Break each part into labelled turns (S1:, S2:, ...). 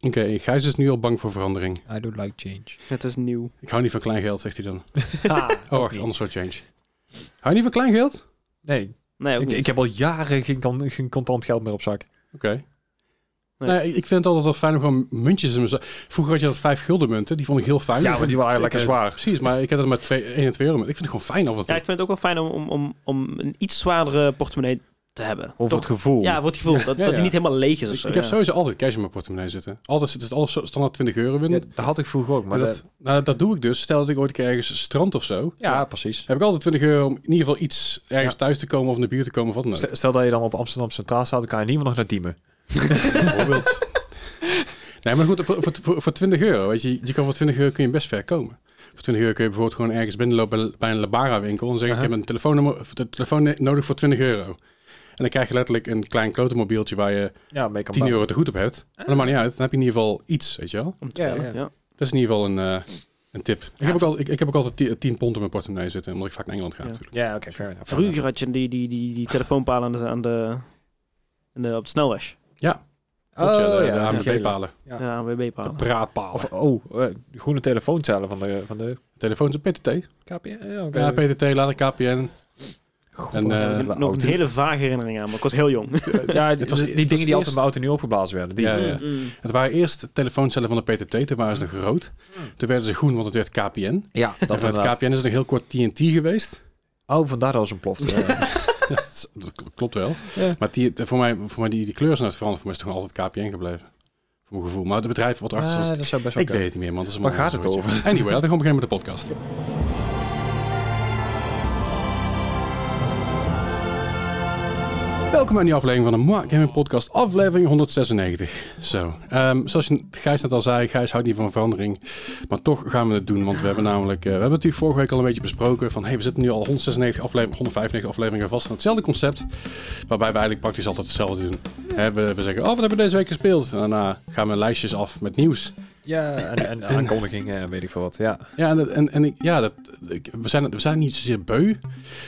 S1: Oké, Gijs is nu al bang voor verandering.
S2: I don't like change.
S3: Het is nieuw.
S1: Ik hou niet van klein geld, zegt hij dan.
S2: Ah,
S1: Oh, wacht, anders soort change. Hou je niet van klein geld?
S2: Nee,
S3: Nee, ook
S2: ik,
S3: niet.
S2: ik heb al jaren geen, kan- geen contant geld meer op zak.
S1: Oké.
S3: Nee.
S1: Nou ja, ik vind het altijd wel fijn om gewoon muntjes in mijn zak- Vroeger had je dat vijf gulden munten, die vond ik heel fijn.
S2: Ja, maar die waren
S1: Ik,
S2: lekker
S1: eh,
S2: zwaar.
S1: Precies, maar ik had het maar 2, 1 en 2 euro munten. Ik vind het gewoon fijn af en
S3: Ja,
S1: toe.
S3: ik vind het ook wel fijn om, om, om, om een iets zwaardere portemonnee te hebben.
S2: Of
S3: Toch?
S2: het gevoel.
S3: Ja, voor het gevoel. Dat, dat
S1: ja.
S3: die niet helemaal leeg is of
S1: ik
S3: zo.
S1: ik heb
S3: ja.
S1: sowieso altijd cash in mijn portemonnee zitten. Altijd zit het alles zo- standaard 20 euro
S2: Ja,
S1: binnen.
S2: dat had ik vroeger ook. Maar
S1: maar dat,
S2: dat,
S1: nou, dat doe ik dus. Stel dat ik ooit een keer ergens strand of zo.
S2: ja, precies.
S1: Heb ik altijd 20 euro om in ieder geval iets ergens
S2: Ja.
S1: thuis te komen of in de buurt te komen of wat dan ook.
S2: Stel- Stel dat je dan op Amsterdam Centraal staat, dan kan je niet meer nog naar Diemen.
S1: bijvoorbeeld. Nee, maar goed, voor, voor, voor, voor 20 euro, weet je, je kan voor 20 euro kun je best ver komen. Voor 20 euro kun je bijvoorbeeld gewoon ergens binnenlopen bij een Labara-winkel en zeggen,
S2: Aha.
S1: ik heb een telefoonnummer, de telefoon nodig voor 20 euro. En dan krijg je letterlijk een klein klotenmobieltje waar je
S2: Ja, mee kan
S1: 10
S2: bouwen.
S1: euro te goed op hebt. Maar dat maakt niet uit, dan heb je in ieder geval iets, weet je wel.
S3: Om te
S2: Ja,
S3: bellen,
S2: ja.
S3: ja.
S1: Dat is in ieder geval een, eh, een tip. Ik, heb ook al, ik, ik heb ook altijd 10 10 pond in mijn portemonnee zitten, omdat ik vaak naar Engeland ga
S3: Ja.
S1: natuurlijk.
S2: Ja, oké, fair enough.
S3: Vroeger had je die, die, die, die telefoonpaal aan de, aan de, aan de, op de snelweg.
S1: Klopt, ja, de,
S2: ja, Oh, ja.
S1: de ANWB-palen,
S2: Ja.
S3: Ja, de ANWB-palen.
S1: de praatpalen.
S2: Of, oh, eh, de groene telefooncellen van de, van de
S1: Telefoons en PTT.
S2: KPN. Ja, oké.
S1: Ja, PTT, later KPN.
S2: God,
S1: en,
S2: wat
S1: eh,
S2: hebben we
S3: Ik heb nog
S2: oud.
S3: een hele vage herinnering aan, maar ik was heel jong.
S2: Ja, die,
S1: Het was-
S2: die
S1: het was
S2: dingen die altijd
S1: eerst-
S2: bij auto nu opgeblazen werden. Die,
S1: Ja, ja. Het waren eerst de telefooncellen van de PTT, toen waren ze nog groot. Toen werden ze groen, want het werd KPN.
S2: Ja,
S1: Dat
S2: Hmm. dat
S1: en van het
S2: inderdaad.
S1: KPN is het nog heel kort TNT geweest.
S2: Oh, vandaar dat ze ontplofte. Ja.
S1: dat, is- dat kl- klopt wel.
S2: Ja.
S1: Maar die, voor mij, voor mij die, die kleur is nooit veranderd. Voor mij is het gewoon altijd KPN gebleven. Voor mijn gevoel. Maar het bedrijf wat erachter
S2: Ah,
S1: zat...
S2: dat zou best wel
S1: ik weet het niet meer, man. Dat is een
S2: Waar
S1: man-
S2: gaat het
S1: zoiets. Anyway, laten we gewoon beginnen met de podcast. Welkom bij een nieuwe aflevering van de Moa Gaming Podcast, aflevering 196. Zo, ehm, zoals je Gijs net al zei, Gijs houdt niet van verandering. Maar toch gaan we het doen, want we hebben namelijk... eh, we hebben het natuurlijk vorige week al een beetje besproken van... hey, we zitten nu al 196 aflevering, 195 afleveringen vast aan hetzelfde concept. Waarbij we eigenlijk praktisch altijd hetzelfde doen. Hè, we, we zeggen, oh, wat hebben we deze week gespeeld? En daarna gaan we lijstjes af met nieuws.
S2: Ja, en, en aankondigingen en weet ik veel wat. Ja,
S1: Ja, en, dat- en, en ik, ja dat, ik- we, zijn, we zijn niet zozeer beu,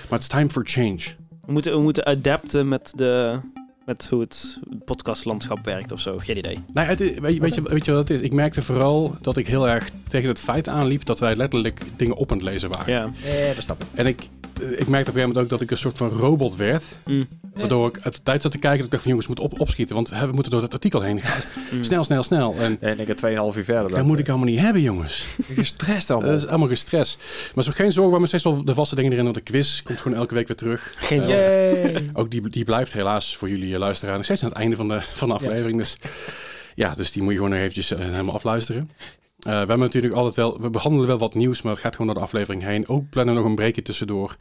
S1: maar it's time for change.
S3: We moeten, we moeten adapten met, de, met hoe het podcastlandschap werkt of zo. Geen idee.
S1: Nou, het, is- weet, je- weet, je, weet je wat het is? Ik merkte vooral dat ik heel erg tegen het feit aanliep dat wij letterlijk dingen op aan het lezen waren.
S3: Ja.
S2: eh, dat snap ik.
S1: En ik, ik merkte op een gegeven moment ook dat ik een soort van robot werd.
S3: Mm.
S1: Waardoor ik uit de tijd zat te kijken dat ik dacht van jongens, we moeten op, opschieten, want hè, we moeten door dat artikel heen gaan.
S3: Mm.
S1: Snel, snel, snel. En
S2: En ik heb 2,5 uur verder. eh. Dus,
S1: dat moet ik allemaal niet hebben, jongens.
S2: gestrest
S1: Dat
S2: allemaal.
S1: is allemaal gestres. Maar zo geen zorgen, we hebben steeds wel de vaste dingen erin, want de quiz komt gewoon elke week weer terug.
S3: Geen idee.
S2: Yay.
S1: Ook die, die blijft helaas voor jullie eh, luisteraar nog steeds aan het einde van de, van de aflevering. Dus ja, dus die moet je gewoon nog eventjes eh, helemaal afluisteren. Eh, we hebben natuurlijk altijd wel, we behandelen wel wat nieuws, maar het gaat gewoon door de aflevering heen. Ook plannen we nog een breekje tussendoor.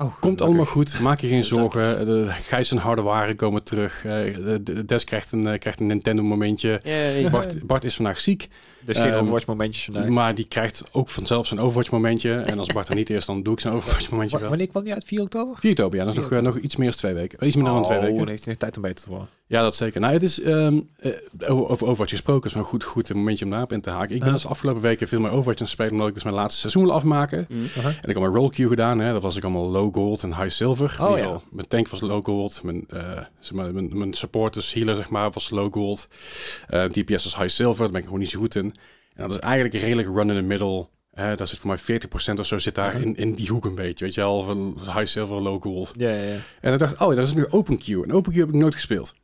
S2: Oh,
S1: Komt
S2: gelukkig.
S1: allemaal goed, maak je geen zorgen. De Gijs en harde waren komen terug. Eh, de, de Des krijgt een, eh, krijgt een Nintendo momentje.
S3: Yay.
S1: Bart, Bart is vandaag ziek,
S2: Dus geen
S1: Ehm,
S2: Overwatch momentjes vandaag.
S1: maar die krijgt ook vanzelf zijn Overwatch momentje. En als Bart er niet is, dan doe ik zijn Overwatch momentje wel.
S2: kwam die uit? 4 oktober?
S1: Viotopia, dat is nog, eh, nog iets meer dan twee weken. Iets minder dan twee weken.
S2: Oh, heeft hij nog tijd om beter te worden.
S1: Ja, dat zeker. Nou, het is ehm, eh, over over Overwatch gesproken. is wel een goed, goed momentje om daarop in te haken. Ik ben
S2: Ja.
S1: dus de afgelopen weken veel meer Overwatch aan het spelen, omdat ik dus mijn laatste seizoen wil afmaken.
S3: Mm.
S1: En ik had mijn roll queue gedaan. Hè. Dat was ik allemaal low gold en high silver.
S2: Oh,
S1: In
S2: ja.
S1: ieder geval, Mijn tank was low gold. Mijn, eh, zeg maar, mijn, mijn support, dus healer, zeg maar, was low gold. Eh DPS was high silver. Daar ben ik gewoon niet zo goed in. En dat is eigenlijk redelijk run in the middle. Hè. Daar zit voor mij 40% of zo zit daar
S2: Ja.
S1: in, in die hoek een beetje. Weet je wel, van high silver, low gold.
S2: Ja, ja, ja.
S1: En ik dacht, oh, daar is nu open queue. En open queue heb ik nooit gespeeld.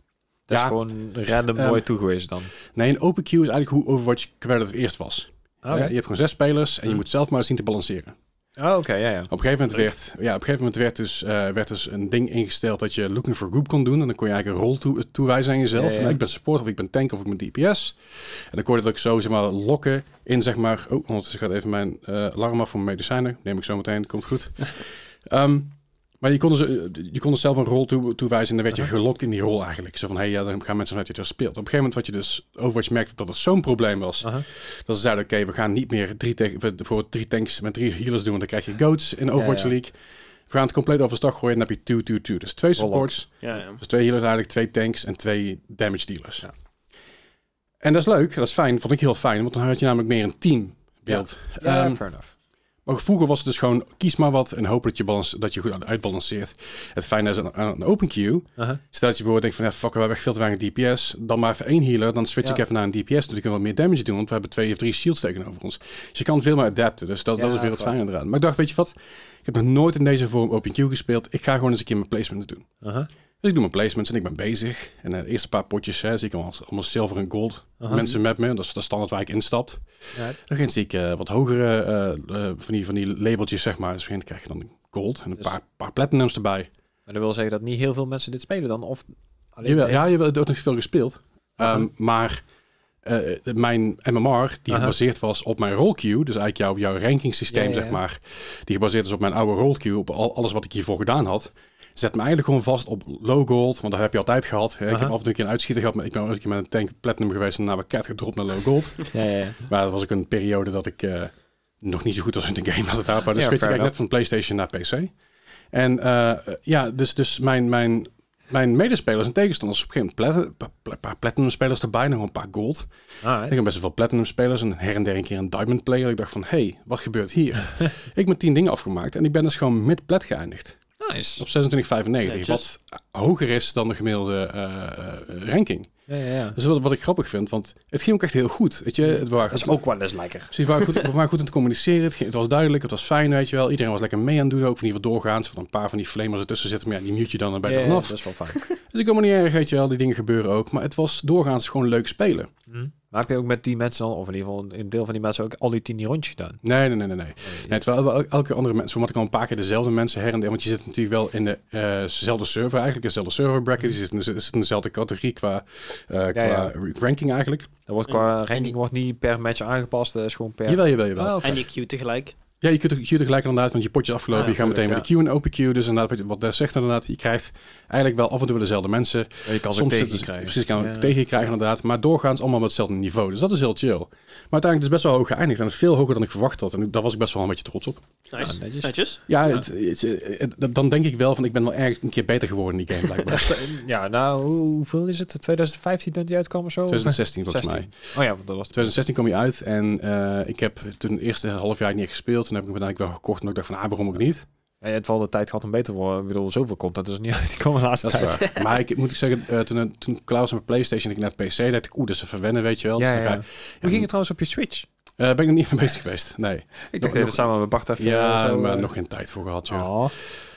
S2: Dat
S1: Ja.
S2: is gewoon random
S1: Ehm,
S2: nooit toegewezen dan.
S1: Nee, een open queue is eigenlijk hoe Overwatch competitive eerst was.
S2: Oké.
S1: Eh, je hebt gewoon zes spelers en je
S2: Hm.
S1: moet zelf maar zien te balanceren.
S2: Oh, oké, ja, ja.
S1: Op een gegeven moment werd, ja, op een gegeven moment werd, dus, eh, werd dus een ding ingesteld dat je looking for group kon doen. En dan kon je eigenlijk een rol toe- toewijzen aan jezelf.
S2: Ja, ja.
S1: Nou, ik ben support of ik ben tank of ik ben DPS. En dan kon je dat ook zo zeg maar, lokken in zeg maar... Oh, ondertussen gaat even mijn eh, alarm af voor mijn medicijnen. Neem ik zo meteen, komt goed. Ehm, maar je kon, dus, eh, je kon dus zelf een rol toe- toewijzen en dan werd je gelokt in die rol eigenlijk. Zo van, hé, hey, ja, dan gaan mensen vanuit dat je er speelt. Op een gegeven moment wat je dus Overwatch merkte dat het zo'n probleem was.
S2: Aha.
S1: Dat ze zeiden, oké, we gaan niet meer drie tegen, we- voor drie tanks met drie healers doen, want dan krijg je goats in Overwatch
S2: ja.
S1: League. We gaan het compleet overstag gooien en dan heb je 2-2-2. Dus twee
S2: Rollen.
S1: supports,
S3: Ja, ja.
S1: dus twee healers eigenlijk, twee tanks en twee damage dealers.
S2: Ja.
S1: En dat is leuk, dat is fijn, vond ik heel fijn, want dan had je namelijk meer een teambeeld.
S2: Ja,
S1: Ehm,
S2: fair enough.
S1: Maar vroeger was het dus gewoon, kies maar wat en hoop dat je, balans, dat je goed uitbalanceert. Het fijne is aan aan een open queue,
S2: Aha.
S1: Stel dat je bijvoorbeeld denkt van, ja, fuck, we hebben echt veel te weinig DPS. Dan maar even één healer, dan switch ik
S2: Ja.
S1: even naar een DPS. Dan kunnen we wat meer damage doen, want we hebben twee of drie shields tegenover ons. Dus je kan veel meer adapten, dus dat,
S2: Ja,
S1: dat is weer wat
S2: dat is
S1: fijner eraan. Maar ik dacht, weet je wat, ik heb nog nooit in deze vorm open queue gespeeld. Ik ga gewoon eens een keer mijn placements doen.
S2: Aha.
S1: Dus ik doe mijn placements en ik ben bezig. En eh, de eerste paar potjes hè, zie ik allemaal, allemaal zilver en gold.
S2: Aha.
S1: Mensen met me, dat is de standaard waar ik instapt.
S2: Ja.
S1: Dan begin zie ik eh, wat hogere eh, eh, van, die, van die labeltjes, zeg maar. Dus op een gegeven moment krijg je dan gold en een
S2: Dus-
S1: paar, paar platinums erbij.
S2: Maar dat wil zeggen dat niet heel veel mensen dit spelen dan? Of alleen
S1: Jawel, ja, je hebt ook nog veel gespeeld. Ehm,
S2: Aha.
S1: Maar eh, mijn MMR, die
S2: Aha.
S1: gebaseerd was op mijn roll queue, dus eigenlijk jouw, jouw ranking systeem,
S2: Ja, ja,
S1: zeg
S2: ja.
S1: maar, die gebaseerd is op mijn oude roll queue, op al, alles wat ik hiervoor gedaan had, zet me eigenlijk gewoon vast op low gold, want dat heb je altijd gehad. hè. Ik heb
S2: Aha.
S1: af en toe een keer een uitschieter gehad, maar ik ben ook een keer met een tank platinum geweest en daarna mijn cat gedropt naar low gold.
S2: Ja, ja, ja.
S1: maar dat was ook een periode dat ik eh, nog niet zo goed was in de game had het daar, maar dan
S2: Ja,
S1: Dus switch ik
S2: fair
S1: eigenlijk net van PlayStation naar PC. En eh, ja, dus, dus mijn, mijn, mijn medespelers en tegenstanders, op een gegeven moment platin- pa- pa- een paar platinum spelers erbij, nog een paar gold.
S2: Alright.
S1: Ik heb best wel veel platinum spelers en her en der een keer een diamond player. Ik dacht van, hé, hey, wat gebeurt hier? ik ben 10 dingen afgemaakt en ik ben dus gewoon mid-plat geëindigd.
S2: Nice.
S1: Op 26,95,
S3: Netjes.
S1: wat hoger is dan de gemiddelde eh, eh, ranking.
S2: Ja, ja, ja.
S1: Dus wat, wat ik grappig vind, want het ging ook echt heel goed. Weet je, het waren
S2: Dat is
S1: goed-
S2: ook wel eens lekker.
S1: Precies, we waren goed, we waren goed aan het communiceren. Het, ging- het was duidelijk, het was fijn, weet je wel. Iedereen was lekker mee aan het doen, ook van die wat doorgaans. Van een paar van die flamers ertussen zitten, maar ja, die mute je dan en bij
S2: Ja,
S1: je
S2: ja,
S1: er vanaf.
S2: dat is wel fijn.
S1: Dus ik kom me niet erg, weet je wel. Die dingen gebeuren ook. Maar het was doorgaans gewoon leuk spelen.
S2: Hm. Maar heb je ook met die mensen dan, of in ieder geval een deel van die mensen ook al die tien rondjes gedaan?
S1: Nee, nee, nee, nee. nee. Nee, terwijl wel el- elke andere mensen, want ik al een paar keer dezelfde mensen her en der, want je zit natuurlijk wel in de, eh, dezelfde server eigenlijk, dezelfde server bracket, je zit in, de- zit in dezelfde categorie qua, eh, qua
S2: Mhm. ja.
S1: ranking eigenlijk.
S2: Dat wordt qua ranking wordt niet per match aangepast, dat is gewoon per...
S1: Jawel, jawel, jewel.
S2: Ah, oké.
S3: En je queue tegelijk.
S1: Ja, je kunt er, je kunt er gelijk inderdaad, want je potje is afgelopen,
S2: Ah,
S1: je gaat meteen
S2: tuurlijk,
S1: met de queue en open queue, dus inderdaad, wat- wat Des zegt inderdaad, je krijgt eigenlijk wel af en toe wel dezelfde mensen.
S2: Ja, je kan ze ook
S1: zitten
S2: tegen
S1: ze-
S2: krijgen.
S1: Precies, kan
S2: Ja.
S1: ook tegen je krijgen inderdaad, maar doorgaans allemaal op hetzelfde niveau, dus dat is heel chill. Maar uiteindelijk is het best wel hoog geëindigd en veel hoger dan ik verwacht had en daar was ik best wel een beetje trots op.
S3: Nice.
S2: Ah,
S3: netjes.
S2: netjes.
S1: Ja, het- het- het- het- dan denk ik wel van ik ben wel ergens een keer beter geworden in die game blijkbaar.
S2: Ja, nou, hoe- hoeveel is het? 2015 dat die uitkwam of zo?
S1: 2016 volgens mij.
S2: 16. Oh ja, want dat was het.
S1: 2016 kwam je uit en eh, ik heb toen het eerste half jaar niet echt gespeeld. Toen heb ik hem uiteindelijk wel gekocht en ik dacht van ah, waarom ook niet?
S2: Ja, je hebt wel de tijd gehad om beter te worden. Ik bedoel, zoveel content is er niet uit. Die kwam de laatste
S1: Dat is
S2: tijd.
S1: waar. maar ik moet ik zeggen, eh, toen, toen Klaus op mijn Playstation en ik naar PC, dacht ik oeh, dat is even wennen, weet je wel.
S2: Ja,
S1: Dus dan
S2: ja.
S1: ga-
S2: Hoe ging het trouwens op je Switch?
S1: eh, ben ik nog niet mee bezig geweest, nee.
S2: Ik
S1: nog-
S2: dacht
S1: nog-
S2: dat samen met Bart even
S1: ja,
S2: eh, zo,
S1: maar
S2: eh,
S1: nog geen tijd voor gehad, joh.
S2: Oh.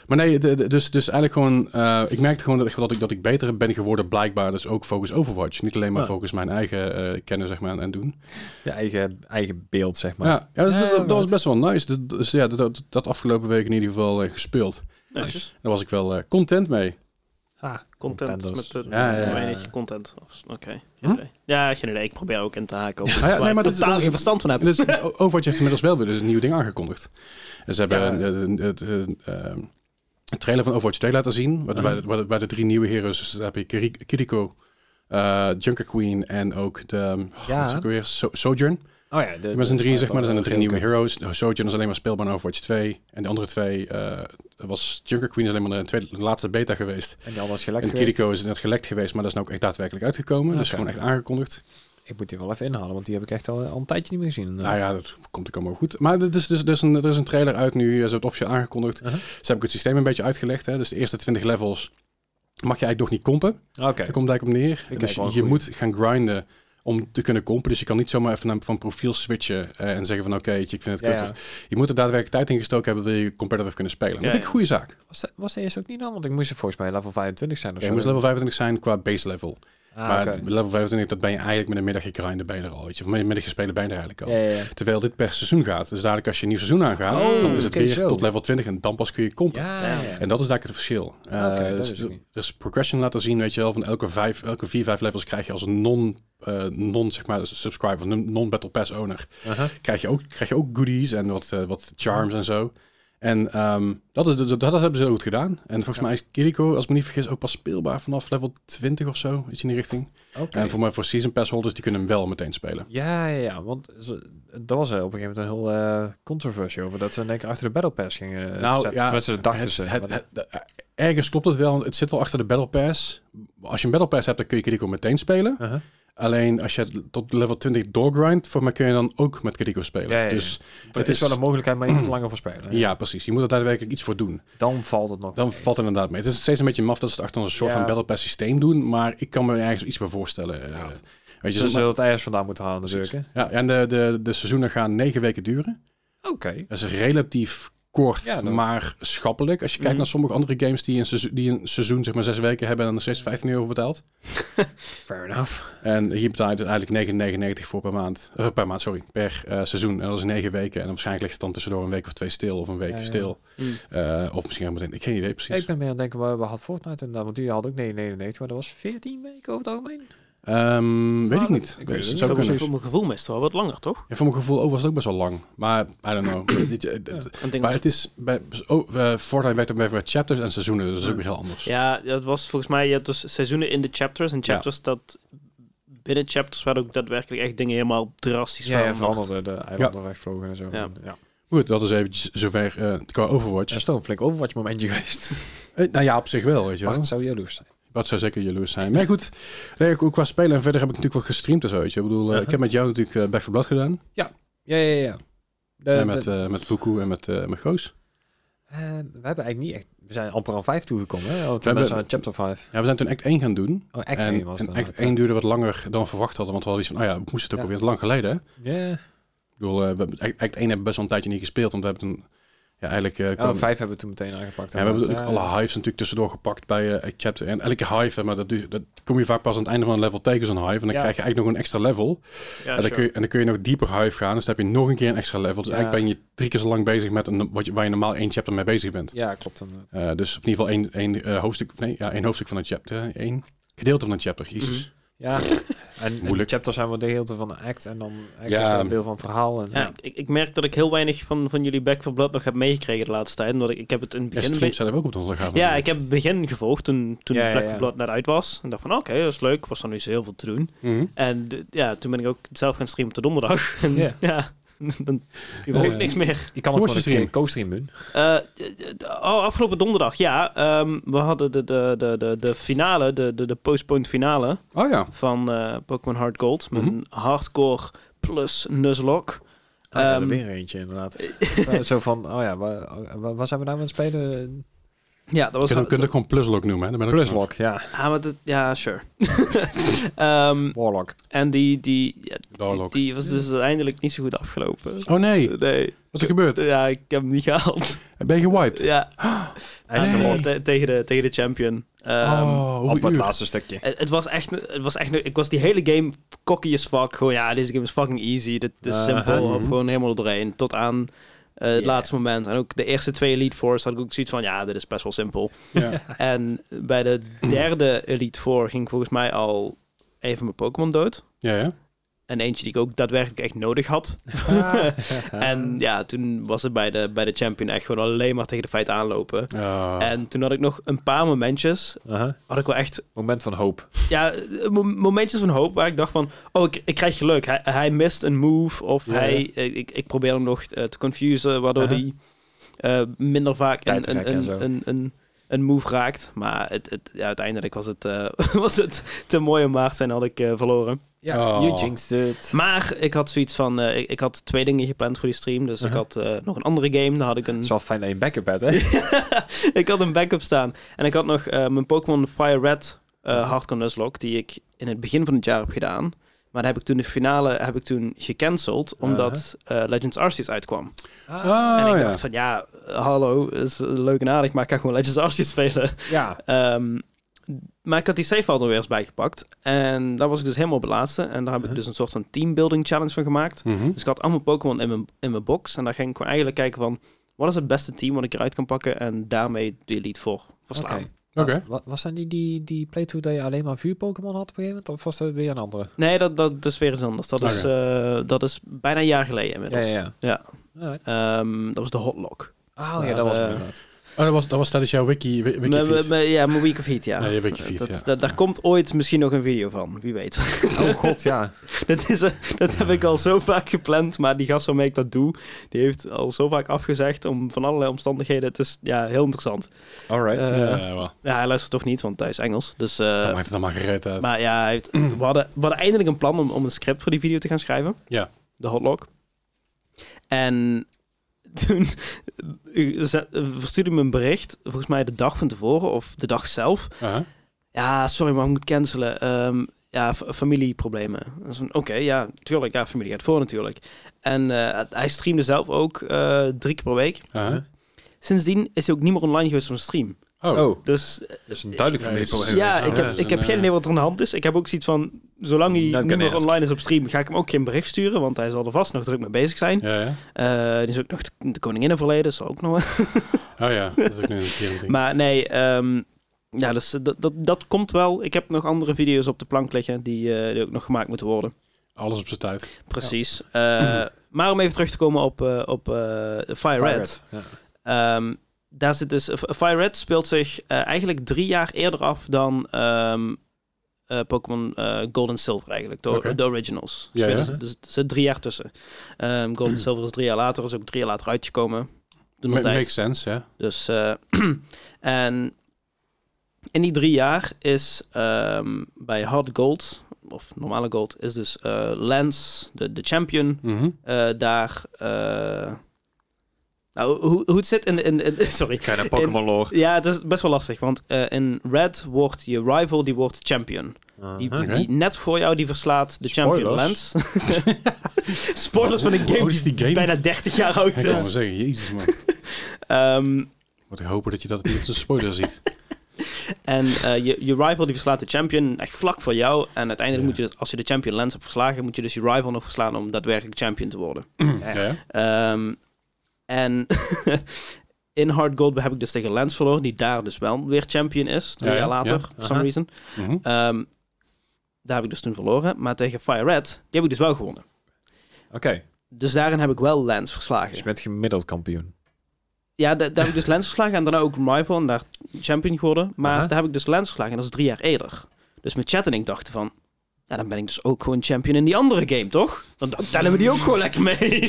S1: Maar nee, de- de- dus, dus eigenlijk gewoon... eh, ik merkte gewoon dat ik, dat, ik, dat ik beter ben geworden blijkbaar. Dus ook focus Overwatch. Niet alleen maar
S2: Ja.
S1: focus mijn eigen eh, kennen zeg maar, en doen.
S2: Je eigen, eigen beeld, zeg maar.
S1: Ja, ja, dus
S2: Ja,
S1: dat,
S2: ja,
S1: dat
S2: maar
S1: was
S2: het-
S1: best wel nice. Dus, dus ja, dat- dat, dat afgelopen week in ieder geval eh, gespeeld.
S3: Netjes.
S1: Daar was ik wel eh, content mee.
S2: Ah,
S3: Content
S2: dat is-
S3: met de
S1: Ja, ja, ja.
S3: manager content. Of- Oké.
S1: Hm? Ah,
S3: Geen idee. Ja, geen idee. Ik probeer ook in te haken op iets
S1: ja,
S3: waar
S1: nee, maar
S3: ik
S1: dat is-
S3: totaal
S1: dat is-
S3: geen verstand van heb.
S1: Dus, dus O- Overwatch heeft inmiddels wel weer dus een nieuw ding aangekondigd. En ze hebben
S2: Ja.
S1: een- een- een- een- ehm, een trailer van Overwatch 2 laten zien. Waarbij
S2: Aha.
S1: de- waarbij de, drie nieuwe heroes, dus daar heb je Kiri- Kiriko, eh, Junker Queen en ook de... oh,
S2: Ja.
S1: wat is ook weer? So- Sojourn.
S2: Oh ja, de,
S1: Er zijn drie, zeg maar. Er zijn er drie nieuwe heroes. Nou, Sojourn is alleen maar speelbaar in Overwatch 2. En de andere twee eh, was... Junker Queen is alleen maar de, tweede, de laatste beta geweest.
S2: En die anders gelekt
S1: En
S2: geweest. Ah,
S1: Kiriko is net gelekt geweest, maar dat is nou ook echt daadwerkelijk uitgekomen. Dus
S2: Oké.
S1: gewoon echt aangekondigd.
S2: Ik moet die wel even inhalen, want die heb ik echt al, al een tijdje niet meer gezien.
S1: Nou ja, dat komt ook allemaal goed. Maar er is, dus, dus een, er is een trailer uit nu, eh, ze hebben het officieel aangekondigd.
S2: Uh-huh.
S1: Ze hebben ook het systeem een beetje uitgelegd. Hè? Dus de eerste 20 levels mag je eigenlijk nog niet kompen.
S2: Oké.
S1: Daar komt het eigenlijk op neer.
S2: kijk
S1: dus
S2: wel
S1: je
S2: een goeie.
S1: moet gaan grinden om te kunnen kompen. Dus je kan niet zomaar even naar- van profiel switchen eh, en zeggen van oké, weet je, ik vind het
S2: Ja,
S1: kut.
S2: ja.
S1: Je moet er daadwerkelijk tijd in gestoken hebben, wil je competitive kunnen spelen. Dat
S3: Ja,
S1: vind ik een goede zaak.
S2: Was, dat, was dat eerst ook niet dan? Want ik moest volgens mij level 25 zijn of
S1: Ja, je
S2: zo.
S1: moet level 25 zijn qua base level.
S2: Ah,
S1: maar
S2: oké.
S1: level 25, dat ben je eigenlijk met een middagje grinden ben je er al. Weet je. Of met een middagje spelen ben je er eigenlijk al.
S2: Ja, ja, ja.
S1: Terwijl dit per seizoen gaat. Dus dadelijk als je een nieuw seizoen aangaat,
S3: Oh,
S1: dan is het
S2: oké,
S1: weer
S2: zo.
S1: tot level 20 en dan pas kun je kompen.
S2: Ja, ja. Ah,
S1: En dat is eigenlijk het verschil. Eh,
S2: Oké, dat
S1: dus,
S2: wist ik niet.
S1: dus progression laten zien, weet je wel, van elke, vijf, elke vier, vijf levels krijg je als een non, eh, non zeg maar, subscriber, non- non-battle pass owner,
S2: Aha.
S1: krijg je ook, krijg je ook goodies en wat, eh, wat charms en zo. En ehm, dat, is, dat, dat hebben ze heel goed gedaan. En volgens
S2: Ja.
S1: mij is Kiriko, als ik me niet vergis, ook pas speelbaar vanaf level 20 of zo, iets in die richting.
S2: Oké.
S1: En voor mij voor season pass holders, die kunnen hem wel meteen spelen.
S2: Ja, ja, ja, want ze- dat was eh, op een gegeven moment een heel eh, controversie over dat ze in één keer achter de Battle Pass gingen
S1: Nou,
S2: zetten.
S1: ja,
S2: eh, Tenminste, dat dachten
S1: Het-
S2: ze.
S1: het- het- de- eh, ergens klopt het wel, want het zit wel achter de Battle Pass. Als je een Battle Pass hebt, dan kun je Kiriko meteen spelen.
S2: Aha.
S1: Alleen als je het tot level 20 doorgrindt, voor mij kun je dan ook met Kadiko spelen.
S2: Ja, ja, ja.
S1: Dus
S2: het is wel een mogelijkheid, maar je moet er langer voor spelen.
S1: ja, precies. Je moet er daadwerkelijk iets voor doen.
S2: Dan valt het nog
S1: Dan
S2: mee.
S1: valt het inderdaad mee. Het is steeds een beetje maf dat ze het achter een soort
S2: Ja.
S1: van battle pass systeem doen, maar ik kan me ergens iets bij voorstellen. eh,
S2: Ja.
S1: Weet je,
S2: Ze
S1: zo-
S2: zullen het ergens vandaan moeten halen natuurlijk. hè?
S1: ja, en de, de, de seizoenen gaan negen weken duren.
S2: Oké.
S1: Dat is relatief kort,
S2: Ja, dan-
S1: maar schappelijk. Als je kijkt
S3: Mhm.
S1: naar sommige andere games die een seizoen, die een seizoen zeg maar zes weken hebben en dan steeds 15 euro betaald.
S2: Fair enough.
S1: En hier betaal je dus eigenlijk 9,99 voor per maand. eh, per maand, sorry. Per eh, seizoen. En dat is 9 weken. En dan waarschijnlijk ligt het dan tussendoor een week of twee stil. Of een week
S2: Ja, ja.
S1: stil.
S3: Hm.
S1: Eh, of misschien helemaal meteen. Ik geen idee precies.
S2: Ik ben meer aan het denken, waar we hadden Fortnite inderdaad, want die had ook 99, maar dat was 14 weken over het algemeen.
S1: Ehm, weet ik niet.
S2: dat- Ah, ik
S1: Weet-
S2: weet het
S1: het
S2: niet.
S1: zou
S2: Dat
S1: kunnen.
S2: precies.
S3: voor mijn gevoel meestal wel wat langer, toch?
S1: Ja, voor mijn gevoel ook was het ook best wel lang. Maar I don't know. Het- het- het- het-
S3: Een ding
S1: Maar
S3: als-
S1: het is... Bij, oh, eh, Fortnite werkt ook weer met chapters en seizoenen. Dus dat is ook weer heel anders.
S3: ja, dat was volgens mij, je had dus seizoenen in de chapters. En chapters dat... Binnen chapters werden ook daadwerkelijk echt dingen helemaal drastisch
S2: Ja, ja
S3: veranderd.
S2: veranderde de eilanden wegvlogen en zo.
S3: Ja.
S2: Ja. ja.
S1: Goed, dat is eventjes zover eh, qua Overwatch.
S2: Het is toch een flink Overwatch momentje geweest.
S1: Eh, nou ja, op zich wel, weet je
S2: Maar
S1: wel.
S2: het zou jaloers zijn.
S1: Dat zou zeker jaloers zijn. Maar goed, nee, ook ook qua spelen en verder heb ik natuurlijk wel gestreamd en zo. Weet je. Ik bedoel, eh,
S2: Uh-huh.
S1: ik heb met jou natuurlijk eh, Back for Blood gedaan.
S2: Ja, ja, ja. De-
S1: en met,
S2: de-
S1: eh met Boekoe en met, eh met Goos.
S2: eh, we hebben eigenlijk niet echt... We zijn amper aan 5 toegekomen, hè? Want
S1: We
S2: we
S1: hebben-
S2: zijn aan chapter 5.
S1: Ja, we zijn toen Act 1 gaan doen.
S2: Oh, act
S1: en,
S2: 1 was
S1: en
S2: dat.
S1: Act 1 duurde wat langer dan we verwacht hadden. Want we hadden iets van, nou ja, we moesten het ook alweer lang geleden. Hè?
S2: Ja,
S1: Ik bedoel, eh, we hebben- Act 1 hebben we best wel een tijdje niet gespeeld. Want we hebben toen, ja, eigenlijk... eh, kwam-
S2: oh, 5 hebben we toen meteen aangepakt.
S1: ja, we hebben
S2: inderdaad.
S1: natuurlijk alle hives natuurlijk tussendoor gepakt bij eh Act Chapter. En elke hive, hè, maar dat, duurt- dat kom je vaak pas aan het einde van een level tegen zo'n hive. En dan
S2: Ja.
S1: krijg je eigenlijk nog een extra level.
S3: Ja,
S1: en, dan kun je, en dan kun je nog dieper hive gaan. Dus dan heb je nog een keer een extra level. Dus
S2: Ja.
S1: eigenlijk ben je drie keer zo lang bezig met een, wat je, waar je normaal één chapter mee bezig bent.
S2: Ja, klopt. inderdaad.
S1: Eh, dus of in ieder geval één, één eh, hoofdstuk, nee, ja, één hoofdstuk van een chapter. Één gedeelte van een chapter, jezus.
S3: Mhm.
S2: Ja, en, en
S1: Moeilijk.
S2: chapters zijn wel deel van een act en dan act
S1: Ja.
S2: is wel een deel van het verhaal. En,
S3: Ja, ik, ik merk dat ik heel weinig van, van jullie Back for Blood nog heb meegekregen de laatste tijd. Omdat ik, ik heb het in het
S1: Ja,
S3: begin... een
S1: streams
S3: beetje-
S1: zijn er ook op de ondergaande.
S3: ja, ik heb het begin gevolgd toen, toen
S2: Ja, ja,
S3: Back
S2: ja.
S3: for Blood net uit was. En dacht van, oké, dat is leuk. Was er nu zo heel veel te doen.
S1: Mhm.
S3: En eh, ja, toen ben ik ook zelf gaan streamen op de donderdag. En,
S2: Ja.
S3: Ja, dan heb
S2: Oh,
S3: ik
S2: ja.
S3: niks meer.
S2: Je kan
S1: Hoe
S2: ook
S1: was
S2: gewoon
S1: je
S2: een
S1: stream?
S2: keer co-stream doen.
S3: Eh, eh, eh, oh, afgelopen donderdag, ja. ehm, we hadden de, de, de, de, de finale, de, de, de postponed finale
S1: Oh ja.
S3: van eh, Pokémon Hard Gold. Mijn
S1: Mhm.
S3: hardcore plus Nuzlocke.
S2: Oh, ja, er
S3: Ehm,
S2: weer eentje inderdaad. Eh, Zo van, oh ja, waar, waar- waar zijn we nou aan het spelen?
S3: Ja, dat was...
S1: Kunnen we kunnen het gewoon Pluslock noemen. Hè? Dan ben ik ook
S2: Pluslock, ja.
S3: Ah, maar dat, ja, sure. Ehm,
S2: Warlock.
S3: en die, die, ja, die-
S1: vanaf. Doorlock.
S3: die, was dus uiteindelijk niet zo goed afgelopen.
S1: Oh nee, wat
S3: Nee.
S1: is er gebeurd?
S3: Ja, ik heb hem niet gehaald.
S1: Ben je gewiped?
S3: Ja,
S2: Hij
S1: nee.
S2: is
S3: en,
S2: gelokt.
S3: te- tegen, de, tegen de champion. Ehm,
S1: oh,
S2: Op
S1: hoeveel
S2: het
S1: uur?
S2: laatste stukje.
S3: Het, het was echt, het was echt, ik was die hele game cocky as fuck. Gewoon, ja, deze game is fucking easy. Dit is
S2: Uh-huh.
S3: simpel. Hop,
S1: Mhm.
S3: Gewoon helemaal doorheen. Tot aan eh, het
S2: Yeah.
S3: laatste moment. En ook de eerste twee Elite Fours had ik ook zoiets van, ja, dit is best wel simpel.
S1: Ja.
S3: en bij de derde Elite Four ging volgens mij al een van mijn Pokémon dood.
S1: ja, ja.
S3: En eentje die ik ook daadwerkelijk echt nodig had.
S2: Ah.
S3: En ja, toen was het bij de, bij de champion echt gewoon alleen maar tegen de feit aanlopen.
S1: Ah.
S3: En toen had ik nog een paar momentjes.
S2: Aha.
S3: Had ik wel echt
S2: Uh-huh. Moment van hoop.
S3: ja, eh, mo- momentjes van hoop waar ik dacht van... Oh, ik, ik krijg geluk. Hij, hij mist een move. Of
S2: Ja,
S3: hij, eh, ik, ik probeer hem nog eh, te confusen. Waardoor
S2: Uh-huh.
S3: hij eh, minder vaak
S2: Tijd
S3: een, een,
S2: trekken en
S3: een,
S2: zo.
S3: een, een, een move raakt. Maar het, het, ja, uiteindelijk was het, eh, was het te mooi om waar te zijn. Had ik eh, verloren.
S1: Ja.
S2: You jinxed it.
S3: Maar ik had zoiets van... eh, ik, ik had twee dingen gepland voor die stream. Dus
S2: Uh-huh.
S3: ik had eh, nog een andere game. Daar had ik een...
S2: Het is wel fijn dat je een backup hebt, hè?
S3: ik had een backup staan. En ik had nog eh, mijn Pokémon Fire Red eh Hardcore Nuzlocke, die ik in het begin van het jaar heb gedaan. Maar daar heb ik toen de finale heb ik toen gecanceld, omdat eh, Legends Arceus uitkwam.
S1: Ah,
S3: en ik
S1: ja.
S3: dacht van, ja, hallo, is leuk en aardig, maar ik ga gewoon Legends Arceus spelen.
S2: ja.
S3: Ehm, maar ik had die save file er weer eens bijgepakt. En daar was ik dus helemaal op het laatste. En daar heb ik
S2: Uh-huh.
S3: dus een soort van teambuilding challenge van gemaakt.
S1: Mhm.
S3: Dus ik had allemaal Pokémon in mijn, in mijn box. En daar ging ik gewoon eigenlijk kijken van... Wat is het beste team wat ik eruit kan pakken? En daarmee de Elite voor verslaan.
S2: Oké.
S1: Oké.
S2: Ah, Wa- wa- Was dat niet die, die playthrough dat je alleen maar vuur Pokémon had op een gegeven moment? Of was dat weer een andere?
S3: Nee, dat, dat is weer eens anders. Dat, is, eh, dat is bijna een jaar geleden
S2: Ja,
S3: inmiddels.
S2: ja, ja.
S3: Ja.
S2: Alright.
S3: Ehm, dat was de Hotlock.
S2: Oh ja,
S3: Ja,
S2: dat was
S3: eh,
S2: het inderdaad.
S1: Oh, dat was, dat was tijdens jouw wiki, wi- wiki
S3: Mijn- mijn- mijn- ja, mijn Week of Heat, ja.
S1: Ja, je Wikifeed,
S3: dat,
S1: ja.
S3: dat- daar komt ooit misschien nog een video van, wie weet.
S2: Oh god, ja.
S3: dat, is, eh, dat heb ik al zo vaak gepland, maar die gast waarmee ik dat doe, die heeft al zo vaak afgezegd om van allerlei omstandigheden. Het is ja, heel interessant.
S2: Alright.
S3: Eh,
S1: ja, ja, wel.
S3: ja, hij luistert toch niet, want hij is Engels. Dus, eh,
S1: Dat maakt het allemaal gereed uit.
S3: maar ja, hij heeft, we, hadden, we hadden eindelijk een plan om, om een script voor die video te gaan schrijven.
S1: Ja.
S3: De hotlog. En toen u- ze- verstuurde hij me een bericht, volgens mij de dag van tevoren of de dag zelf.
S1: Uh-huh.
S3: Ja, sorry, maar ik moet cancelen. Ehm, ja, fa- familieproblemen. Dat is van, Oké, ja, tuurlijk. Ja, familie gaat voor natuurlijk. En eh, hij streamde zelf ook eh, drie keer per week.
S1: Uh-huh.
S3: Sindsdien is hij ook niet meer online geweest van stream.
S1: Oh.
S2: Oh,
S3: Dus eh,
S2: dat is een duidelijk
S1: Ja,
S2: familieprobleem.
S3: ja,
S1: dat is-
S3: ik
S1: dat
S3: heb,
S1: is
S3: ik heb
S1: een,
S3: geen
S1: eh,
S3: idee wat er aan de hand is. Ik heb ook zoiets van, zolang hij
S2: Dat
S3: niet
S2: kan
S3: meer
S2: niet.
S3: online is op stream, ga ik hem ook geen bericht sturen, want hij zal er vast nog druk mee bezig zijn.
S1: Ja, ja.
S3: Eh, er is ook nog de, de koningin verleden, dat zal ook nog
S1: Oh ja, dat is ook nu een keer een ding.
S3: Maar nee, ehm, ja, dus dat, dat, dat komt wel. Ik heb nog andere video's op de plank liggen die, eh, die ook nog gemaakt moeten worden.
S1: Alles op zijn tijd.
S3: Precies. Eh, maar om even terug te komen op, eh, op eh, Fire, Red.
S2: Ja.
S3: Ehm, daar zit dus, Fire Red speelt zich eh, eigenlijk drie jaar eerder af dan ehm, eh, Pokémon eh, Gold en Silver eigenlijk. De,
S1: Oké.
S3: de originals.
S1: Ja, ja.
S3: Dus, dus er zit drie jaar tussen. Ehm, Gold en Silver is drie jaar later. Is ook drie jaar later uitgekomen. Toen
S1: Ma-
S3: de tijd.
S1: makes sense, ja.
S3: Dus, eh, en in die drie jaar is ehm, bij Hard Gold, of normale Gold, is dus eh Lance, de, de champion,
S1: Mhm.
S3: eh, daar... eh, nou, hoe, hoe het zit in... de- in, in sorry.
S2: Ga je naar Pokémon lore.
S3: Ja, het is best wel lastig, want eh, in Red wordt je rival, die wordt champion. Die,
S2: Aha.
S1: Oké.
S3: die net voor jou, die verslaat de champion
S2: Spoilers.
S3: Lance. Spoilers van een
S1: Hoe
S3: game
S1: oud is die game?
S3: bijna 30 jaar oud
S1: Ik kan wel
S3: is.
S1: zeggen, jezus man.
S3: Ehm,
S1: Wat ik hopen dat je dat niet op de spoiler ziet.
S3: En eh, je, je rival die verslaat de champion echt vlak voor jou. En uiteindelijk
S1: Ja.
S3: moet je, als je de champion Lance hebt verslagen, moet je dus je rival nog verslaan om daadwerkelijk champion te worden.
S1: Ja, ja.
S3: Ehm, en in Hard Gold heb ik dus tegen Lance verloren, die daar dus wel weer champion is, twee
S1: Ja, ja,
S3: jaar later,
S1: ja.
S3: for some
S2: Aha.
S3: reason.
S1: Mhm.
S3: Ehm, daar heb ik dus toen verloren. Maar tegen Fire Red, die heb ik dus wel gewonnen.
S2: Oké,
S3: Dus daarin heb ik wel Lance
S2: dus
S3: verslagen.
S2: je bent gemiddeld kampioen.
S3: Ja, da- daar heb ik dus Lens verslagen en daarna ook Rival en daar champion geworden. Maar
S2: Aha.
S3: daar heb ik dus Lens verslagen en dat is drie jaar eerder. Dus met chat en ik dachten van, ja, dan ben ik dus ook gewoon champion in die andere game, toch? Dan dan tellen we die ook gewoon lekker mee.
S2: This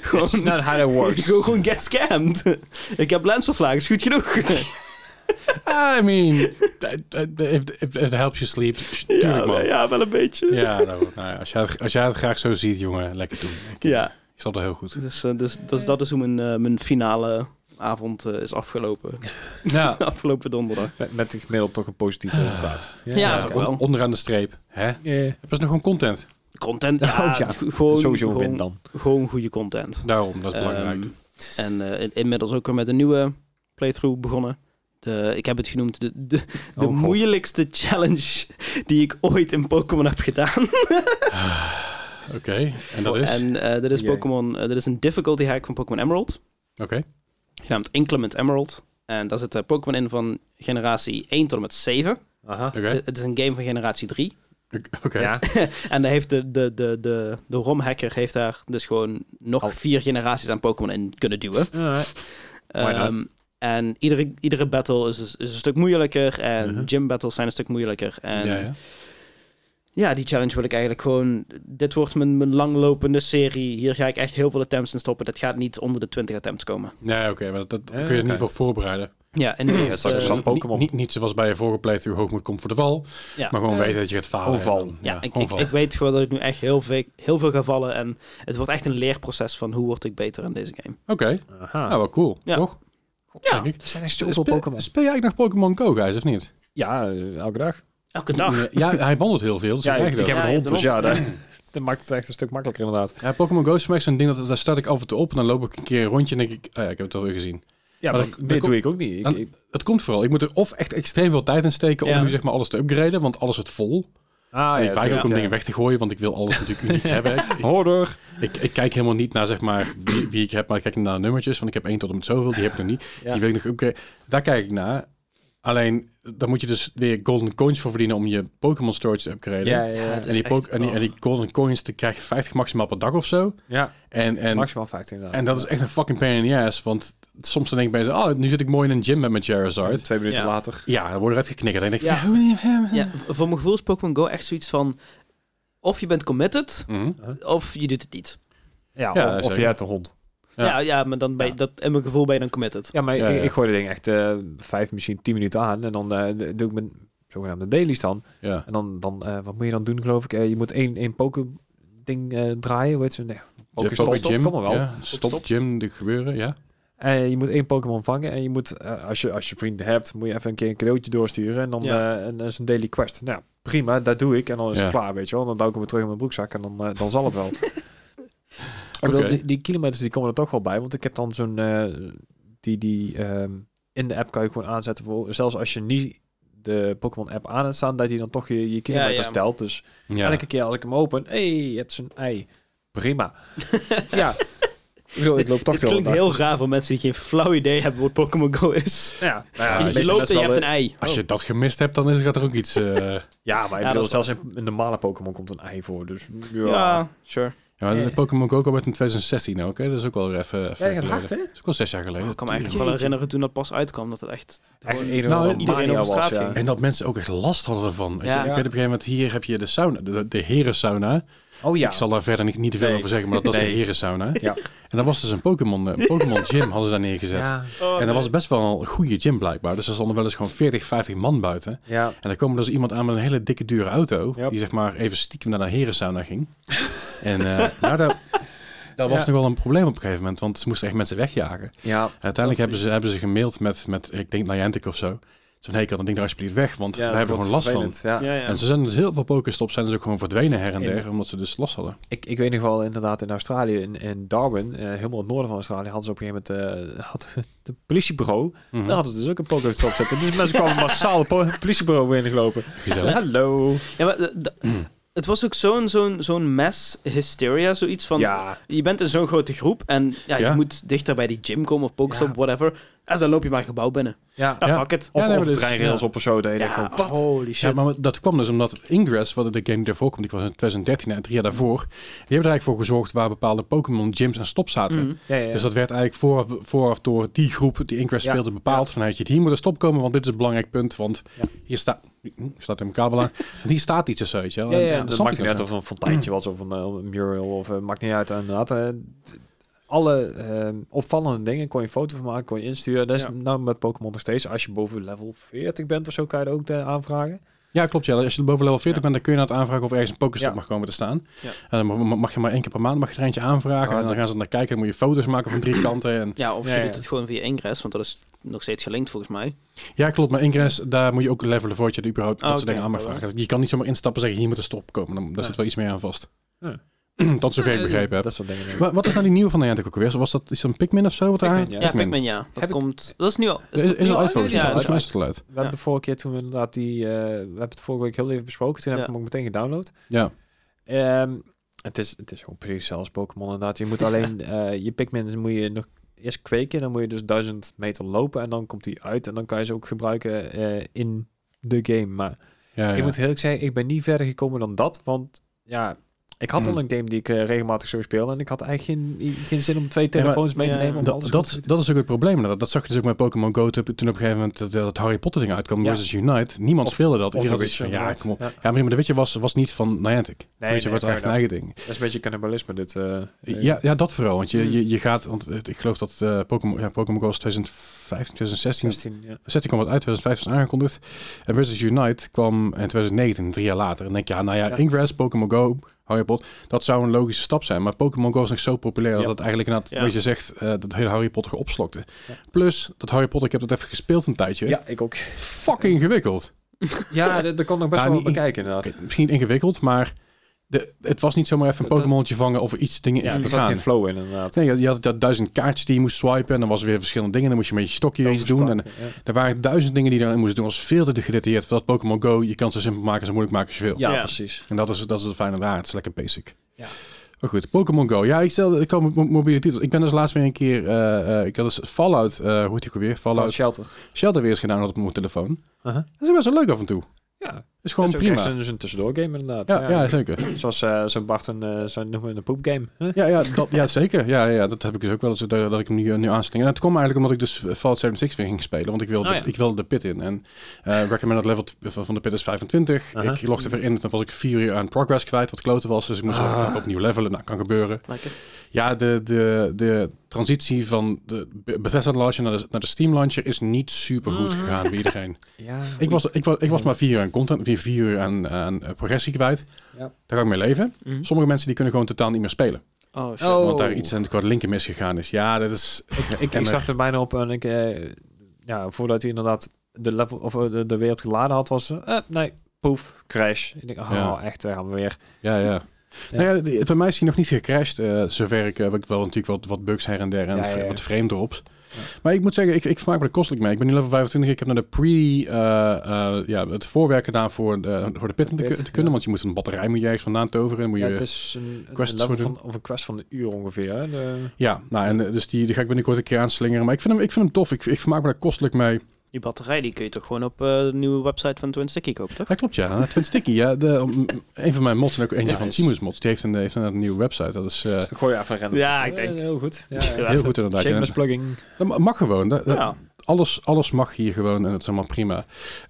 S2: is
S3: gewoon,
S2: not how that works.
S3: gewoon, gewoon get scammed. ik heb Lens verslagen, is goed genoeg.
S1: Ah, I mean, it, it, it helps you sleep. Tuurlijk
S3: ja,
S1: man.
S3: ja, wel een beetje. Ja,
S1: Ja, nou, nou ja, als, jij het, als jij het graag zo ziet, jongen, lekker doen. Ik, ik snap dat heel goed.
S3: Dus, eh, dus, dus dat is hoe mijn, eh, mijn finale avond eh, is afgelopen.
S1: Ja,
S3: afgelopen donderdag.
S2: Met, met een gemiddeld toch een positief resultaat.
S3: Ja,
S1: ja,
S3: toch wel.
S1: on- onderaan de streep. Hè?
S2: Ah. Eh,
S1: Heb je nog gewoon content? Ah,
S3: Content, ja,
S2: Oh, ja.
S3: Gewoon,
S2: Sowieso win
S3: gewoon,
S2: dan.
S3: gewoon goede content.
S1: Daarom, dat is belangrijk.
S3: Ehm, en eh, in- inmiddels ook weer met een nieuwe playthrough begonnen. De, ik heb het genoemd de, de,
S1: Oh,
S3: de
S2: God.
S3: moeilijkste challenge die ik ooit in Pokémon heb gedaan.
S1: Oké, en dat is?
S3: En eh dit is
S2: Jee.
S3: Pokémon, eh, dit is een difficulty hack van Pokémon Emerald,
S1: Oké.
S3: genaamd Inclement Emerald. En daar zitten Pokémon in van generatie 1 tot en met 7.
S2: Aha.
S1: Oké.
S3: Het- Het is een game van generatie 3.
S1: Oké.
S2: Ja.
S3: En daar heeft de, de, de, de, de ROM-hacker heeft daar dus gewoon nog
S2: Al-
S3: vier generaties aan Pokémon in kunnen duwen.
S2: Alright. Why not?
S3: Ehm, en iedere, iedere battle is, is, is een stuk moeilijker. En
S2: Mhm.
S3: gym battles zijn een stuk moeilijker. En
S1: ja,
S3: ja,
S1: ja.
S3: die challenge wil ik eigenlijk gewoon. Dit wordt mijn, mijn langlopende serie. Hier ga ik echt heel veel attempts in stoppen. Dat gaat niet onder de 20 attempts komen.
S1: Nee, oké, maar dat, dat, dat
S2: Eh,
S1: kun je er
S2: oké.
S1: niet voor voorbereiden.
S3: Ja, en
S2: het
S3: inmiddels,
S2: is ook
S3: eh,
S2: zo- Van
S1: Niet-
S2: Pokémon.
S1: Niet, niet zoals bij je vorige playthrough hoog moet komen voor de val,
S3: ja.
S1: maar gewoon
S2: Eh,
S1: weten dat je gaat falen.
S2: gewoon val.
S1: En dan-
S3: ja, ik,
S1: gewoon
S3: ik,
S1: val.
S3: ik weet gewoon dat ik nu echt heel veel, heel veel ga vallen. En het wordt echt een leerproces van hoe word ik beter in deze game.
S1: Oké,
S2: Aha.
S1: nou wel cool,
S3: Ja.
S1: toch?
S3: Ja,
S1: Denk ik.
S2: er zijn er
S1: Speel, speel je eigenlijk nog Pokémon Go, guys, of niet?
S2: Ja, eh, elke dag.
S3: elke dag.
S1: Nee, Ja, hij wandelt heel veel, dus
S2: Ja,
S1: ik
S2: ik,
S1: krijg dat.
S2: ik heb
S3: Ja,
S2: een
S3: je
S2: hond,
S3: hebt
S2: dus
S3: een
S2: ja,
S3: hond.
S2: dat, dat maakt het echt een stuk makkelijker inderdaad.
S1: Ja, Pokémon Go is voor mij zo'n ding, dat, daar start ik af en toe op en dan loop ik een keer een rondje en denk ik, ah ja, ik heb het alweer gezien.
S2: Ja,
S1: maar
S2: maar
S1: dat-
S2: dit
S1: dat
S2: doe ik ook niet. Ik,
S1: Dan-
S2: ik-
S1: Het komt vooral, ik moet er of echt extreem veel tijd in steken
S3: Ja.
S1: om nu zeg maar alles te upgraden, want alles zit vol.
S2: ah,
S1: en ik weiger ook om
S2: tuurlijk,
S1: dingen weg te gooien, want ik wil alles natuurlijk uniek hebben. Ik-
S2: ja.
S1: ik-
S2: Hoorder.
S1: Ik, ik kijk helemaal niet naar zeg maar wie, wie ik heb, maar ik kijk naar nummertjes. Van ik heb één tot en met zoveel, die heb ik nog niet.
S2: Ja.
S1: Die wil ik nog upgraden. Daar kijk ik naar. Alleen, daar moet je dus weer golden coins voor verdienen om je Pokémon storage te upgraden.
S2: Ja, ja,
S3: Ja, het
S2: ja.
S1: en, die
S3: is
S1: po-
S3: echt-
S1: en, die, en die golden coins, die krijg je 50 maximaal per dag of zo.
S2: ja
S1: En, en,
S2: maximaal 15 inderdaad.
S1: en dat is echt een fucking pain in the ass. Want soms dan denk ik bij ze, oh, nu zit ik mooi in een gym met mijn
S2: En
S1: Charizard.
S2: Twee minuten
S3: Ja.
S2: later.
S1: Ja, dan word je uitgeknikkerd. En dan denk ik,
S3: Ja.
S1: ja. hoe-
S3: Ja, v- voor mijn gevoel is Pokémon Go echt zoiets van... Of je bent committed,
S1: Mhm.
S3: of je doet het niet.
S2: Ja,
S1: Ja,
S2: of, of
S1: zeker.
S2: je hebt een hond.
S1: Ja.
S3: Ja, ja, maar dan ben je,
S2: Ja.
S3: dat, in mijn gevoel ben je dan committed.
S2: Ja, maar
S1: Ja,
S2: ik,
S1: ja.
S2: ik gooi dat ding echt eh vijf, misschien tien minuten aan. En dan eh, d- doe ik mijn zogenaamde dailies dan.
S1: ja.
S2: En dan, dan eh, wat moet je dan doen, geloof ik? Eh, je moet één, één poke ding eh, draaien, hoe heet ze? Nee,
S1: Je
S2: poke stop,
S1: Poké
S2: stop,
S1: gym,
S2: kom maar wel.
S1: ja. Stop,
S2: stop.
S1: gym, dit gebeuren, ja.
S2: Eh, je moet één Pokémon vangen en je moet, eh, als, je, als je vrienden hebt, moet je even een keer een cadeautje doorsturen. En dan
S3: Ja.
S2: eh, en dat is een daily quest. Nou, prima, dat doe ik. En dan is
S1: Ja.
S2: het klaar, weet je wel. Dan duik ik hem weer terug in mijn broekzak en dan, eh, dan zal het wel. ik bedoel,
S1: Oké.
S2: die, die kilometers die komen er toch wel bij. Want ik heb dan zo'n, eh, die, die ehm, in de app kan je gewoon aanzetten. Voor, zelfs als je niet de Pokémon app aan hebt staan, dat hij dan toch je, je kilometers
S3: ja.
S2: telt. Dus
S1: Ja.
S2: elke keer als ik hem open, hé, hey, het is een ei. Prima. ja. Ik bedoel, ik loop toch
S3: Het
S2: de hele
S3: klinkt
S2: dag,
S3: heel
S2: dus-
S3: raar voor mensen die geen flauw idee hebben wat Pokémon Go is.
S2: ja,
S1: Ja,
S3: je
S1: meeste
S3: loopt en je hebt een ei. Oh.
S1: Als
S2: Oh.
S1: je dat gemist hebt, dan is, gaat er ook iets... eh,
S2: Ja, maar ik
S3: Ja,
S2: bedoel,
S3: dat is
S2: zelfs in een normale Pokémon komt een ei voor. Dus ja.
S3: Ja, Nou, sure.
S1: Ja, maar dat is
S2: Eh.
S1: Pokémon Go kwam uit in 2016 ook, hè? Dat is ook wel weer even, even
S2: Ja, dat gaat
S1: geleden.
S2: hard, hè?
S1: Dat is ook al zes jaar geleden.
S3: Oh, ik kan me eigenlijk nog wel
S1: Jeetje.
S3: herinneren toen dat pas uitkwam, dat het echt...
S2: Echt
S3: gewoon-
S2: een en
S1: Nou,
S2: ander
S3: iedereen
S2: mania
S3: over
S2: was,
S3: straat
S2: ja.
S3: ging.
S1: En dat mensen ook echt last hadden ervan. Weet je,
S3: Ja.
S1: Ik weet op een gegeven moment, hier heb je de sauna, de, de herensauna.
S2: Oh ja.
S1: Ik zal daar verder niet, niet te veel
S2: Nee.
S1: over zeggen, maar dat, dat is
S2: Nee.
S1: de herensauna.
S2: Ja.
S1: En dat was dus een Pokémon eh, een Pokémon gym, hadden ze daar neergezet.
S2: Ja.
S3: Oh,
S1: En dat was best wel een goede gym blijkbaar. Dus er stonden wel eens gewoon 40, 50 man buiten.
S2: ja.
S1: En dan komen dus iemand aan met een hele dikke dure auto.
S2: Yep.
S1: Die zeg maar even stiekem naar de herensauna ging. en eh, nou, dat, dat was
S2: Ja.
S1: nog wel een probleem op een gegeven moment. Want ze moesten echt mensen wegjagen.
S2: Ja.
S1: Uiteindelijk hebben ze, hebben ze gemaild met, met, ik denk Niantic of zo. Zo van, hey, kan dat ding er alsjeblieft weg, want we hebben gewoon last van.
S2: van. Ja.
S3: Ja, ja.
S1: En ze zijn dus heel veel pokerstops zijn dus ook gewoon verdwenen her en
S2: Ja.
S1: der, omdat ze dus last hadden.
S2: Ik, ik weet nog wel inderdaad in Australië, in, in Darwin, eh, helemaal in het noorden van Australië, hadden ze op een gegeven moment eh, had het politiebureau.
S1: Mhm.
S2: Daar hadden ze dus ook een Pokéstop zitten. Dus mensen kwamen massaal het po- politiebureau binnengelopen.
S1: Gezellig.
S2: Hallo.
S3: Ja, maar d- d- het was ook zo'n zo'n zo'n mass hysteria, zoiets van...
S2: ja.
S3: Je bent in zo'n grote groep en ja,
S1: Ja.
S3: je moet dichter bij die gym komen of Pokestop,
S2: Ja.
S3: whatever. En dan loop je maar een gebouw binnen.
S2: Ja.
S3: Ja,
S1: Ja.
S3: fuck it.
S2: Of,
S1: Ja, nee,
S2: of
S1: maar dus-
S2: treinrails
S1: ja.
S2: op of zo. Dat je denkt
S3: Ja,
S2: van, wat?
S3: holy shit.
S1: Ja, maar dat kwam dus omdat Ingress, wat de game die ervoor komt, die was in 2013 en drie jaar daarvoor, die hebben er eigenlijk voor gezorgd waar bepaalde Pokémon gyms en stops zaten.
S3: Mhm.
S2: Ja, ja, ja.
S1: Dus dat werd eigenlijk vooraf, vooraf door die groep die Ingress
S2: Ja.
S1: speelde bepaald van, hey, hier moet een stop komen, want dit is een belangrijk punt, want
S2: Ja.
S1: hier staat, staat een kabel aan, want hier staat iets of zo, weet je wel.
S2: Ja,
S1: En-
S2: ja,
S1: en
S2: dat
S1: snapte
S2: maakt
S1: ik dus,
S2: niet
S1: ook
S2: uit of een fonteintje was of een eh, mural of eh, maakt niet uit. En had, eh, d- alle eh, opvallende dingen kon je een foto van maken, kon je insturen. Dat is
S3: Ja.
S2: nou met Pokémon nog steeds. Als je boven level 40 bent of zo, kan je dat ook eh, aanvragen.
S1: Ja, klopt. Ja. Als je boven level 40
S3: Ja.
S1: bent, dan kun je naar het aanvragen of ergens een Pokéstop
S2: Ja.
S1: mag komen te staan.
S3: Ja.
S1: En dan mag- mag je maar één keer per maand mag je er eentje aanvragen.
S2: Ah,
S1: en dan
S2: dat-
S1: gaan ze naar kijken. Dan moet je foto's maken van drie kanten. En...
S3: Ja, of
S2: Ja,
S3: je
S2: ja.
S3: doet het gewoon via Ingress, want dat is nog steeds gelinkt volgens mij.
S1: Ja, klopt. Maar Ingress, daar moet je ook levelen voordat je er überhaupt
S3: Ah,
S1: dat soort
S3: oké.
S1: dingen aan mag
S2: Oh.
S1: vragen. Dus je kan niet zomaar instappen en zeggen, hier moet een stop komen. Dan, daar zit wel iets meer aan vast.
S2: Ja.
S1: Tot zover ik begrepen heb.
S2: Dat soort dingen.
S1: Maar wat is nou die nieuwe van Niantic ook weer? Was dat is dat een Pikmin of zo? Wat
S2: Pikmin,
S1: aan-
S2: ja.
S3: Ja, Pikmin, ja. Dat
S2: Heb ik-
S3: komt... Dat is nu al...
S1: Is,
S3: dat
S1: is
S3: nu
S1: al uit volgens
S3: Ja,
S1: mij.
S3: dat
S1: Volgens
S3: is
S1: mij
S3: al
S1: is het al uit.
S2: We hebben de vorige keer toen we inderdaad die... eh, we hebben het vorige week heel even besproken. Toen heb ik
S3: Ja.
S2: hem ook meteen gedownload.
S1: Ja.
S2: Ehm, het, is, het is gewoon precies zelfs Pokémon inderdaad. Je moet alleen eh, je Pikmin moet je nog eerst kweken. Dan moet je dus duizend meter lopen en dan komt die uit. En dan kan je ze ook gebruiken eh, in de game. Maar
S1: Ja, ja.
S2: ik moet heel eerlijk zeggen, ik ben niet verder gekomen dan dat. Want ja, ik had
S1: Hmm.
S2: al een game die ik eh, regelmatig zo speelde. En ik had eigenlijk geen, i- geen zin om twee
S1: maar
S2: telefoons mee te
S3: ja,
S2: nemen. Om
S1: Dat,
S2: alles
S1: dat,
S2: goed te
S1: is-
S2: doen.
S1: dat is ook het probleem. Dat, dat zag je dus ook met Pokémon Go. Toen toen op een gegeven moment dat, dat Harry Potter ding uitkwam.
S2: Ja.
S1: Versus Unite. Niemand
S2: Of-
S1: speelde dat.
S2: Of
S1: Iedereen had
S2: de
S1: zoiets van,
S2: Witcher,
S1: ja,
S2: inderdaad.
S1: kom op.
S2: Ja.
S1: Ja, maar de Witcher was, was niet van Niantic.
S2: Nee,
S1: Weet je,
S2: nee,
S1: wordt
S2: fair
S1: eigenlijk een eigen ding.
S2: Dat is een beetje cannibalisme dit. eh, eh,
S1: Ja, ja, dat vooral. Want je,
S3: Hmm.
S1: je, je gaat, want het- ik geloof dat eh Pokémon ja, Pokémon Go was 2015, 2016.
S2: 16, ja.
S1: 16 kwam het uit, 2015 was aangekondigd. En Versus Unite kwam in 2019, drie jaar later. En dan denk je, ja, nou ja,
S2: Ja.
S1: Ingress, Pokémon Go, Harry Potter, dat zou een logische stap zijn. Maar Pokémon Go is nog zo populair dat
S2: Ja.
S1: het eigenlijk inderdaad,
S3: Ja.
S1: wat je zegt, eh, dat hele Harry Potter opslokte.
S2: Ja.
S1: Plus, dat Harry Potter, ik heb dat even gespeeld een tijdje.
S2: ja, ik ook. Ah,
S1: Fucking ingewikkeld.
S2: Ja, dat, dat kan nog best
S1: Ja,
S2: wel
S1: niet-
S2: bekijken inderdaad.
S1: Oké, misschien niet ingewikkeld, maar de, het was niet zomaar even een
S2: Dat-
S1: Pokémonnetje vangen of iets dingen in
S2: Ja,
S1: te
S2: er zat
S1: gaan.
S2: geen flow in inderdaad.
S1: Nee, je had, je had dat duizend kaartjes die je moest swipen. En dan was er weer verschillende dingen. Dan moest je met je stokje iets doen. En
S2: ja.
S1: er waren duizend dingen die je dan moest doen. Dat was veel te gedetailleerd. Voor dat Pokémon Go, je kan het zo simpel maken en zo moeilijk maken als je wil.
S2: Ja,
S3: Ja.
S2: precies.
S1: En dat is, dat is het fijne daar. Het is lekker basic.
S2: Ja.
S1: Oké, Maar goed, Pokémon Go. Ja, ik stelde, ik kwam op mo- mobiele titels. Ik ben dus laatst weer een keer, eh, eh, ik had dus Fallout, eh, hoe heet die ook weer?
S2: Fallout
S1: Fallout
S2: Shelter.
S1: Shelter weer eens gedaan had op mijn telefoon.
S2: Uh-huh.
S1: Dat is best wel leuk af en toe.
S2: Ja,
S1: Is gewoon
S2: dat is ook
S1: prima.
S2: echt zo'n- zo'n tussendoor game inderdaad.
S1: Ja, ja, zeker.
S2: Zoals eh zo'n Bart een, eh zo'n noemen we een poepgame. Huh?
S1: Ja, ja, dat, ja zeker. Ja, ja, dat heb ik dus ook wel eens, eh, dat, dat ik hem nu, eh, nu aansling. En dat kwam eigenlijk omdat ik dus Fallout 76 weer ging spelen. Want ik wilde,
S2: Oh, ja.
S1: ik wilde de pit in. En eh recommend dat level t- van van de pit is 25.
S2: Aha.
S1: Ik logde weer in en toen was ik 4 uur aan progress kwijt. Wat kloten was, dus ik moest
S2: Ah.
S1: weer opnieuw levelen. Nou, kan gebeuren.
S3: Lekker.
S1: Ja, de, de, de transitie van de Be- Bethesda launcher naar de, naar de Steam launcher is niet super goed
S2: Mhm.
S1: gegaan bij iedereen.
S2: Ja.
S1: ik, was, ik, was, ik was maar vier uur aan content, vier, vier uur aan, aan eh, progressie kwijt.
S2: Ja.
S1: Daar ga ik mee leven.
S3: Mhm.
S1: Sommige mensen die kunnen gewoon totaal niet meer spelen.
S3: Oh, shit.
S2: Oh.
S1: Want daar iets aan de korte linker misgegaan is. Ja, dat is...
S2: Ik, ik
S1: emmer.
S2: zag er bijna op en ik, eh, ja, voordat hij inderdaad de, level, of eh, de, de wereld geladen had, was eh, nee, poef, crash. Ik denk, oh,
S1: Ja.
S2: echt, daar gaan we weer.
S1: Ja, ja.
S2: Ja.
S1: Nou ja, die- bij mij is hij nog niet gecrashed. eh zover ik eh, heb ik wel natuurlijk wat, wat bugs her en der en
S2: Ja, ja, ja.
S1: wat frame drops.
S2: Ja.
S1: Maar ik moet zeggen, ik, ik vermaak me er kostelijk mee. Ik ben nu level 25. Ik heb naar de pre, eh, eh, ja, het voorwerk gedaan voor de, voor de pit,
S2: De
S1: te,
S2: pit,
S1: ku- te kunnen.
S2: ja.
S1: Want je moet een batterij moet je ergens vandaan toveren. en Moet
S2: Ja,
S1: je,
S2: het
S1: ja,
S2: is een, een,
S1: quests
S2: level
S1: voor doen.
S2: van, of een quest van een uur ongeveer. Hè? De,
S1: nou, en, eh, dus die, die ga ik binnenkort een keer aanslingeren. Maar ik vind hem, ik vind hem tof. Ik, ik vermaak me daar kostelijk mee.
S3: Die batterij die kun je toch gewoon op eh, de nieuwe website van Twin Sticky kopen, toch?
S1: Ja, klopt, ja. Het Twin Sticky, ja. De, om- een van mijn mods en ook eentje
S2: Ja,
S1: van
S2: is-
S1: Simus mods. Die heeft een, heeft een nieuwe website. Dat is eh,
S2: gooi even rennen. Eh,
S3: Ja, ik denk-
S2: heel goed. Ja,
S3: Ja.
S1: heel goed inderdaad.
S2: Shameless
S1: En-
S2: plugging.
S1: dat ma- mag gewoon. Dat- dat-
S3: Ja.
S1: alles, alles mag hier gewoon en dat is allemaal prima. En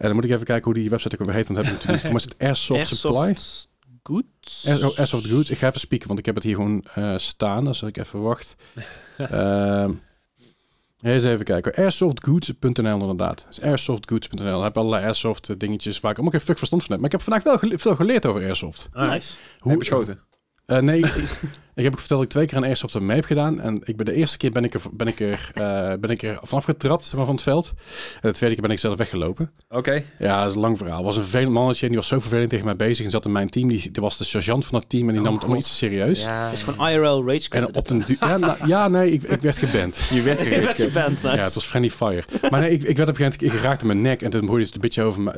S1: dan moet ik even kijken hoe die website ook weer heet. Want dan heb ik natuurlijk voor mij is het Airsoft, Supply.
S3: Airsoft Goods?
S1: Air- oh, Airsoft Goods. Ik ga even spieken, want ik heb het hier gewoon eh, staan. Dus ik even wacht. Ehm, eens even kijken. Airsoftgoods.nl inderdaad. Dus airsoftgoods.nl. Daar heb je allerlei airsoft eh, dingetjes waar ik allemaal geen fuck verstand van heb. Maar ik heb vandaag wel gele- veel geleerd over airsoft.
S3: Nice.
S1: Hoe,
S2: Heb je schoten?
S1: Eh, nee, ik, ik heb ook verteld dat ik twee keer aan airsoft mee heb gedaan. En ik ben de eerste keer ben ik er, ben ik er, eh, ben ik er vanaf getrapt zeg maar, van het veld. En de tweede keer ben ik zelf weggelopen.
S2: Oké.
S1: Ja, dat is een lang verhaal. Er was een vervelend mannetje en die was zo vervelend tegen mij bezig. En zat in mijn team, die, die was de sergeant van dat team en die
S2: Oh,
S1: nam het allemaal
S2: God.
S1: iets te serieus.
S2: Ja.
S3: Het is gewoon IRL Rage Quit.
S1: En op den du- ja, nou, ja, nee, ik, ik werd geband.
S2: Je werd
S3: Je bent
S2: gereed.
S3: geband, nice.
S1: Ja, het was friendly fire. Maar nee, ik, ik werd op een gegeven moment, ik raakte mijn nek en toen hoorde het een beetje over mij.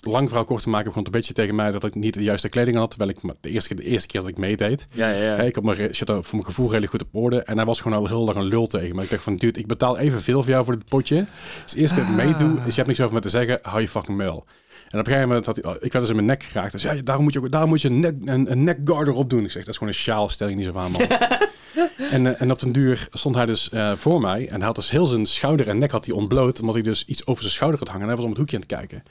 S1: Lang verhaal kort te maken, begon het een beetje tegen mij dat ik niet de juiste kleding had. Terwijl ik maar de eerste, keer- de eerste keer dat ik meedeed.
S2: Ja, ja,
S1: Hey,
S2: ja.
S1: ik had mijn re- shit al voor mijn gevoel redelijk goed op orde. En hij was gewoon al heel lang een lul tegen me. Ik dacht van, dude, ik betaal evenveel voor jou voor dit potje. Dus eerst keer meedoen, dus je hebt niks over me te zeggen, hou je fucking muil. En op een gegeven moment had hij, oh, ik werd dus in mijn nek geraakt. Dus ja, daarom moet je, ook, daarom moet je een, nek, een, een neckguard erop doen. Ik zeg, dat is gewoon een sjaal, stel je niet zo aan, man. en, eh, en op den duur stond hij dus eh, voor mij. En hij had dus heel zijn schouder en nek had hij ontbloot. Omdat hij dus iets over zijn schouder had hangen. En hij was om het hoekje aan het kijken.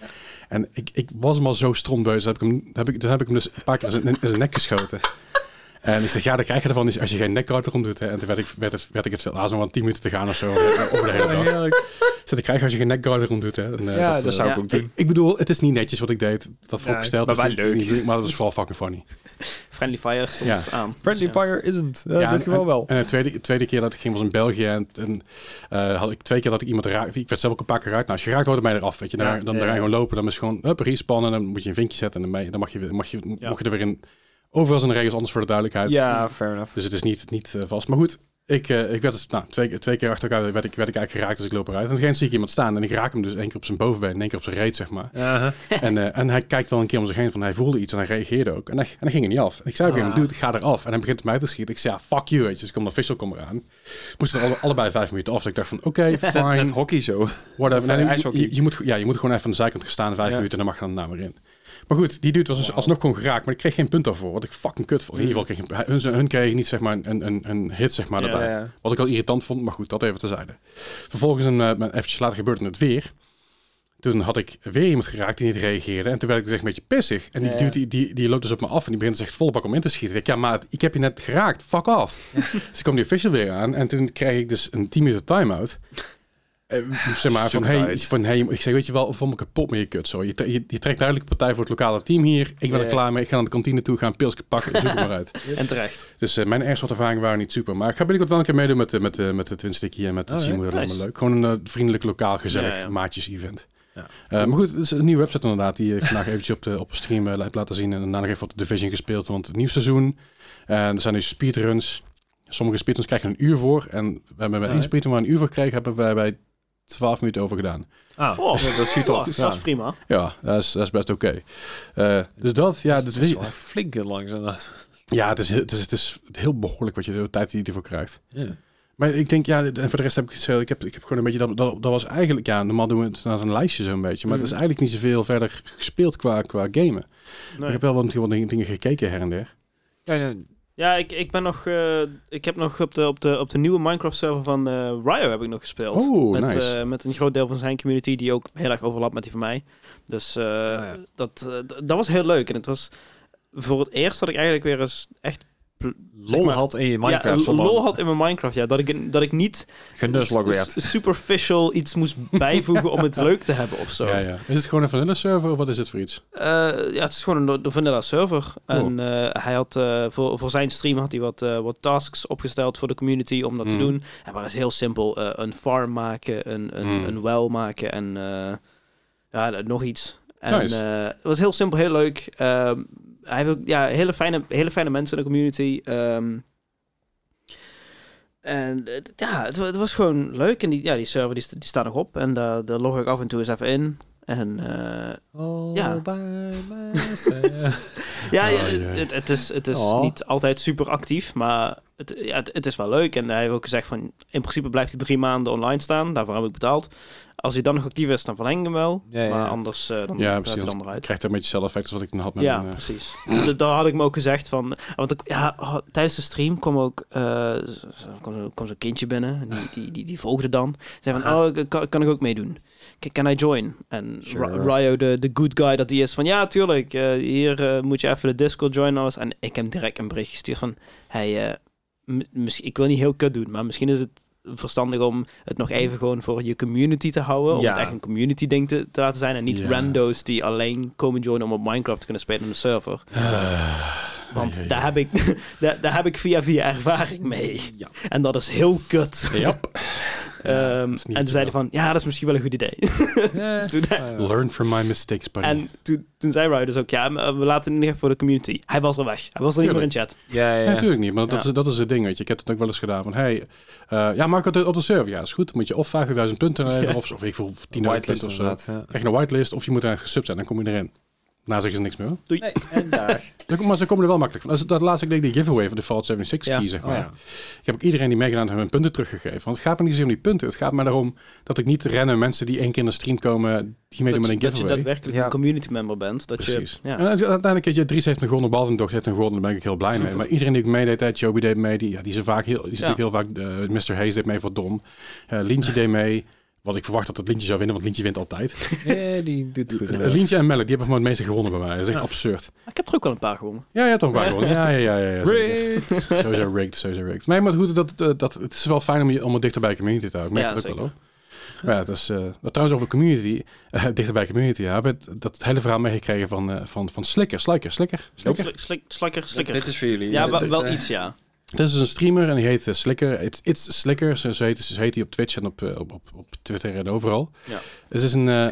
S1: En ik, ik was hem al zo strombeus. Heb ik hem, heb ik, toen heb ik hem dus een paar keer in zijn, in zijn nek geschoten. En ik zeg, ja, dan krijg je ervan is als je geen nekguard erom doet. Hè. En toen werd ik, werd het, werd ik het veld, ah, zo'n 10 minuten te gaan of zo. eh, over de hele dag. Ik zeg, ik krijg je als je geen nekguard erom doet. Hè. En, eh,
S2: Ja,
S1: eh,
S2: dat zou ik
S3: ja.
S2: ook
S1: ik,
S2: doen.
S1: ik bedoel, het is niet netjes wat ik deed. Dat vooropgesteld.
S2: maar
S1: dat
S2: wel
S1: is niet- dat is
S2: leuk.
S1: niet- maar dat is vooral fucking funny.
S3: Friendly Fire stond
S1: Ja.
S3: aan.
S2: Friendly
S3: Dus ja.
S2: Fire isn't. Eh,
S1: Ja,
S2: in dit
S1: en-
S2: geval
S1: en-
S2: wel.
S1: En de tweede, de tweede keer dat ik ging was in België. En, en eh, had ik twee keer dat ik iemand raakte. Ik werd zelf ook een paar keer geraakt. Nou, als je raakt, hoort het mij eraf. Weet je. Dan,
S2: Ja,
S1: dan, dan
S2: ja,
S1: ga je
S2: ja.
S1: gewoon lopen. Dan is het gewoon hup, respannen. Dan moet je een vinkje zetten. En dan, ben je- dan mag je, weer- mag je, mocht je er weer in. Overal zijn de regels anders voor de duidelijkheid.
S2: Ja, fair enough.
S1: Dus het is niet, niet eh, vast. Maar goed, ik, eh, ik werd dus, nou, twee, keer- twee keer achter elkaar werd ik, werd ik eigenlijk geraakt. Dus ik loop eruit. En geen zie ik iemand staan. En ik raak hem dus één keer op zijn bovenbeen. En één keer op zijn reet, zeg maar.
S2: Uh-huh.
S1: En, eh, en hij kijkt wel een keer om zich heen van hij voelde iets en hij reageerde ook. En hij, en hij ging er niet af. En ik zei op een gegeven
S2: Ah.
S1: moment, dude, ga eraf. En hij begint mij te schieten. Ik zei, ja, fuck you, weet je. Dus ik kom naar Vissel, kom eraan. Moesten er alle, allebei vijf minuten af. Dus ik dacht van, oké,
S2: Net
S1: fine,
S2: hockey zo.
S1: whatever.
S2: Van
S1: Nee, nee,
S2: ijshockey.
S1: je, je moet, ja, je moet gewoon even aan de zijkant gaan staan, vijf
S2: Ja.
S1: minuten, en dan mag je dan nou weer in. Maar goed, die dude was dus alsnog gewoon geraakt. Maar ik kreeg geen punt daarvoor, wat ik fucking kut vond. In ieder geval kreeg ik- hun, hun kregen niet zeg maar een, een, een hit zeg maar,
S3: Ja,
S1: daarbij.
S2: Mm. ja.
S1: eh, Wat ik al irritant vond, maar goed, dat even tezijde. Vervolgens, een, eh, eventjes later gebeurde het weer. Toen had ik weer iemand geraakt die niet reageerde. En toen werd ik dus echt een beetje pissig. En die,
S2: Ja, ja.
S1: dude, die, die, die loopt dus op me af en die begint dus echt volle bak om in te schieten. Ik denk, ja, maar ik heb je net geraakt. Fuck off. dus ik kwam die official weer aan. En toen kreeg ik dus een 10 minuten time-out. Eh, zeg maar, van
S2: Zoek
S1: hey,
S2: het uit.
S1: van hey, ik zeg, weet je wel, voor me kapot met je kut. Zo. Je, tre- je, je trekt duidelijk partij voor het lokale team hier. Ik ben
S2: Ja,
S1: er
S2: ja.
S1: klaar mee. Ik ga naar de kantine toe, ga een pilsje pakken, zoek hem maar uit.
S3: En terecht.
S1: Dus eh, mijn airsoft ervaringen waren niet super. Maar ik ga binnenkort wel een keer meedoen met, de- met, de- met de Twin Sticky en met het
S2: Oh, ja,
S1: Simu. Dat lijkt me
S3: nice.
S1: leuk. Gewoon een eh, vriendelijk, lokaal, gezellig
S3: Ja, ja.
S1: maatjes-event.
S2: Ja.
S1: Eh, maar goed, het is een nieuwe website inderdaad. Die eh, ik vandaag eventjes op, de, op stream eh, heb laten zien. En daarna nog even op de Division gespeeld. Want het nieuw seizoen. En er zijn nu speedruns. Sommige speedruns krijgen een uur voor. En we hebben bij
S2: Ja,
S1: één
S2: hè?
S1: speedrun waar een uur voor kregen, hebben wij bij 12 minuten over gedaan.
S2: Ah,
S3: Oh,
S2: dat schiet op.
S3: Oh,
S2: Ja.
S3: Dat is prima.
S1: Ja, dat is, dat is best oké. Eh, dus dat, ja,
S2: dat
S1: dat
S2: is wel flink en langzaam.
S1: Ja, het is, heel- het, is, het is heel behoorlijk wat je de tijd die je ervoor krijgt.
S2: Ja.
S1: Maar ik denk, ja, dit- en voor de rest heb ik het zo- ik heb, ik heb gewoon een beetje, dat, dat, dat was eigenlijk, ja, normaal doen we het naar een lijstje zo'n beetje. Maar het is
S2: Mhm.
S1: eigenlijk niet zoveel verder gespeeld qua, qua gamen. Ik
S3: Nee.
S1: heb wel wat, wat dingen, dingen gekeken her en der.
S2: Ja, ja,
S3: Ja, ik, ik ben nog. eh, ik heb nog op de, op de, op de nieuwe Minecraft-server van eh Ryo heb ik nog gespeeld.
S1: Oh,
S3: met,
S1: nice.
S3: eh, met een groot deel van zijn community die ook heel erg overlapt met die van mij. Dus
S1: Oh,
S3: eh,
S2: ja.
S3: dat, eh, d- dat was heel leuk. En het was voor het eerst dat ik eigenlijk weer eens echt
S2: lol
S3: maar-
S2: had in je
S3: ja,
S2: Minecraft.
S3: een
S2: zolang
S3: lol had in mijn Minecraft. Ja, dat ik, dat ik niet
S2: Genuslokt
S3: s-
S2: werd.
S3: s- superficial iets moest bijvoegen om het leuk te hebben of zo.
S1: Ja, ja. Is het gewoon een vanilla server of wat is het voor iets?
S3: Eh, ja, het is gewoon een de vanilla server.
S1: Cool.
S3: En eh, hij had eh, voor, voor zijn stream had hij wat, eh, wat tasks opgesteld voor de community om dat te
S1: Mm.
S3: doen. En waar is heel simpel eh, een farm maken, een, een,
S1: Mm.
S3: een well maken en eh, ja, eh, nog iets. En
S1: Nice.
S3: eh, het was heel simpel, heel leuk. Ehm, hij heeft ook, ja, hele fijne, hele fijne mensen in de community. ehm. en het- ja, het, wa- het was gewoon leuk. En die, ja, die server die, st- die staat nog op. En daar, daar log ik af en toe eens even in. En eh,
S2: All
S3: Ja.
S2: by myself.
S1: Oh,
S3: Ja, ja,
S1: jee.
S3: het, het is, het is
S2: Oh.
S3: niet altijd super actief, maar het, ja, het, het is wel leuk. En hij heeft ook gezegd van, in principe blijft hij drie maanden online staan. Daarvoor heb ik betaald. Als hij dan nog actief is, dan verleng ik hem wel.
S2: Ja, ja.
S3: Maar anders eh, dan
S1: Ja,
S3: gaat
S1: precies.
S3: hij dan eruit.
S1: Krijgt een beetje hetzelfde effect als wat ik dan had met
S3: Ja,
S1: mijn, eh,
S3: precies. D- Daar had ik me ook gezegd van... Want ik, ja, oh, tijdens de stream kwam ook eh, z- kwam, zo- kwam zo'n kindje binnen. En die, die, die, die volgde dan. Zei van, oh, ik- kan, kan ik ook meedoen? K- Can I join? En
S2: Sure.
S3: Ra- Ryo, de, de good guy dat die is, van ja, tuurlijk. eh, hier eh, moet je even de Discord joinen en alles. En ik heb hem direct een bericht gestuurd van... Hey, eh, m- misschien- ik wil niet heel kut doen, maar misschien is het verstandig om het nog even gewoon voor je community te houden. Om
S2: Ja.
S3: het echt een community ding te, te laten zijn. En niet
S1: Ja.
S3: randos die alleen komen joinen om op Minecraft te kunnen spelen op de server.
S1: eh,
S3: Want
S1: ai, ai,
S3: daar,
S1: ai.
S3: heb ik, daar, daar heb ik via via ervaring mee.
S2: Ja.
S3: En dat is heel kut.
S1: Yep. Ja, dat is niet Oh,
S3: Ehm, en
S1: wat
S3: ze
S1: je
S3: zeiden van, ja, dat is misschien wel een goed idee.
S2: Ja.
S3: Dus toen-
S1: eh, Learn from my mistakes, buddy.
S3: en toen, toen zei Ryder dus ook, ja, maar we laten het in ieder geval voor de community. Hij was al weg. Hij was er niet meer in
S1: Tuurlijk.
S3: chat.
S2: Ja,
S1: Nee,
S2: ja.
S1: natuurlijk niet, maar dat,
S3: eh, Ja.
S1: is, dat is het ding, weet je. Ik heb het ook wel eens gedaan van, hey, eh, ja, maak het op de server. Ja, is goed. Dan moet je of 50.000 punten leveren, of, of ik voel 10.000
S2: Whitelist
S1: punten of zo.
S2: inderdaad. Ja.
S1: krijg je een whitelist, of je moet er gesubt zijn, dan kom je erin. Daarna zeggen ze niks meer. hoor.
S2: Nee, en daar.
S1: Dan- Maar ze komen er wel makkelijk van. Dat, is- dat laatste, ik denk, die giveaway van de Fallout 76
S3: Ja.
S1: key, zeg
S2: Oh,
S1: maar.
S2: ja.
S1: Ik heb ook iedereen die meegedaan heeft hun punten teruggegeven. Want het gaat me niet zozeer om die punten. Het gaat me erom dat ik niet rennen mensen die één keer in de stream komen, die meedoen
S3: Dat,
S1: met
S3: je-
S1: een
S3: dat je
S1: giveaway.
S3: daadwerkelijk
S2: Ja.
S3: een community member bent. Dat
S1: Precies.
S3: Je, ja.
S1: En uiteindelijk, weet je, Dries heeft een gewonnen, Balvin Dog heeft een gewonnen, daar ben ik heel blij mee.
S3: Super.
S1: Maar iedereen die ik meedeed, hè, Joby deed mee, die, ja, die is er vaak heel, die is
S3: Ja.
S1: natuurlijk heel vaak, eh, Mr. Hayes deed mee voor Don, Eh Lintje deed mee, wat ik verwacht dat het Lintje zou winnen, want Lintje wint altijd.
S2: Nee, die doet goed.
S1: Eh,
S2: inderdaad.
S1: Lintje en Melk, die hebben voor het meeste gewonnen bij mij, dat is echt absurd.
S3: Ik heb er ook wel een paar gewonnen.
S1: Ja, ja, toch waar gewonnen. Ja, ja, ja. ja, ja zeker.
S2: Rigged.
S1: Sowieso rigged, sowieso rigged. Nee, maar goed, dat, dat, dat, het is wel fijn om, je, om het dichter bij community te houden. Ik merk
S3: Ja,
S1: dat ook wel
S3: zeker.
S1: hoor. Maar ja, het is, eh, wat trouwens over community, eh, dichter bij community, ja, heb ik dat hele verhaal meegekregen van, eh, van, van Slikker, Slikker, Slikker. Slikker?
S3: Slik, slik, slikker, slikker.
S2: Dit is voor jullie.
S3: ja,
S2: Dit
S3: wel,
S2: is,
S3: wel
S2: eh,
S3: iets, ja.
S1: Het is dus een streamer en die heet eh, Slicker. It's, it's Slicker, zo, zo heet, zo heet hij op Twitch en op, eh, op, op, op Twitter en overal.
S3: Ja.
S1: Het is een, eh,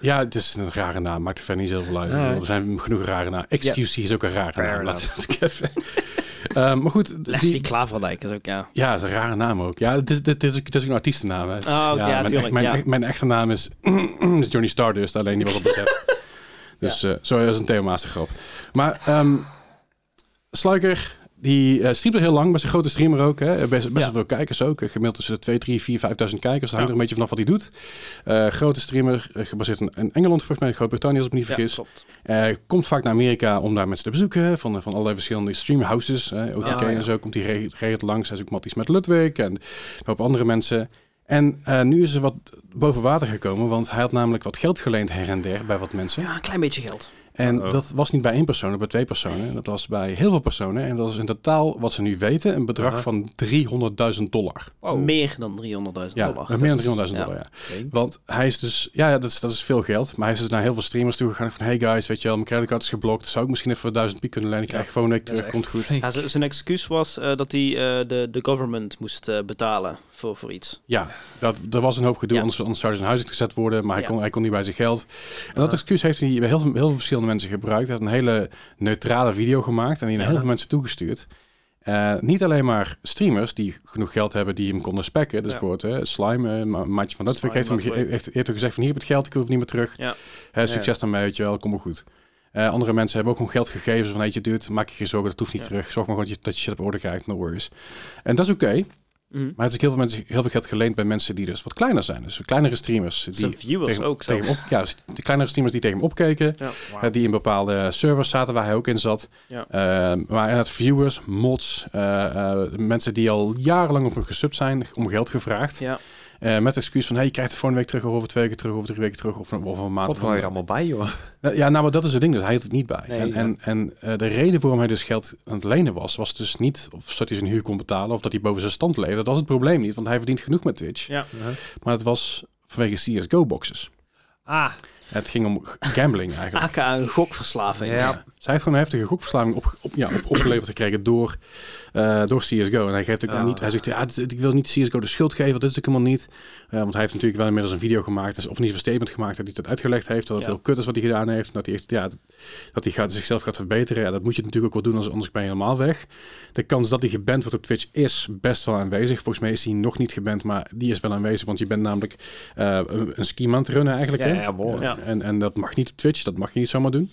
S1: ja, het is een rare naam, maakt er verder niet zoveel uit. Ik
S2: Nee.
S1: bedoel, Er zijn genoeg rare naam. XQC is ook een rare
S2: Fair
S1: naam.
S2: enough.
S1: laat ik even- Ehm, maar goed, die-
S3: Leslie Klaverdijk is ook, ja.
S1: ja, het is een rare naam ook. Ja, het is, het is, het is ook een artiestennaam. Hè. Het is-
S3: Ah, oké, ja,
S1: mijn,
S3: tuurlijk,
S1: echt- mijn,
S3: ja.
S1: echt- mijn echte naam is, is Johnny Stardust, alleen die was al bezet. dus eh sorry, dat is een thema's grap. Maar ehm Sluiker, die eh streamt er heel lang, maar zijn grote streamer ook. Hè. Eh, Best, best wel
S3: Ja.
S1: veel kijkers ook. Eh, Gemiddeld tussen de 2, 3, 4, 5.000 kijkers. Dat hangt
S3: Ja.
S1: er een beetje vanaf wat hij doet. Eh, grote streamer, eh, gebaseerd in, in Engeland volgens mij, Groot-Brittannië als ik me niet
S3: Ja,
S1: vergis.
S3: klopt.
S1: Eh, komt vaak naar Amerika om daar mensen te bezoeken. Van, eh, van allerlei verschillende streamhouses. eh OTT
S2: Ah, ja.
S1: en zo komt hij reg- geregeld langs. Hij is ook matties met Ludwig en een hoop andere mensen. En eh, nu is er wat boven water gekomen. Want hij had namelijk wat geld geleend her en der bij wat mensen.
S3: Ja, een klein beetje geld.
S1: En
S2: Uh-oh.
S1: dat was niet bij één persoon, maar bij twee personen. En dat was bij heel veel personen. En dat is in totaal, wat ze nu weten, een bedrag
S2: Uh-huh.
S1: van 300.000 dollar.
S3: Meer dan 300.000
S1: Ja,
S3: dollar.
S1: meer dan 300.000
S3: Dat is- ja.
S1: dollar, ja. Want hij is dus, ja, ja, dat is, dat is veel geld. Maar hij is dus naar heel veel streamers toe gegaan. Van hey guys, weet je wel, mijn creditcard is geblokt. Zou ik misschien even 1000 piek kunnen lenen? Ik krijg gewoon een week
S2: dat is
S1: terug,
S2: echt
S1: komt goed.
S2: flink.
S3: Ja, z- zijn excuus was eh, dat hij eh, de, de government moest eh, betalen voor, voor iets.
S1: Ja, dat, er was een hoop gedoe,
S3: Ja.
S1: anders, anders zou hij zijn huis uitgezet worden. Maar hij,
S3: Ja.
S1: kon, hij kon niet bij zijn geld. En
S2: Ah.
S1: dat excuus heeft hij bij heel veel, heel veel verschillende mensen gebruikt. Hij had een hele neutrale video gemaakt en die naar heel veel mensen toegestuurd. Eh, niet alleen maar streamers die genoeg geld hebben die hem konden spekken. Dus
S3: Ja.
S1: bijvoorbeeld eh, Slime, eh, ma- maatje van Netflix,
S3: Slime,
S1: heeft hem ge-
S3: Ludwig.
S1: heeft, heeft hem gezegd van hier heb je het geld, ik hoef het niet meer terug.
S3: Ja.
S1: Eh, succes daarmee, weet je wel, kom maar goed. Eh, andere mensen hebben ook gewoon geld gegeven. Zo Van, weet je, dude, maak je geen zorgen, dat hoeft niet
S3: Ja.
S1: terug. Zorg maar gewoon dat je, dat je shit op orde krijgt, no worries. En dat is oké.
S3: Mhm.
S1: Maar het is ook heel veel, mensen, heel veel geld geleend bij mensen die dus wat kleiner zijn. Dus kleinere streamers. Die
S3: Zijn viewers
S1: tegen-
S3: ook
S1: tegen
S3: zelfs.
S1: hem op, ja, dus de kleinere streamers die tegen hem opkeken.
S3: Ja.
S1: eh, die in bepaalde servers zaten waar hij ook in zat.
S3: Ja.
S1: Eh, maar en het viewers, mods, eh, eh, mensen die al jarenlang op hem gesubt zijn, om geld gevraagd.
S3: Ja.
S1: Eh, met excuus van, hey, je krijgt het volgende week terug, of over twee weken terug, of drie weken terug, of, of een maand.
S2: Wat
S1: of een-
S2: hou je er allemaal bij, joh?
S1: nou, Ja, nou, maar dat is het ding. Dus hij had het niet bij.
S2: Nee,
S1: en
S2: ja.
S1: en, en eh, de reden waarom hij dus geld aan het lenen was, was dus niet of dat hij zijn huur kon betalen of dat hij boven zijn stand leefde. Dat was het probleem niet, want hij verdient genoeg met Twitch.
S3: Ja.
S1: Maar het was vanwege CSGO-boxes.
S2: Ah,
S1: Het ging om g- gambling eigenlijk.
S3: AKA een gokverslaving.
S2: Ja.
S1: Zij heeft gewoon een heftige gokverslaving op, op, ja, op, opgeleverd gekregen door, eh, door CSGO. En hij geeft ook
S2: Ja.
S1: niet. Hij zegt, ja, dit- ik wil niet CSGO de schuld geven, dat is ook helemaal niet. Eh, want hij heeft natuurlijk wel inmiddels een video gemaakt, dus, of niet een statement gemaakt dat hij dat uitgelegd heeft. Dat het
S3: Ja.
S1: heel kut is wat hij gedaan heeft. en Dat hij, echt, ja, dat- dat hij gaat, zichzelf gaat verbeteren. Ja, dat moet je natuurlijk ook wel doen, anders- anders ben je helemaal weg. De kans dat hij geband wordt op Twitch is best wel aanwezig. Volgens mij is hij nog niet geband, maar die is wel aanwezig. Want je bent namelijk eh, een, een ski-man te runnen eigenlijk.
S2: Ja,
S1: hè? Eh,
S2: ja, behoorlijk.
S3: Ja.
S1: En, en dat mag niet op Twitch, dat mag je niet zomaar doen.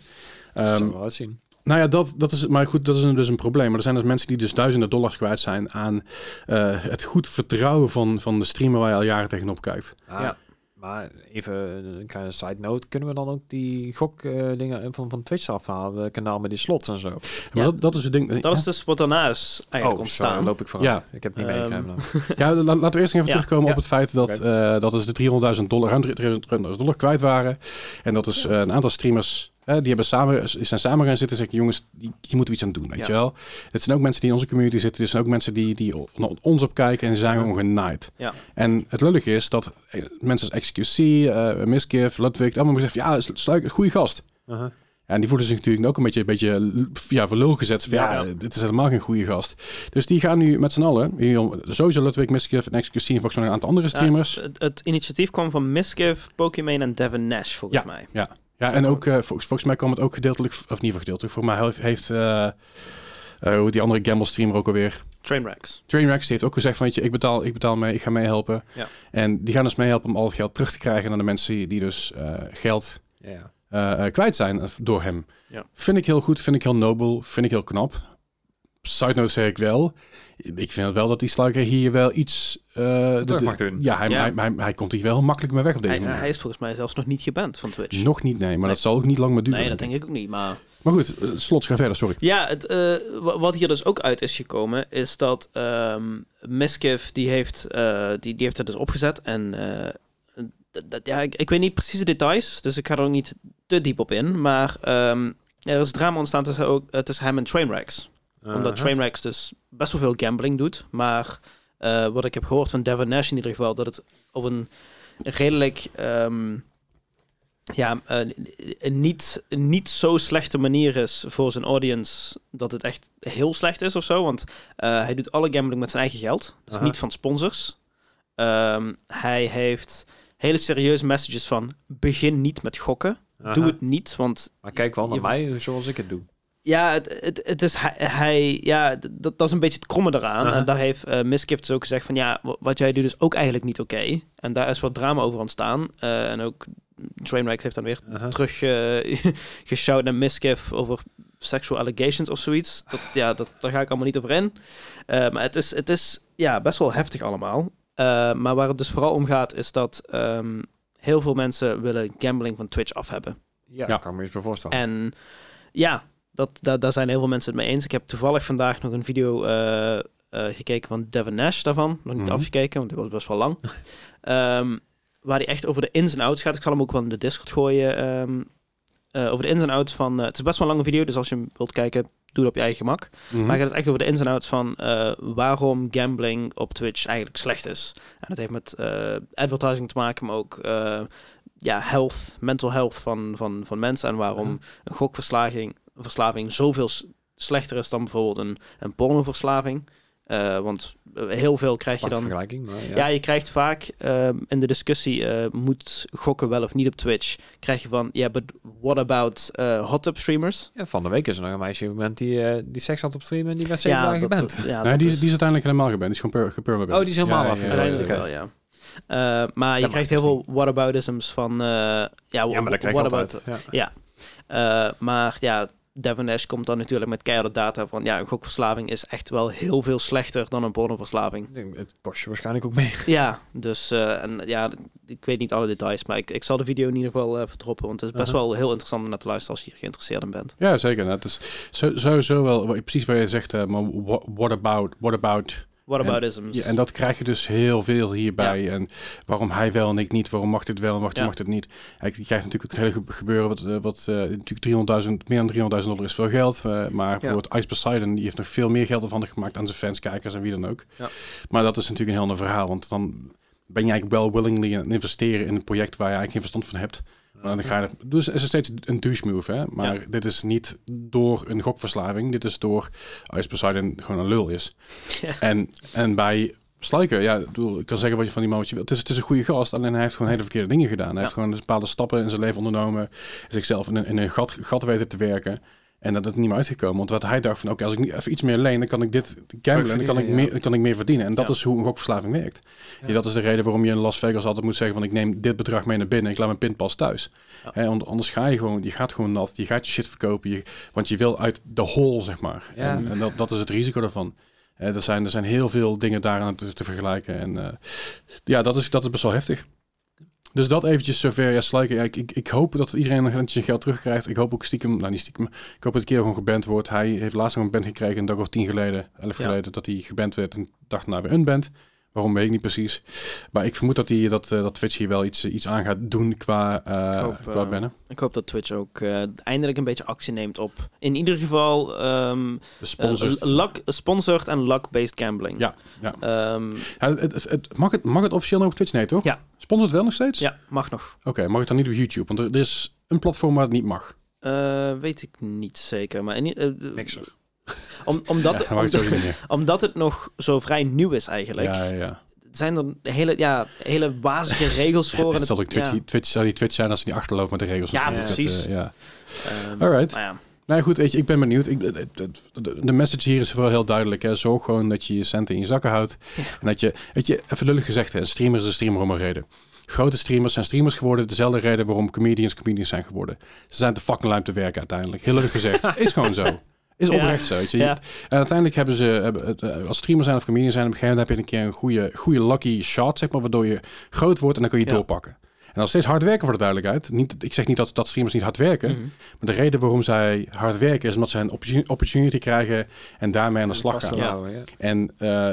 S2: dat
S1: Ehm,
S2: zal wel uitzien.
S1: nou ja, dat, dat is, maar goed, dat is een- dus een probleem. Maar er zijn dus mensen die dus duizenden dollars kwijt zijn aan eh, het goed vertrouwen van, van de streamer waar je al jaren tegenop kijkt.
S2: Ah,
S3: Ja.
S2: Maar even een kleine side note. Kunnen we dan ook die gokdingen dingen van, van Twitch afhalen? Het kanaal met die slots en zo.
S1: Maar
S3: Ja.
S1: dat, dat is het ding.
S3: Dat is dus wat daarna is
S1: Oh,
S3: eigenlijk
S2: sorry,
S3: ontstaan.
S2: loop ik vooruit.
S1: Ja.
S2: Ik heb het niet
S3: Ehm,
S2: meegekregen. dan.
S1: Ja, la- laten we eerst nog even
S3: Ja,
S1: terugkomen
S3: ja.
S1: op het feit dat, eh, dat dus de 300.000 dollar, ruim 300.000 dollar kwijt waren. En dat is eh, een aantal streamers, hè, die hebben samen, zijn samen gaan zitten en zeggen, jongens, die, hier moeten we iets aan doen, weet
S3: Ja.
S1: je wel. Het zijn ook mensen die in onze community zitten, het zijn ook mensen die, die o- naar ons opkijken en ze zijn gewoon genaaid.
S3: Ja.
S1: En het lullige is dat eh, mensen als XQC, eh Miskiff, Ludwig, allemaal gezegd, van, ja, sluik, goede gast.
S2: Uh-huh.
S1: En die voelen zich natuurlijk ook een beetje, een beetje l- ja, voor lul gezet. Van, ja,
S3: Ja,
S1: dit is helemaal geen goede gast. Dus die gaan nu met z'n allen, hier, sowieso Ludwig Miskiff en XQC en volgens mij een aantal andere
S3: Ja,
S1: streamers. Ja,
S3: het, het initiatief kwam van Misgiv, Pokimane en Devin Nash, volgens
S1: Ja.
S3: mij.
S1: en ook, eh, volgens, volgens mij kwam het ook gedeeltelijk, of niet gedeeltelijk, voor mij heeft, heeft eh, eh, hoe die andere gamble streamer ook alweer.
S3: Trainwrecks.
S1: Trainwrecks die heeft ook gezegd van, weet je, ik betaal, ik betaal mee, ik ga meehelpen.
S3: Ja.
S1: En die gaan dus meehelpen om al het geld terug te krijgen aan de mensen die dus eh, geld
S2: Ja.
S1: eh, eh, kwijt zijn door hem.
S3: Ja.
S1: Vind ik heel goed, vind ik heel nobel, vind ik heel knap. Side note zeg ik wel. Ik vind wel dat die sluiker hier wel iets... eh, de- de-
S2: mag doen.
S1: Ja, hij,
S3: Ja.
S1: Hij, hij, hij komt hier wel makkelijk mee weg op deze
S3: Hij,
S1: manier.
S3: hij is volgens mij zelfs nog niet geband van Twitch.
S1: Nog niet, nee. Maar
S3: Nee.
S1: dat zal ook niet lang meer duren.
S3: nee, dat denk ik ook niet, maar...
S1: Maar goed, eh, slot, ga verder, sorry.
S3: Ja, het, eh, wa- wat hier dus ook uit is gekomen, is dat ehm Miskiv, die heeft, eh, die, die heeft het dus opgezet. En eh, dat- dat- ja, ik, ik weet niet precies de details, dus ik ga er ook niet te diep op in. Maar ehm, er is drama ontstaan tussen, ook, eh, tussen hem en Trainwrecks. Omdat
S2: Uh-huh.
S3: Trainwrecks dus best wel veel gambling doet. Maar eh, wat ik heb gehoord van Devin Nash in ieder geval, dat het op een redelijk... ehm, ja, een een niet, een niet zo slechte manier is voor zijn audience dat het echt heel slecht is of zo. Want eh, hij doet alle gambling met zijn eigen geld. Dus
S2: Aha.
S3: niet van sponsors. Ehm, hij heeft hele serieuze messages van begin niet met gokken.
S2: Uh-huh.
S3: Doe het niet, want
S2: Maar kijk wel naar
S3: Je-
S2: mij zoals ik het doe.
S3: ja, het, het, het is hij, hij- ja, d- dat, dat is een beetje het kromme eraan.
S2: Aha.
S3: En daar heeft eh Miskiff dus ook gezegd van ja, wa- wat jij doet is ook eigenlijk niet oké. En daar is wat drama over ontstaan. Eh, en ook Trainwreck heeft dan weer
S2: Uh-huh.
S3: terug eh geshout naar Miskiff over sexual allegations of zoiets. Dat, ja, dat, daar ga ik allemaal niet over in. Eh, maar het is, het is ja, best wel heftig allemaal. Eh, maar waar het dus vooral om gaat is dat ehm, heel veel mensen willen gambling van Twitch af hebben.
S2: Ja,
S1: Ja.
S2: kan me eens bij voorstellen.
S3: En ja, dat, daar- daar zijn heel veel mensen het mee eens. Ik heb toevallig vandaag nog een video eh, eh, gekeken van Devin Nash daarvan. Nog niet
S1: Mhm.
S3: afgekeken, want die was best wel lang. Ehm, waar hij echt over de ins en outs gaat. Ik zal hem ook wel in de Discord gooien. ehm, eh, over de ins en outs van... eh, het is best wel een lange video, dus als je hem wilt kijken, doe dat op je eigen gemak.
S2: Hm?
S1: Mhm.
S3: Maar het gaat dus echt over de ins en outs van eh, waarom gambling op Twitch eigenlijk slecht is. En dat heeft met eh, advertising te maken, maar ook eh, ja, health, mental health van, van, van mensen. En waarom
S2: Mhm.
S3: een gokverslaving verslaving zoveel s- slechter is dan bijvoorbeeld een, een pornoverslaving. Eh, want eh, heel veel krijg je
S2: Wat
S3: dan
S2: vergelijking, maar ja.
S3: ja, je krijgt vaak ehm, in de discussie, eh, moet gokken wel of niet op Twitch? Krijg je van, ja, but what about eh, hot tub streamers?
S2: Ja, van de week is er nog een meisje op het moment die, eh, die seks had op stream en die werd zeven
S3: ja,
S2: dagen
S3: dat-
S2: geband.
S3: dat- ja,
S1: nee,
S3: dat
S1: die, is-
S3: is-
S1: die is uiteindelijk helemaal geband. Die is gewoon gepermaband.
S2: Oh, die is helemaal af,
S3: Uiteindelijk
S2: oké.
S3: wel, ja. Eh, maar je
S2: maakt
S3: krijgt
S2: niks
S3: heel veel whataboutisms van... eh ja, wha-
S2: Ja, maar dat krijg je
S3: what
S2: altijd.
S3: about-
S2: Ja.
S3: Ja, Eh, maar ja, Devon Ash komt dan natuurlijk met keiharde data van... ja, een gokverslaving is echt wel heel veel slechter dan een pornoverslaving.
S2: Ik denk, Het kost je waarschijnlijk ook meer.
S3: Ja, dus eh, en, ja, ik weet niet alle details, maar ik, ik zal de video in ieder geval eh verdroppen. Want het is best
S2: Aha.
S3: wel heel interessant om naar te luisteren als je hier geïnteresseerd in bent.
S1: Ja, zeker. nou, Het is zo- sowieso wel wat- precies wat je zegt, eh, maar what, what about, what about...
S3: What
S1: En-
S3: about isms?
S1: Ja, en dat krijg je dus heel veel hierbij. En waarom hij wel en ik niet, waarom mag dit wel en waarom
S3: Ja.
S1: mag dit niet. Kijk, je krijgt natuurlijk ook het hele gebe- gebeuren wat, eh, wat eh, natuurlijk 300.000, meer dan 300.000 dollar is veel geld. eh, maar voor het Ice Poseidon, die heeft nog veel meer geld ervan gemaakt aan zijn fans, kijkers en wie dan ook.
S3: Ja.
S1: Maar dat is natuurlijk een heel ander verhaal, want dan ben je eigenlijk wel willingly aan het investeren in een project waar je eigenlijk geen verstand van hebt. Maar dan ga je dat- dus is er steeds een douche move, hè? Maar dit is niet door een gokverslaving. Dit is door Ice Poseidon gewoon een lul is.
S3: Ja.
S1: En, en bij Slyker, ja, ik bedoel, ik kan zeggen wat je van die man wat je wilt. Het is, het is een goede gast, alleen hij heeft gewoon hele verkeerde dingen gedaan. Hij heeft gewoon bepaalde stappen in zijn leven ondernomen. Zichzelf in een, in een gat, gat weten te werken. En dat het niet meer uitgekomen. Want wat hij dacht van, oké, als ik nu even iets meer leen, dan kan ik dit gamblen. en Dan kan ik,
S2: verdienen,
S1: meer, dan kan ik meer verdienen. En dat
S3: Ja.
S1: is hoe een gokverslaving werkt.
S2: Ja.
S1: Ja, dat is de reden waarom je in Las Vegas altijd moet zeggen van ik neem dit bedrag mee naar binnen en ik laat mijn pinpas thuis.
S3: Ja.
S1: Hè, want anders ga je gewoon, je gaat gewoon nat, je gaat je shit verkopen, je, want je wil uit de hol, zeg maar.
S2: Ja.
S1: En, en dat, dat is het risico daarvan. Eh, er, zijn, er zijn heel veel dingen daaraan te, te vergelijken. En eh, ja, dat is, dat is best wel heftig. Dus dat eventjes zover. Ja, Slyker, ja, ik, ik, ik hoop dat iedereen nog netjes zijn geld terugkrijgt. Ik hoop ook stiekem, nou niet stiekem, ik hoop dat een keer gewoon geband wordt. Hij heeft laatst nog een band gekregen, een dag of tien geleden, elf
S3: Ja.
S1: geleden, dat hij geband werd. En dacht na weer een band. Waarom weet ik niet precies. Maar ik vermoed dat, hij, dat, eh, dat Twitch hier wel iets, eh, iets aan gaat doen qua, eh
S3: Ik hoop,
S1: qua
S3: eh,
S1: bannen.
S3: Ik hoop dat Twitch ook eh, eindelijk een beetje actie neemt op. In ieder geval ehm
S1: Sponsors.
S3: eh, luck, sponsored en luck-based gambling.
S1: Ja, ja.
S3: Ehm,
S1: Ja, het, het, het- mag, het, mag het officieel nog op Twitch? Nee, toch?
S3: Ja.
S1: Sponsort wel nog steeds?
S3: ja, mag nog.
S1: Oké, mag het dan niet op YouTube? Want er, er is een platform waar het niet mag.
S3: Eh, weet ik niet zeker. Maar in, i- eh,
S2: Mixer.
S3: om, omdat,
S1: ja, mag het
S3: omdat,
S1: sowieso niet meer.
S3: omdat het nog zo vrij nieuw is eigenlijk,
S1: Ja, ja, ja.
S3: zijn er hele, ja, hele wazige regels voor. en
S1: Het zal ook Twitch,
S3: ja,
S1: Twitch, zou die Twitch zijn als ze niet achterloopt met de regels.
S3: Ja,
S1: natuurlijk. Dat,
S3: precies.
S1: eh, ja.
S3: ehm,
S1: Alright.
S3: maar ja,
S1: Nou ja, goed, weet je, ik ben benieuwd. Ik, de, de- de message hier is vooral heel duidelijk. Hè. Zorg gewoon dat je je centen in je zakken houdt. En dat je, weet je, even lullig gezegd, hè, een streamer is een streamer om een reden. Grote streamers zijn streamers geworden. Dezelfde reden waarom comedians comedians zijn geworden. Ze zijn te fucking lui om te werken uiteindelijk. Heel lullig gezegd. is gewoon zo. Is
S3: Ja.
S1: oprecht zo. Weet je.
S3: Ja.
S1: En uiteindelijk hebben ze, hebben- eh, als streamer zijn of comedian zijn, op een gegeven moment heb je een keer een goede, goede lucky shot, zeg maar, waardoor je groot wordt en dan kun je
S3: Ja.
S1: doorpakken. En dan steeds hard werken voor de duidelijkheid. Niet, ik zeg niet dat, dat streamers niet hard werken.
S3: mhm.
S1: Maar de reden waarom zij hard werken is omdat zij een opportu- opportunity krijgen en daarmee aan de slag gaan.
S3: Ja.
S2: ja.
S1: En eh,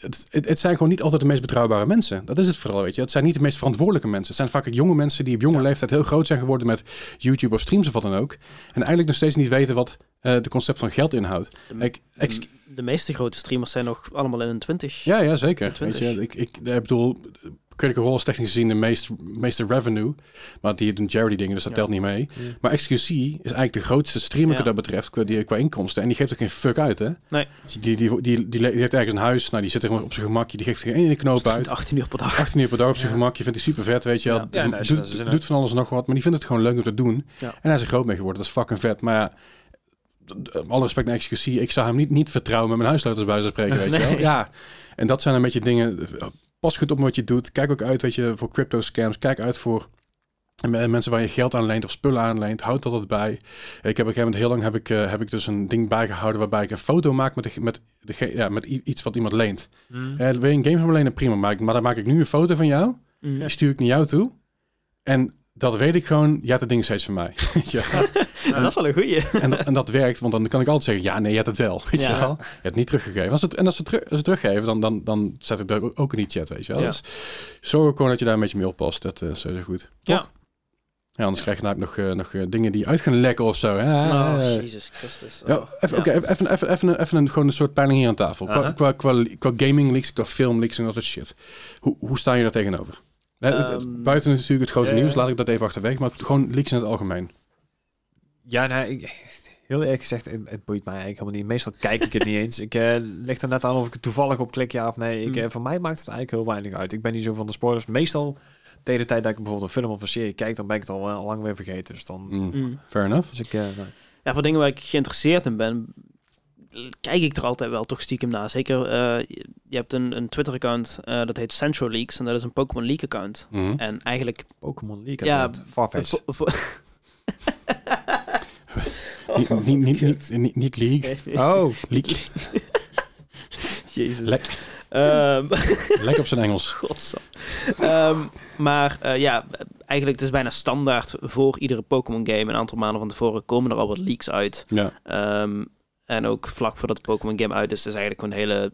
S1: het, het, het zijn gewoon niet altijd de meest betrouwbare mensen. Dat is het vooral, weet je. Het zijn niet de meest verantwoordelijke mensen. Het zijn vaak ook jonge mensen die op jonge leeftijd heel groot zijn geworden met YouTube of streams of wat dan ook. En eigenlijk nog steeds niet weten wat eh, de concept van geld inhoudt.
S3: De-
S1: Ik, ex-
S3: De, de meeste grote streamers zijn nog allemaal in hun twintig.
S1: ja, ja, zeker. Weet
S3: 20.
S1: je, ik, ik, ik bedoel, Critical Role is technisch gezien de meest, meeste revenue. Maar die doen charity dingen, dus dat
S3: Ja.
S1: telt niet mee.
S2: Ja.
S1: Maar XQC is eigenlijk de grootste streamer wat
S3: Ja.
S1: dat betreft qua, die, qua inkomsten. En die geeft ook geen fuck uit, hè? Dus
S3: Nee.
S1: Die, die, die, die, die le- die heeft ergens een huis, nou, die zit er gewoon op zijn gemakje. Die geeft geen ene knoop
S3: Streamt
S1: uit.
S3: 18 uur per dag.
S1: 18 uur per dag op zijn
S2: Ja.
S1: gemak. Je vindt die super vet, weet je wel.
S3: Ja.
S2: Ja, nee, dat is
S1: doet,
S2: een-
S1: doet van alles en nog wat. Maar die vindt het gewoon leuk om te doen.
S3: Ja.
S1: En hij is er groot mee geworden. Dat is fucking vet. Maar ja, d- alle respect naar XQC. Ik zou hem niet, niet vertrouwen met mijn huissleutels bij ze spreken, weet je wel.
S3: Nee.
S1: Ja. En dat zijn een beetje dingen. Pas goed op met wat je doet. Kijk ook uit, weet je, voor crypto scams. Kijk uit voor eh, mensen waar je geld aan leent of spullen aan leent. Houd dat bij. Ik heb op een gegeven moment heel lang heb ik, eh, heb ik dus een ding bijgehouden waarbij ik een foto maak met, de, met, de, ja, met i- iets wat iemand leent.
S2: Mm.
S1: Eh, wil je een game van me lenen? Prima. Maar, ik- maar dan maak ik nu een foto van jou.
S3: Mhm.
S1: Die stuur ik naar jou toe. En dat weet ik gewoon. Je hebt het ding steeds van mij. Weet je wel?
S3: Nou, dat is wel een goeie.
S1: en, dat- en dat werkt. Want dan kan ik altijd zeggen. Ja, nee, je hebt het wel. Weet je
S3: Ja.
S1: wel? Je hebt het niet teruggegeven. Als het, en als ze, teru- als ze teruggeven, dan, dan, dan zet ik dat ook in die chat. Weet je wel?
S3: Ja.
S1: Dus zorg ook gewoon dat je daar een beetje mee oppast. Dat eh, is sowieso goed.
S3: Ja.
S1: Toch? Ja, anders krijg je namelijk nog, eh, nog eh, dingen die uit gaan lekken of zo. Hè?
S3: Oh,
S1: Eh,
S3: Jezus Christus.
S1: ja, even, oké, even, even, even, even, even een, gewoon een soort peiling hier aan tafel. Qua,
S2: Aha.
S1: qua, qua, qua gaming leaks, qua film leaks en dat soort shit. Hoe, hoe sta je daar tegenover? Hè, het- het-
S3: Ehm,
S1: Buiten natuurlijk het grote
S2: eh,
S1: nieuws, laat ik dat even achterwege. Maar gewoon leaks in het algemeen.
S2: Ja, nou, ik, heel eerlijk gezegd, het, het boeit mij eigenlijk helemaal niet. Meestal kijk ik het niet eens. Ik eh, leg er net aan of ik er toevallig op klik, ja of nee. Ik,
S3: Mm.
S2: eh, voor mij maakt het eigenlijk heel weinig uit. Ik ben niet zo van de spoilers. Meestal, tegen de tijd dat ik bijvoorbeeld een film of een serie kijk, dan ben ik het al eh, lang weer vergeten. Dus dan...
S1: Mm,
S3: mhm.
S1: Fair enough.
S2: Dus ik, eh, nou,
S3: Ja, voor dingen waar ik geïnteresseerd in ben, kijk ik er altijd wel toch stiekem naar. Zeker, eh, je- je hebt een, een Twitter-account, eh, dat heet Central Leaks, en dat is een Pokémon Leak-account.
S1: Mhm.
S3: En eigenlijk...
S2: Pokémon League.
S3: Ja,
S2: Ja, Farfetch.
S3: voor- voor-
S1: Niet-
S3: Oh,
S1: niet, niet,
S3: wat kut.
S1: niet, niet, niet League.
S3: Nee, nee.
S2: Oh,
S1: League.
S3: Jezus.
S1: Lek.
S3: Ehm,
S1: Lekker op zijn Engels.
S3: Godsam. Ehm, maar eh, ja, eigenlijk het is bijna standaard voor iedere Pokémon game. Een aantal maanden van tevoren komen er al wat leaks uit.
S1: Ja.
S3: Ehm, en ook vlak voordat de Pokémon game uit is, is eigenlijk gewoon de hele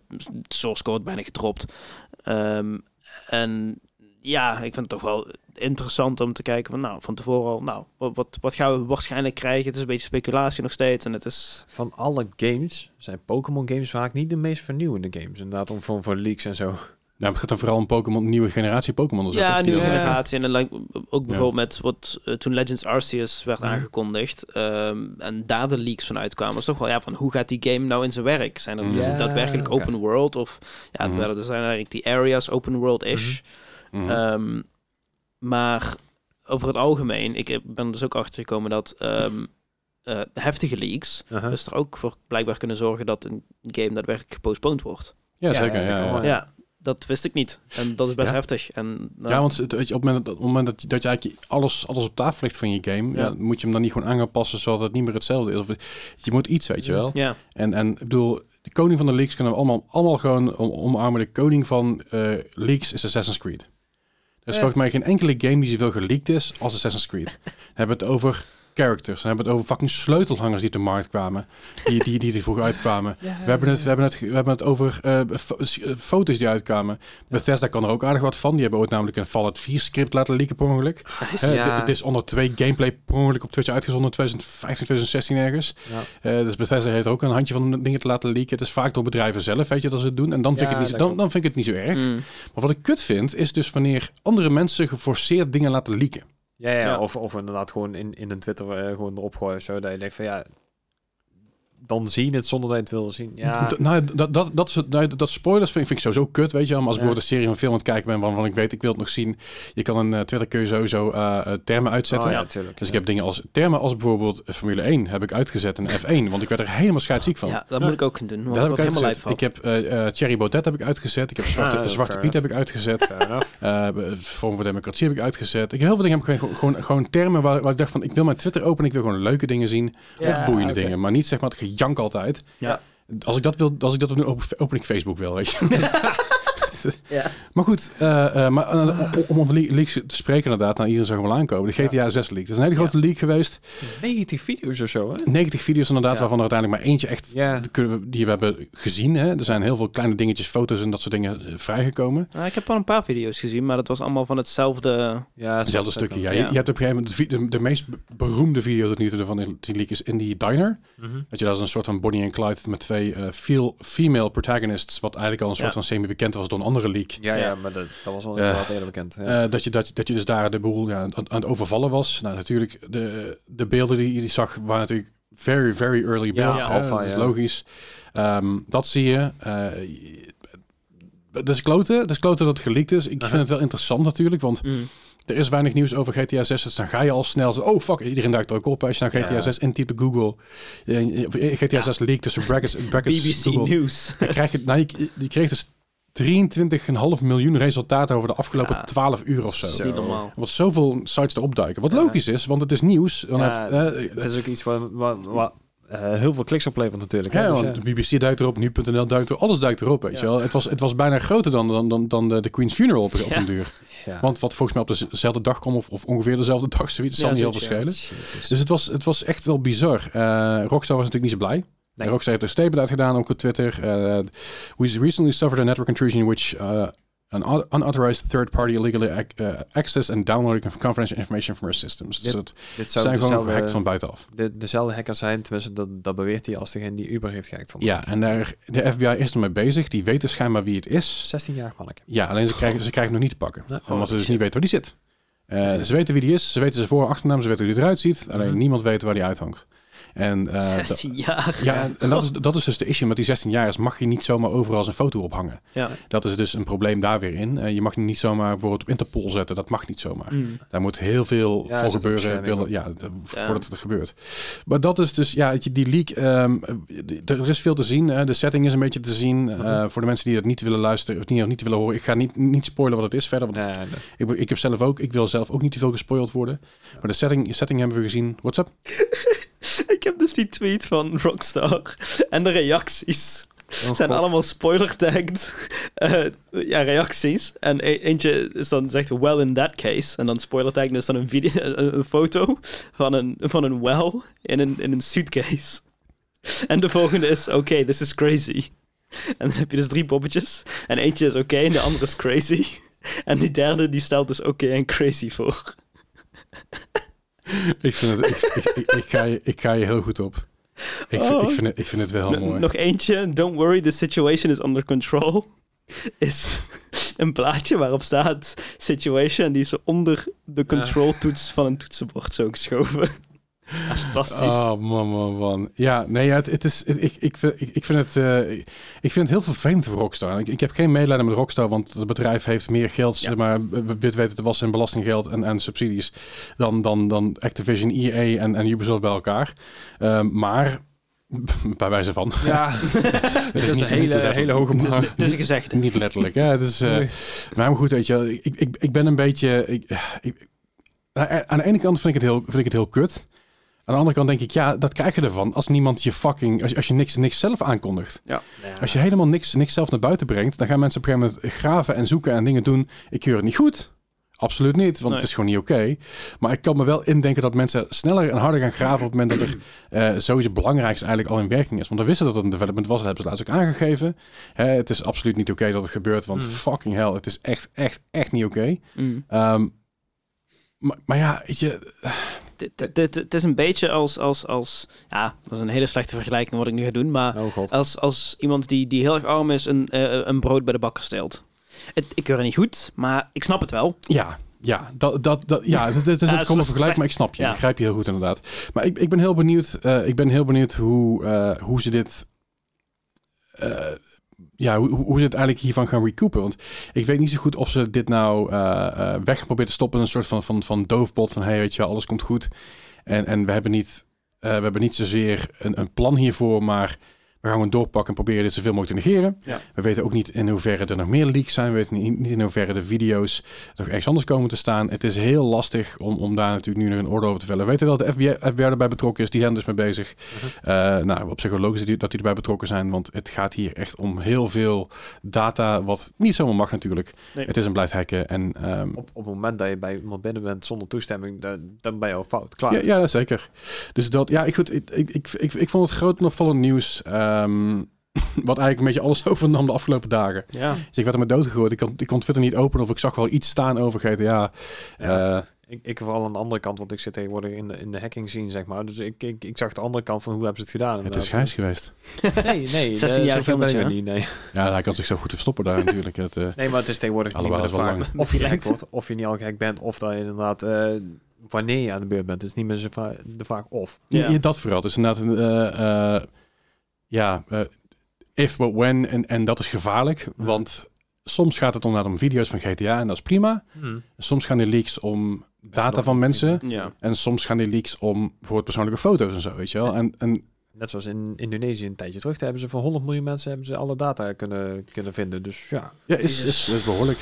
S3: source code bijna gedropt. Ehm, en ja, ik vind het toch wel interessant om te kijken van, nou, van tevoren al, nou, wat, wat, wat gaan we waarschijnlijk krijgen? Het is een beetje speculatie nog steeds en het is...
S2: van alle games zijn Pokémon games vaak niet de meest vernieuwende games. Inderdaad, om van, van leaks en zo.
S1: Nou, het gaat dan vooral om Pokémon, nieuwe generatie Pokémon. dus ook,
S3: Ja,
S1: hè?
S3: nieuwe
S1: Die-
S2: Ja.
S3: generatie. En dan lijkt- ook bijvoorbeeld met wat eh, toen Legends Arceus werd
S2: Mhm.
S3: aangekondigd. ehm, en daar de leaks van uitkwamen. Was toch wel ja, van hoe gaat die game nou in zijn werk? Zijn er,
S1: Mhm.
S3: is het
S2: Ja,
S3: daadwerkelijk
S2: oké.
S3: open world? Of ja,
S1: Mhm.
S3: er zijn eigenlijk die areas open world-ish.
S1: Mhm.
S3: Ehm, maar over het algemeen, ik heb- ben er dus ook achter gekomen dat ehm, eh, heftige leaks.
S2: Aha.
S3: Dus er ook voor blijkbaar kunnen zorgen dat een game daadwerkelijk gepostponed wordt.
S1: ja,
S2: Ja,
S1: zeker.
S2: dat
S1: Ja, Oh
S2: kan
S1: ja.
S2: wel.
S1: Ja.
S3: Ja, dat wist ik niet. En dat is best
S1: Ja.
S3: heftig. En, nou,
S1: Ja, want het- weet je, op het moment, dat- op het moment dat, je- dat je eigenlijk alles, alles op tafel legt van je game, ja.
S3: Ja.
S1: moet je hem dan niet gewoon aan gaan passen zodat het niet meer hetzelfde is. Of, je moet iets, weet je wel.
S3: ja.
S1: En, en ik bedoel, de koning van de leaks kunnen we allemaal, allemaal gewoon om- omarmen. De koning van eh, leaks is Assassin's Creed. Er is
S2: Ja.
S1: volgens mij geen enkele game die zoveel geleakt is als Assassin's Creed. Dan hebben we het over characters. Dan hebben we het over fucking sleutelhangers die op de markt kwamen. Die, die, die er vroeger uitkwamen. We hebben, het, we, hebben het, ge- we hebben het over eh, fo- s- eh, foto's die uitkwamen. Bethesda kan er ook aardig wat van. Die hebben ooit namelijk een Fallout 4 script laten leaken per ongeluk.
S3: Nice.
S1: Hè,
S2: Ja.
S1: d- Dishonored 2 gameplay per ongeluk op Twitch uitgezonden 2015, 2016 ergens.
S2: Ja.
S1: Eh, dus Bethesda heeft er ook een handje van om dingen te laten leaken. Het is vaak door bedrijven zelf, weet je, dat ze het doen. En dan vind,
S2: Ja,
S1: ik, het niet,
S2: dat
S1: dan,
S2: klopt.
S1: dan vind ik het niet zo erg.
S3: Mm.
S1: Maar wat ik kut vind, is dus wanneer andere mensen geforceerd dingen laten leaken.
S2: Ja, ja,
S3: Ja.
S2: Of, of inderdaad gewoon in, in een Twitter eh, gewoon erop gooien of zo. Dat je denkt van ja, dan zie je het zonder dat je het wil zien. Ja,
S1: D- nou, dat, dat, dat, is het- nou, dat spoilers vind, vind ik sowieso kut, weet je wel. Maar als ik
S2: Ja.
S1: bijvoorbeeld een serie of een film aan het kijken ben, waarvan ik weet, ik wil het nog zien. Je kan een eh, Twitter kun je sowieso eh, eh, termen uitzetten.
S2: Oh, ja, natuurlijk.
S1: Dus ik heb dingen als termen als bijvoorbeeld Formule 1 heb ik uitgezet en F1, want ik werd er helemaal scheidsziek van.
S3: Ja, dat moet ik ook gaan doen. Want
S1: Dat heb ik
S3: helemaal lijp
S1: uitgezet.
S3: van.
S1: Ik heb eh eh Thierry Baudet heb ik uitgezet. Ik heb Zwarte,
S2: Ah,
S1: Zwarte
S2: fair
S1: Piet heb ik uitgezet.
S2: Fair enough.
S1: eh Vorm voor Democratie heb ik uitgezet. Ik heb heel veel dingen heb ik gewoon, gewoon, gewoon termen waar, waar ik dacht van... ik wil mijn Twitter openen, ik wil gewoon leuke dingen zien. of boeiende
S2: oké.
S1: dingen. Maar niet zeg maar het gejank altijd.
S3: Ja.
S1: Als ik dat wil, als ik dat wil doen, open, open ik Facebook wel, weet je.
S3: Ja.
S1: Maar goed, eh, eh, maar, eh, om over le- leaks te spreken inderdaad... nou, iedereen zag hem wel aankomen. De GTA 6 leak. Dat is een hele grote leak geweest.
S2: 90 video's of zo, hè?
S1: 90 video's inderdaad,
S3: Ja.
S1: waarvan er uiteindelijk maar eentje echt...
S2: Ja.
S1: kunnen we- die we hebben gezien. Hè? Er zijn heel veel kleine dingetjes, foto's en dat soort dingen eh, vrijgekomen.
S3: Nou, ik heb al een paar video's gezien, maar dat was allemaal van hetzelfde.
S2: ja
S1: Hetzelfde stukje, ja. Je,
S3: Ja.
S1: je hebt op een gegeven moment de, vi- de, de meest be- beroemde video tot nu toe van die leak is in die diner. Weet je, dat is een soort van Bonnie en Clyde met twee eh, veel female protagonists, wat eigenlijk al een soort
S3: Ja.
S1: van semi-bekend was door een andere leak.
S2: Ja,
S3: Ja.
S2: ja, maar dat, dat was al
S1: Ja.
S2: inderdaad eerder bekend. Ja.
S1: Eh, dat, je, dat, dat je dus daar de boel ja, aan, aan het overvallen was. Nou, natuurlijk, de, de beelden die je zag waren natuurlijk very, very early beelden.
S2: ja,
S1: hè,
S2: alpha,
S1: dat is
S2: ja.
S1: logisch. Ehm, dat zie je. Eh, dat is kloten. Dat is kloten dat het geleakt is. Ik
S2: Aha.
S1: vind het wel interessant natuurlijk, want
S3: mm,
S1: er is weinig nieuws over GTA 6, dus dan ga je al snel zo, oh fuck, iedereen duikt er ook op. Als je nou GTA
S2: Ja.
S1: 6 intypt op Google, eh, eh, GTA 6 leak tussen brackets, brackets
S3: BBC
S1: Google,
S3: News.
S1: dan krijg je, nou, je, je kreeg dus 23,5 miljoen resultaten over de afgelopen
S3: Ja.
S1: 12 uur of zo.
S2: Zo.
S3: Niet normaal.
S1: Wat zoveel sites erop duiken. Wat
S2: Ja.
S1: logisch is, want het is nieuws. Want
S2: Ja,
S1: het, eh,
S2: het is ook iets waar, waar, waar, eh, heel veel kliks oplevert natuurlijk. hè,
S1: ja,
S2: dus
S1: want de BBC duikt erop, nu.nl duikt erop, alles duikt erop, weet
S2: Ja.
S1: je wel. Het was, het was bijna groter dan, dan, dan, dan de, de Queen's Funeral op, op
S3: Ja.
S1: een duur.
S2: ja.
S1: Want wat volgens mij op dezelfde dag kwam, of, of ongeveer dezelfde dag, zoiets,
S3: Ja,
S1: zal niet heel veel
S3: zoiets, ja.
S1: schelen.
S2: Jezus.
S1: Dus het was, het was echt wel bizar. Eh Rockstar was natuurlijk niet zo blij.
S2: Nee.
S1: Rockstar heeft een statement uitgedaan, ook op Twitter. Eh, we recently suffered a network intrusion in which eh, an un- unauthorized third party illegally ac- eh, accessed and downloaded conf- confidential information from our systems. Dus
S2: Dit
S1: het
S2: dit zou
S1: zijn gewoon
S2: dezelfde-
S1: gehackt van buitenaf.
S2: de, dezelfde hackers zijn, tenminste dat, dat beweert hij als degene die Uber heeft gehackt. Van.
S1: Ja, en daar, de FBI is ermee bezig. Die weten schijnbaar wie het is.
S2: 16 jaar manneke.
S1: Ja, alleen ze krijgen, ze krijgen hem nog niet te pakken.
S2: Nou,
S1: omdat ze dus
S2: shit.
S1: niet weten waar die zit. Eh,
S2: Ja.
S1: Ze weten wie die is, ze weten zijn voor- en achternaam, ze weten hoe die eruit ziet. Alleen
S2: Mhm.
S1: niemand weet waar die uithangt. En, eh, dat-
S3: 16 jaar.
S1: Ja, en- en dat is, dat is dus de issue. Met die 16 jaar is mag je niet zomaar overal zijn foto ophangen.
S3: Ja.
S1: Dat is dus een probleem daar weer in. Eh, je mag niet zomaar bijvoorbeeld op Interpol zetten. Dat mag niet zomaar.
S3: Mm.
S1: Daar moet heel veel
S2: Ja,
S1: voor
S2: zit ook
S1: gebeuren.
S2: bescherming
S1: Willen,
S2: op.
S1: ja, de-
S3: Ja.
S1: voordat het er gebeurt. Maar dat is dus, ja, weet je, die leak. ehm, d- er is veel te zien. hè. de setting is een beetje te zien. Eh,
S2: Mhm.
S1: voor de mensen die dat niet willen luisteren of niet, of niet willen horen. Ik ga niet, niet spoilen wat het is verder. Want
S2: Nee, nee.
S1: ik, ik heb zelf ook, ik wil zelf ook niet te veel gespoild worden. Maar de setting, setting hebben we gezien. What's up?
S3: Ik heb dus die tweet van Rockstar en de reacties.
S2: Oh,
S3: zijn allemaal spoiler-tagged eh, ja, reacties. En e- eentje is dan zegt, well in that case. En dan spoiler-tagged is dan een, video, een, een foto van een, van een well in een, in een suitcase. En de volgende is, oké, this is crazy. En dan heb je dus drie poppetjes. En eentje is oké en de andere is crazy. En die derde die stelt dus oké en crazy voor.
S1: Ik, vind het, ik, ik, ik, ik ga je, ik ga je heel goed op. Ik, vind-
S3: Oh.
S1: ik, vind, het, ik vind het wel
S3: N-
S1: mooi.
S3: Nog eentje. Don't worry, the situation is under control. Is een plaatje waarop staat situation. Die is onder de control
S2: Ah.
S3: toets van een toetsenbord zo geschoven. Ja, Fantastisch.
S1: Oh, man, man, man. Ja, nee, ja, het, het is, het- ik, ik, vind- ik, ik vind het, eh, ik vind het heel vervelend voor Rockstar. Ik, ik heb geen medelijden met Rockstar, want het bedrijf heeft meer geld,
S3: Ja.
S1: zeg maar, we- wit weten te wassen in belastinggeld en, en subsidies, dan, dan, dan Activision, EA en, en Ubisoft bij elkaar. Ehm, maar, bij wijze van,
S2: Ja,
S1: is
S2: dat is
S1: niet-
S2: een hele,
S1: niet te
S2: hele hoge
S3: D- d-
S2: bar.
S3: Het is een gezegde.
S1: niet letterlijk. Hè? Het is, eh,
S2: Nee.
S1: Nou, maar goed, weet je, wel, ik, ik, ik ben een beetje. Ik, ik- nou, aan de ene kant vind ik, het heel, vind ik het heel kut. Aan de andere kant denk ik, ja, dat krijg je ervan als niemand je fucking. Als, je- als je niks, niks zelf aankondigt. Als je helemaal niks, niks zelf naar buiten brengt, dan gaan mensen op een gegeven moment graven en zoeken en dingen doen. Ik keur het niet goed. Absoluut niet, want
S3: Nee.
S1: het is gewoon niet oké. Maar ik kan me wel indenken dat mensen sneller en harder gaan graven op het moment dat er eh sowieso het belangrijkste eigenlijk al in werking is. Want we wisten dat het een development was, dat hebben ze laatst ook aangegeven. Hè, het is absoluut niet oké dat het gebeurt, want
S2: Mm.
S1: fucking hell, het is echt, echt, echt niet oké.
S3: Mm.
S1: Ehm, maar, maar ja, weet je,
S3: Dit- dit- dit- Het is een beetje als, als, als... Ja, dat is een hele slechte vergelijking wat ik nu ga doen, maar...
S2: Oh god.
S3: Als, als iemand die, die heel erg arm is een, eh, een brood bij de bakker steelt. Het, ik keur het niet goed, maar ik snap het wel.
S1: ja, ja, dat, dat, dat, ja, het, het is
S3: Ja,
S1: een
S3: het
S1: kromme
S3: is een
S1: vergelijk,
S3: slecht-
S1: maar ik snap je,
S3: ja.
S1: ik begrijp je heel goed inderdaad. Maar ik, ik ben heel benieuwd, eh, ik ben heel benieuwd hoe, eh, hoe ze dit... eh, ja, hoe, hoe ze het eigenlijk hiervan gaan recoupen. Want ik weet niet zo goed of ze dit nou eh, eh, weg proberen te stoppen. in Een soort van, van, van doofpot van... hey, weet je wel, alles komt goed. En, en we, hebben niet, eh, we hebben niet zozeer een, een plan hiervoor... maar we gaan gewoon doorpakken en proberen dit zoveel mogelijk te negeren.
S3: Ja.
S1: We weten ook niet in hoeverre er nog meer leaks zijn. We weten niet, niet in hoeverre de video's nog ergens anders komen te staan. Het is heel lastig om, om daar natuurlijk nu nog een oordeel over te vellen. We weten wel dat de FBI, FBI erbij betrokken is. Die zijn er dus mee bezig.
S2: Mhm.
S1: Eh, nou, op zich wel logisch dat die, dat die erbij betrokken zijn. Want het gaat hier echt om heel veel data, wat niet zomaar mag natuurlijk.
S3: Nee.
S1: Het is een blijft hacken. En, ehm,
S2: Op, op het moment dat je bij iemand binnen bent zonder toestemming, dan, dan ben je al fout. Klaar.
S1: ja, ja, zeker. Dus dat, ja, ik, goed, ik, ik, ik, ik, ik vond het groot en opvallend nieuws. ehm, wat eigenlijk een beetje alles overnam de afgelopen dagen.
S3: Ja.
S1: Dus ik werd ermee doodgegooid. Ik kon, ik kon Twitter niet openen of ik zag wel iets staan over GTA.
S2: Ja.
S1: Eh,
S2: Ik, ik vooral aan de andere kant, want ik zit tegenwoordig in de, in de hacking scene, zeg maar. Dus ik, ik, ik zag de andere kant van hoe hebben ze het gedaan.
S1: het is
S2: inderdaad.
S1: grijs geweest.
S2: Nee, nee.
S3: 16
S2: eh,
S3: jaar
S2: zover ben ik
S3: jongetje,
S2: er
S3: hè?
S2: niet, nee.
S1: Ja, hij kan zich zo goed verstoppen daar natuurlijk. Het, eh,
S2: Nee, maar het is tegenwoordig
S1: Alhoewel,
S2: niet meer
S1: dat
S2: de
S1: is wel
S2: vraag of je
S3: Lijkt.
S2: gehackt wordt, of je niet al gehackt bent, of dat je inderdaad eh, wanneer je aan de beurt bent. Het is niet meer zo va- de vraag of.
S3: Ja.
S1: ja, dat vooral. Dus inderdaad, eh, eh, ja, eh, if but when. En, en dat is gevaarlijk. Want soms gaat het inderdaad om video's van GTA en dat is prima.
S2: Hmm.
S1: Soms gaan die leaks om data
S2: nog
S1: van
S2: niet
S1: mensen.
S3: ja.
S1: En soms gaan die leaks om bijvoorbeeld persoonlijke foto's en zo, weet je wel. En, en
S2: Net zoals in Indonesië een tijdje terug, daar hebben ze van 100 miljoen mensen hebben ze alle data kunnen, kunnen vinden. Dus ja.
S1: ja, is, is, is behoorlijk.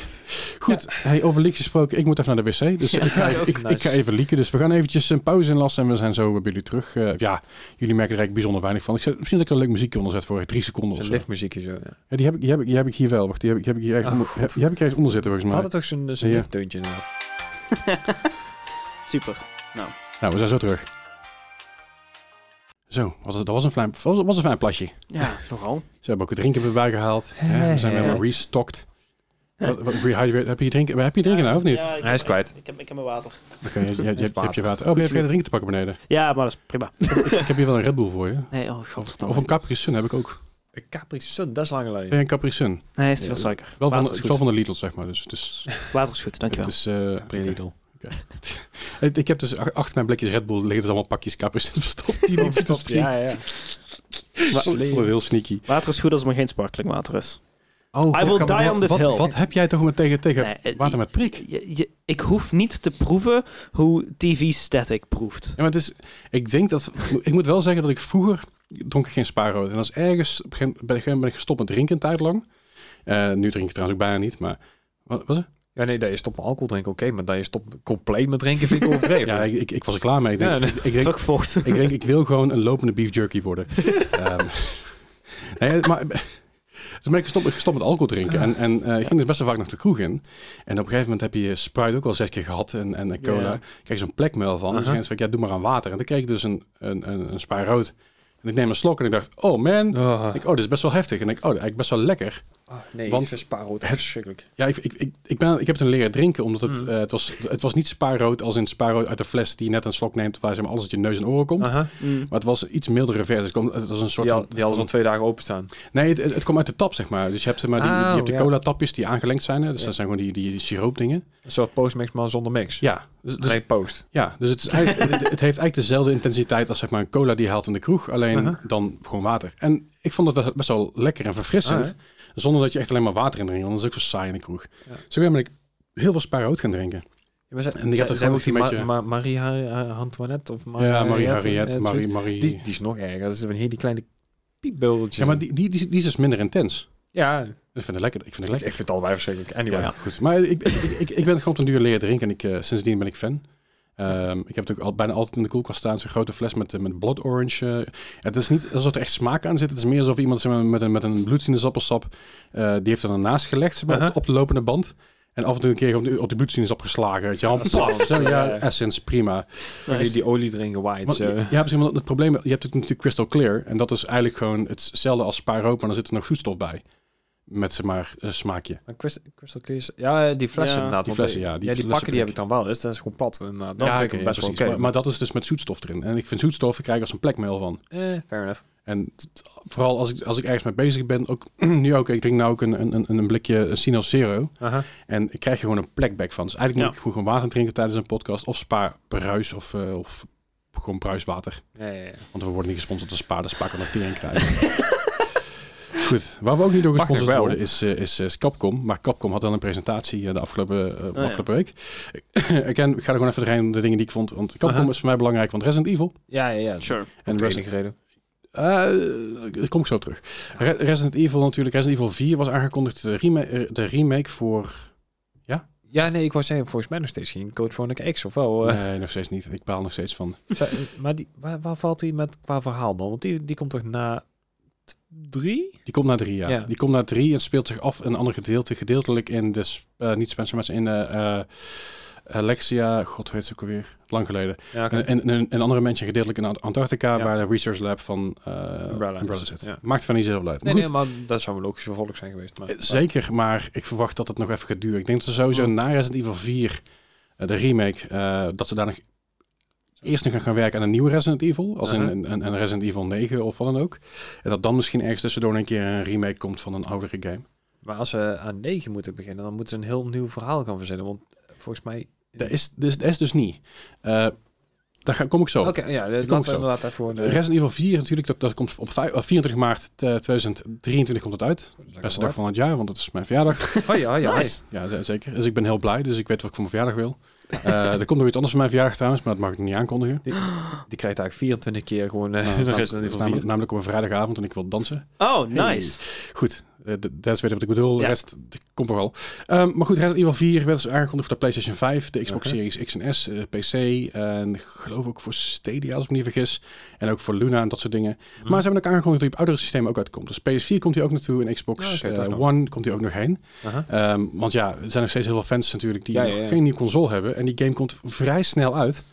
S1: Goed, hey, over leaks gesproken. Ik moet even naar de wc. Dus ik, ga even, ik,
S2: Nice.
S1: ik ga even leaken. Dus we gaan eventjes een pauze inlassen. En we zijn zo bij jullie terug. Eh, ja, jullie merken er eigenlijk bijzonder weinig van. Ik zet, misschien dat ik er een leuk muziekje onder zet voor drie seconden of
S2: Zo'n
S1: zo.
S2: liftmuziekje zo. Ja.
S1: Ja, die, heb ik, die, heb ik, die heb ik hier wel. Wacht, die heb ik, die heb ik hier ergens
S2: Oh,
S1: onder, die heb ik ergens onder zitten
S2: We
S1: volgens mij.
S2: hadden toch zo'n zo'n
S1: Ja.
S2: liftteuntje inderdaad.
S3: Super.
S1: Nou, we zijn zo terug. Zo, was het, dat was een fijn, was, was een fijn plasje.
S3: Ja, nogal.
S1: Ze hebben ook het drinken erbij gehaald. Hè, we zijn
S2: Ja.
S1: helemaal restocked. Wat, wat, rehydrate- heb je drinken, heb je drinken nou of niet?
S3: Ja, ik-
S2: Hij is kwijt.
S3: Ik heb, ik heb mijn water.
S1: Oké, je, je, je, je hebt je
S2: water.
S1: water. Oh, ben je vergeten drinken te pakken beneden?
S3: Ja, maar dat is prima.
S1: Ik heb hier wel een Red Bull voor je.
S3: Nee, oh
S1: Of,
S3: god.
S1: of een Capri Sun heb ik ook.
S2: Een Capri Sun, dat is lang geleden.
S1: Ben je een Capri Sun?
S3: Nee, is te veel suiker.
S1: Wel van,
S3: Water is
S1: wel
S3: goed.
S1: van de Lidl, zeg maar. Dus het is...
S3: Water is goed, dankjewel.
S1: Het is eh,
S2: Capri
S1: oké.
S2: Lidl.
S1: Oké. ik ik heb dus ach- achter mijn blikjes Red Bull liggen dus allemaal pakjes Capri Sun verstopt. Die niet te
S2: Stop,
S1: drinken.
S2: ja, ja.
S1: Ik vond het heel sneaky.
S3: Water is goed als het maar geen sparkling water is.
S2: Oh,
S3: I
S2: god,
S3: will
S2: kan
S3: die
S2: dat-
S3: on this
S1: Wat,
S3: hill.
S1: wat heb jij toch met tegen, tegen
S3: Nee, eh,
S1: water met prik? Ja,
S3: Je- je- ik hoef niet te proeven hoe TV-static proeft.
S1: maar het is, ik denk dat, ik moet wel zeggen dat ik vroeger dronk ik geen spaarrood. En als ergens, op een gegeven moment ben ik gestopt met drinken een tijd lang. Eh, nu drink ik trouwens ook bijna niet, maar wat was het?
S2: Ja, nee, dat je stopt met alcohol drinken, oké. maar dat je stopt compleet met drinken vind ik overdreven.
S1: Ja, ik, ik, ik was er klaar mee. Ik denk,
S2: Ja, nee.
S1: ik, ik denk,
S3: Fuck vocht.
S1: ik denk, ik wil gewoon een lopende beef jerky worden. Ehm, nee, maar eh, toen ben ik gestopt, gestopt met alcohol drinken. En, en eh, ik ging dus best wel vaak nog de kroeg in. En op een gegeven moment heb je Sprite ook al zes keer gehad en, en, en cola.
S2: Ja.
S1: Ik kreeg zo'n plekmuil van. Dus
S2: Aha.
S1: ik zei, ja, doe maar aan water. En toen kreeg ik dus een, een, een, een spaar rood. En ik neem een slok en ik dacht, oh man.
S2: Ah.
S1: Ik, oh, dit is best wel heftig. En ik, oh, eigenlijk best wel lekker.
S2: Ah, nee,
S1: Want-
S2: want spaarrood is verschrikkelijk.
S1: Ja, ik, ik, ik, ik, ben, ik heb het een leren drinken, omdat het,
S2: Mm.
S1: eh, het, was, het was niet spaarrood als in spaarrood uit de fles die je net een slok neemt, waar zeg maar, alles uit je neus en oren komt.
S2: Aha.
S3: Mm.
S1: Maar het was iets mildere versie. Het, kwam- het was een soort
S2: Die,
S1: van...
S2: al, die hadden al twee dagen openstaan.
S1: Nee, het, het, het kwam uit de tap, zeg maar. Dus je hebt, zeg maar, die, die- je hebt de
S2: Oh, ja.
S1: cola-tapjes die aangelengd zijn. Hè? Dus
S2: Ja.
S1: dat zijn gewoon die, die, die siroopdingen.
S2: Een soort postmix, maar zonder mix.
S1: Ja. Dus, dus-
S2: nee, post.
S1: ja, dus het, is eigenlijk, het, het heeft eigenlijk dezelfde intensiteit als zeg maar, een cola die je haalt in de kroeg. Alleen
S2: Aha.
S1: dan gewoon water. En ik vond het best- best wel lekker en verfrissend.
S2: Ah,
S1: zonder dat je echt alleen maar water in drinkt. Want dat is ook zo saai in de kroeg.
S2: Ja.
S1: Zo ben ik heel veel spaarrood gaan drinken.
S2: Ja, maar zij,
S1: En die had
S2: zij,
S1: er
S2: zij
S1: gewoon
S2: ook die
S1: een
S2: Ma-
S1: beetje-
S2: Ma- Marie Har- Antoinette of Marie
S1: ja, Marie
S2: Harriet,
S1: Harriet,
S2: eh,
S1: Marie...
S2: zoiets.
S1: Marie...
S2: Die, die is nog erger. Dat is een hele kleine piepbeultje.
S1: ja, maar die, die, die, die is dus minder intens.
S2: Ja, ik
S1: Ik vind het lekker. Ik vind het
S2: ik
S1: lekker.
S2: vind het allebei verschrikkelijk. Anyway.
S1: Ja, goed. Maar ik, ik, ik, ik- ik ben gewoon op een duur leren drinken en ik, eh, sindsdien ben ik fan. Ehm, ik heb het ook al, bijna altijd in de koelkast staan, zo'n grote fles met, eh, met blood orange. eh. het is niet alsof er echt smaak aan zit. Het is meer alsof iemand zeg maar, met een, met een bloedsinusappelsap, eh, die heeft er dan naast gelegd zeg maar, op de-
S2: Aha.
S1: op, de lopende band. En af en toe een keer op de, op de bloedsinaasappel geslagen. Weet je, wel. Paf, zo, ja,
S2: Ja.
S1: essence, prima.
S2: Die, die olie drinken white.
S1: Want, je, je hebt zeg maar, het probleem, je hebt het natuurlijk crystal clear. En dat is eigenlijk gewoon hetzelfde als spaarrood, maar dan zit er nog zoetstof bij. Met zeg maar eh, smaakje.
S2: Maar Crystal, Crystal Clear is- Ja, eh, die flessen
S3: Ja.
S2: inderdaad.
S1: Die
S2: want
S1: flessen, ja, die
S2: Die, ja, die
S1: flessen
S2: pakken die
S1: drink
S2: heb ik dan wel. Dus dat is gewoon pad. En, dan
S1: ja,
S2: vind ik
S1: oké,
S2: hem best wel
S1: precies.
S2: oké.
S1: maar, maar dat is dus met zoetstof erin. En ik vind zoetstof, ik krijg als een plekmeel van.
S2: Eh, fair enough.
S1: En t- vooral als ik, als ik ergens mee bezig ben, ook nu ook, ik drink nou ook een, een, een- een blikje Sinos Zero.
S2: Aha.
S1: En ik krijg er gewoon een plekback van. Dus eigenlijk moet
S3: Ja.
S1: ik gewoon water drinken tijdens een podcast. Of spa bruis of, eh, of gewoon bruiswater.
S2: Ja, ja, ja.
S1: Want we worden niet gesponsord door spa, dus spa kan er tering krijgen. Goed, waar we ook niet door
S2: Mag
S1: gesponsord
S2: nog wel.
S1: worden is, eh, is, eh, is Capcom. Maar Capcom had dan een presentatie eh, de afgelopen, eh,
S2: Oh,
S3: ja.
S1: afgelopen week. Ik, ken- ik ga er gewoon even doorheen de dingen die ik vond. Want Capcom
S2: Aha.
S1: is voor mij belangrijk, want Resident Evil...
S2: Ja, ja, ja.
S3: Sure.
S1: En
S2: En
S1: Resident
S2: enige reden.
S1: eh, daar kom ik zo op terug. Re- Resident Evil natuurlijk. Resident Evil 4 was aangekondigd. De, rema- eh, de remake voor...
S2: Ja, nee, ik wou zeggen, volgens mij nog steeds geen Code Veronica X of wel. eh.
S1: Nee, nog steeds niet. Ik baal nog steeds van.
S2: Zou- eh, maar die, waar, waar valt die met qua verhaal dan? Want die, die komt toch na t- drie?
S1: Die komt na 3, ja.
S2: Ja.
S1: Die komt na 3 en het speelt zich af in een ander gedeelte. Gedeeltelijk in de... sp- eh, niet Spencer, maar in eh, eh, Alexia... God weet ze ook alweer. Lang geleden.
S2: Ja, oké.
S1: En, en, en een andere mensen gedeeltelijk in Ant- Antarctica,
S2: Ja.
S1: waar de research lab van eh, Umbrella,
S2: Umbrella is.
S1: zit.
S2: Ja.
S1: Maakt van niet zoveel uit. Maar
S2: nee,
S1: goed,
S2: nee, maar dat zou een logisch vervolg zijn geweest. Maar,
S1: Eh, Zeker, maar ik verwacht dat het nog even gaat duren. Ik denk dat ze sowieso
S2: Hmm.
S1: na Resident Evil 4, eh, de remake, eh, dat ze daar nog eerst nog gaan gaan werken aan een nieuwe Resident Evil. Als
S2: Aha.
S1: in een, een, een Resident Evil 9 of wat dan ook. En dat dan misschien ergens tussendoor een keer een remake komt van een oudere game.
S2: Maar als ze aan 9 moeten beginnen, dan moeten ze een heel nieuw verhaal gaan verzinnen. Want eh, volgens mij...
S1: Dat is, dus, dat is dus niet. Eh, daar ga, kom ik zo. op.
S2: Oké, ja, dat
S1: kom ik
S2: laten
S1: zo.
S2: we inderdaad even gewoon... eh,
S1: Resident Evil 4 natuurlijk, dat, dat komt op vijf- eh, 24 maart eh, 2023 komt dat uit.
S2: dat is
S1: Beste
S2: lekker Oh
S1: dag van het jaar, want dat is mijn verjaardag.
S2: wat. Hoi, hoi, hoi.
S3: Nice.
S1: Ja, z- zeker. Dus ik ben heel blij. Dus ik weet wat ik voor mijn verjaardag wil. Eh, er komt nog iets anders voor mijn verjaardag trouwens, maar dat mag ik nog niet aankondigen.
S2: Die krijgt eigenlijk 24 keer gewoon eh
S1: Nou,
S2: de
S1: namelijk-
S2: rest van die
S1: namelijk,
S2: vier.
S1: namelijk op een vrijdagavond en ik wil dansen.
S3: Oh,
S1: Hey.
S3: nice.
S1: Goed, eh, d- dat is weer wat ik bedoel. De
S3: Ja.
S1: rest d- komt er wel. Ehm, maar goed, Resident Evil 4 werd dus aangekondigd voor de PlayStation 5, de Xbox
S2: Oké.
S1: Series X en S, eh, PC en ik geloof ook voor Stadia als ik me niet vergis. En ook voor Luna en dat soort dingen.
S2: Hm.
S1: Maar ze hebben ook aangekondigd dat hij op oudere systemen ook uitkomt. Dus PS4 komt hij ook naartoe en Xbox
S2: Ja, oké, dat is
S1: eh,
S2: nog-
S1: One komt hij ook nog heen.
S2: Aha.
S1: Ehm, want ja, er zijn nog steeds heel veel fans natuurlijk die
S2: Ja, ja, ja.
S1: nog geen nieuwe console hebben. En die game komt vrij snel uit.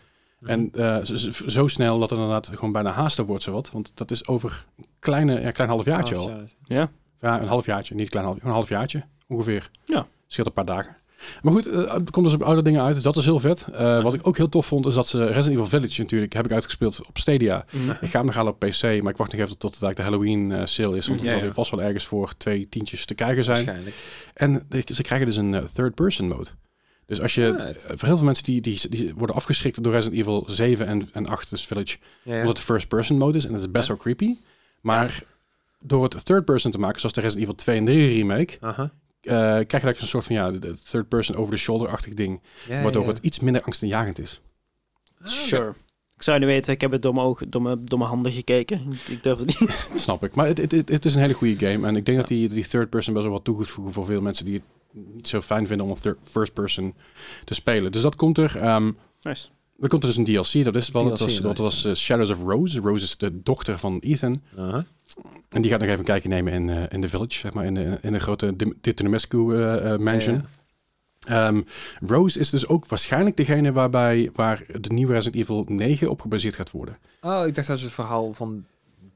S2: Oh,
S1: En eh, z- z- zo snel dat het inderdaad gewoon bijna haasten wordt zowat. Want dat is over een kleine, ja, klein halfjaartje al.
S2: Half jaar.
S3: Ja.
S1: Ja, een halfjaartje, niet een klein half, gewoon een halfjaartje ongeveer.
S3: Ja.
S1: Scheelt een paar dagen. Maar goed, eh, het komt dus op oude dingen uit, dus dat is heel vet. Eh, wat ik ook heel tof vond, is dat ze Resident Evil Village natuurlijk, heb ik uitgespeeld op Stadia. Ik ga hem nog halen op PC, maar ik wacht nog even tot, tot eigenlijk de Halloween eh, sale is. Want
S2: Ja,
S1: het zal
S2: ja.
S1: weer vast wel ergens voor twee tientjes te krijgen zijn.
S2: Waarschijnlijk.
S1: En de- ze krijgen dus een third-person mode. Dus als je...
S2: Right.
S1: Voor heel veel mensen die, die, die worden afgeschrikt door Resident Evil 7 en, en 8, dus Village,
S2: Ja, ja.
S1: omdat het first-person mode is. En dat is best wel creepy. Maar door het third-person te maken, zoals de Resident Evil 2 en 3 remake,
S2: Aha.
S1: eh, krijg je eigenlijk een soort van ja, de- de third-person over-the-shoulder-achtig ding.
S2: Ja, Ah,
S1: waardoor
S2: ja.
S1: het iets minder angstaanjagend is.
S2: Ah,
S3: Sure. Ik zou niet weten, ik heb het door mijn ogen, door mijn, door mijn handen gekeken. Ik- Ik durf het niet.
S1: Dat snap ik. Maar het, het, het, het is een hele goede game. En ik denk dat die, die third-person best wel wat toegevoegd voor veel mensen die het niet zo fijn vinden om op thir- first person te spelen. Dus dat komt er. Ehm,
S3: Nice.
S1: er komt dus een DLC, dat is wel.
S2: DLC,
S1: Dat was, dat
S2: inderdaad,
S1: was eh, Shadows of Rose. Rose is de dochter van Ethan.
S2: Aha.
S1: En die gaat nog even een kijkje nemen in, eh, in The Village, zeg maar, in de, in de grote Dim- Titanomescu eh, eh, mansion.
S2: Ja,
S1: Ehm, Rose is dus ook waarschijnlijk degene waarbij, waar de nieuwe Resident Evil 9 op gebaseerd gaat worden.
S2: ja. Oh, ik dacht dat ze het verhaal van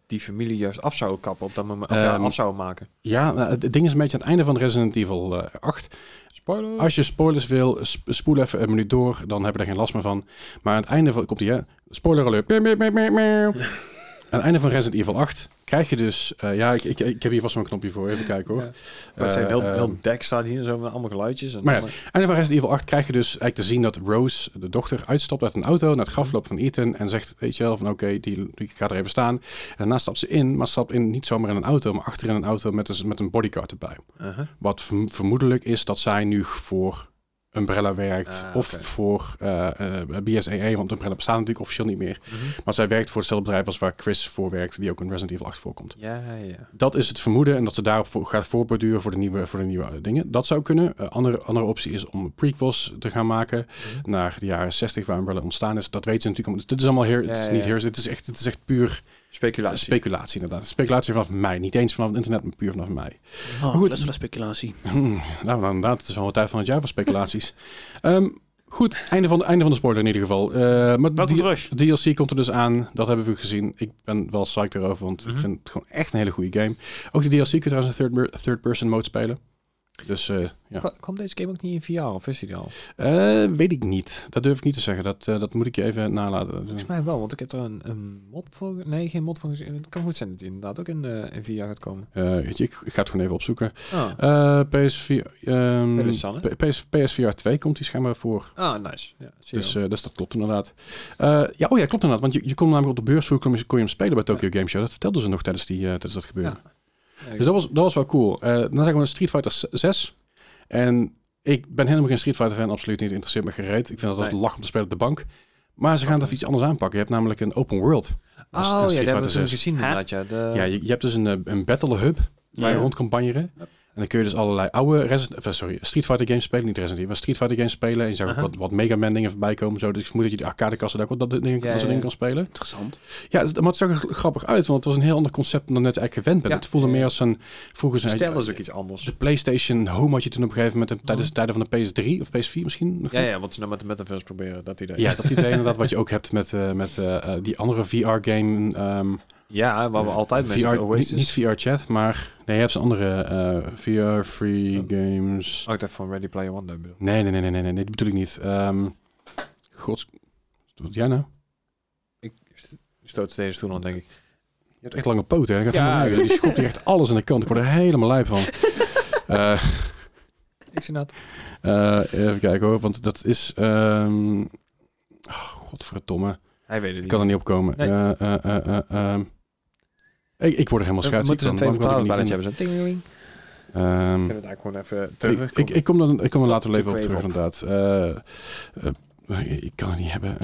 S2: die familie juist af zouden kappen op dat moment. Of ja,
S1: Ehm,
S2: af zouden maken.
S1: Ja, nou, het het ding is een beetje aan het einde van Resident Evil eh, 8.
S2: Spoiler.
S1: Als je spoilers wil, sp- spoel even een minuut door, dan hebben we er geen last meer van. Maar aan het einde van, komt die, hè? Spoiler alert. Meow, meow, meow, meow, meow. aan het einde van Resident Evil 8 krijg je dus... eh, ja, ik, ik, ik heb hier vast wel een knopje voor, even kijken hoor.
S2: Ja. Maar het zijn
S1: Eh,
S2: heel, heel
S1: ehm,
S2: dek staat hier zo met allemaal geluidjes. En
S1: Maar ja,
S2: allemaal-
S1: Einde van Resident Evil 8 krijg je dus eigenlijk te zien dat Rose, de dochter, uitstapt uit een auto naar het grafloop van Ethan en zegt, weet je wel, van oké, die, die gaat er even staan. En daarna stapt ze in, maar stapt in niet zomaar in een auto, maar achter in een auto met een, met een bodyguard erbij.
S2: Aha.
S1: Wat verm- vermoedelijk is dat zij nu voor Umbrella werkt
S2: Ah,
S1: of
S2: oké.
S1: voor eh, eh, BSAA, want Umbrella bestaat natuurlijk officieel niet meer.
S2: Mhm.
S1: Maar zij werkt voor hetzelfde bedrijf als waar Chris voor werkt, die ook in Resident Evil 8 voorkomt.
S2: Ja, ja.
S1: Dat is het vermoeden en dat ze daarop voor, gaat voorborduren voor de nieuwe, voor de nieuwe eh, dingen. Dat zou kunnen. Eh, andere, andere optie is om prequels te gaan maken
S2: Mhm.
S1: naar de jaren 60 waar Umbrella ontstaan is. Dat weten ze natuurlijk. om- Dit is allemaal hier, het
S2: Ja,
S1: is
S2: ja,
S1: niet
S2: ja.
S1: hier. Dit is echt, dit is echt puur
S2: Speculatie.
S1: speculatie inderdaad. Speculatie vanaf mij. Niet eens vanaf het internet, maar puur vanaf mij.
S3: Oh,
S1: goed.
S3: goed. best wel een speculatie.
S1: Hmm, nou, nou, inderdaad, het is wel wat tijd van het jaar voor speculaties. Ehm, goed, einde van, de, einde van de spoiler in ieder geval. Eh, maar
S3: Welkom
S1: die-
S3: terug.
S1: DLC komt er dus aan. Dat hebben we gezien. Ik ben wel psyched erover, want ik
S2: Mhm.
S1: vind het gewoon echt een hele goede game. Ook de DLC kun je trouwens in third, third person mode spelen. Dus eh, ja,
S2: Kwa- Kwam deze game ook niet in VR of is die er al?
S1: Eh, weet ik niet. Dat durf ik niet te zeggen. Dat, eh, dat moet ik je even nalaten.
S2: Volgens mij wel, want ik heb er een, een mod voor... Nee, geen mod voor gezien. Het kan goed zijn dat die inderdaad ook in, eh, in VR gaat komen.
S1: Eh, weet je, ik, ik ga het gewoon even opzoeken.
S2: Ah,
S1: Eh PSV, ehm,
S2: Verder Sanne.
S1: P- PS, PSVR 2 komt die schijnbaar voor.
S2: ah nice. Ja, zie je
S1: Dus,
S2: wel.
S1: eh, dus dat klopt inderdaad. Eh, ja, oh ja, klopt inderdaad. Want je, je kon namelijk op de beurs vroeger kon je- kon je hem spelen bij Tokyo Game Show. Dat vertelden ze nog tijdens, die, eh, tijdens dat gebeuren.
S2: Ja. Ja,
S1: Dus dat was, dat was wel cool. Eh dan zijn we Street Fighter 6. En ik ben helemaal geen Street Fighter fan, absoluut niet. Interesseert me gereed. Ik vind dat altijd
S2: Nee.
S1: lach om te spelen op de bank. Maar ze gaan dat iets anders aanpakken. Je hebt namelijk een open world.
S2: Oh
S1: als- als
S2: ja,
S1: Street
S2: dat hebben we
S1: Fighter
S2: toen
S1: 6.
S2: gezien inderdaad. Ja, de,
S1: Ja, je, je hebt dus een, eh, een battle hub waar je
S3: Ja.
S1: rond kan banjeren.
S2: Yep.
S1: En dan kun je dus allerlei oude Resident, of, eh, sorry, Street Fighter games spelen. Niet Resident Evil, maar Street Fighter games spelen. En je zag ook
S2: Aha.
S1: wat, wat Mega Man dingen voorbij komen. Zo. Dus ik vermoed dat je die arcadekassen daar ook wel dat ding,
S2: Ja,
S1: dat soort
S2: ja,
S1: dingen
S2: ja.
S1: kan spelen.
S3: Interessant.
S1: Ja, het- maar het zag er grappig uit. Want het was een heel ander concept dan net eigenlijk gewend bent.
S2: Ja.
S1: Het voelde
S2: Ja, ja.
S1: meer als een... Vroeger
S2: de
S1: zijn
S2: stijl is ook iets anders.
S1: de PlayStation Home had je toen op een gegeven moment, tijdens de tijden van de PS3 of PS4 misschien nog
S2: Oh. Ja,
S1: niet?
S2: ja, want ze nou met de metaverse proberen dat idee.
S1: Ja, dat idee inderdaad wat je ook hebt met, eh, met eh, eh, die andere VR-game.
S2: ja waar we altijd mee zitten,
S1: Dus niet,
S2: Oasis.
S1: niet VR-chat, maar... Nee, je hebt zo'n andere eh, VR-free games.
S2: Oh, ik dacht van Ready Player One, dat bedoel
S1: Nee, nee, nee, nee, nee, nee, dat bedoel ik niet. Ehm gods... Wat doe jij nou?
S2: ik. Ik stoot steeds toen aan, denk ik.
S1: Je hebt echt lange poten, hè? Dat gaat
S2: Ja.
S1: helemaal nergens. Die schopt hier echt alles aan de kant. Ik word er helemaal lijp van. Eh,
S2: Ik zie dat.
S1: eh, even kijken hoor, want dat is... ehm oh, godverdomme.
S2: Hij weet het
S1: Ik
S2: niet.
S1: kan er niet op komen.
S2: Nee.
S1: Eh, eh, eh, eh, ehm. ik, ik word er helemaal
S2: we
S1: schuitziek
S2: moeten
S1: van.
S2: een
S1: Waarom
S2: tweede betalen
S1: kan
S2: bij
S1: ik er
S2: hebben. Zo'n tingeling. Ik
S1: niet in? Ehm,
S2: heb het eigenlijk gewoon even terug.
S1: Hm. ik, ik, ik kom dan, ik kom er later wel even op
S2: Kom
S1: terug,
S2: even
S1: inderdaad. Eh, eh, ik kan het niet hebben.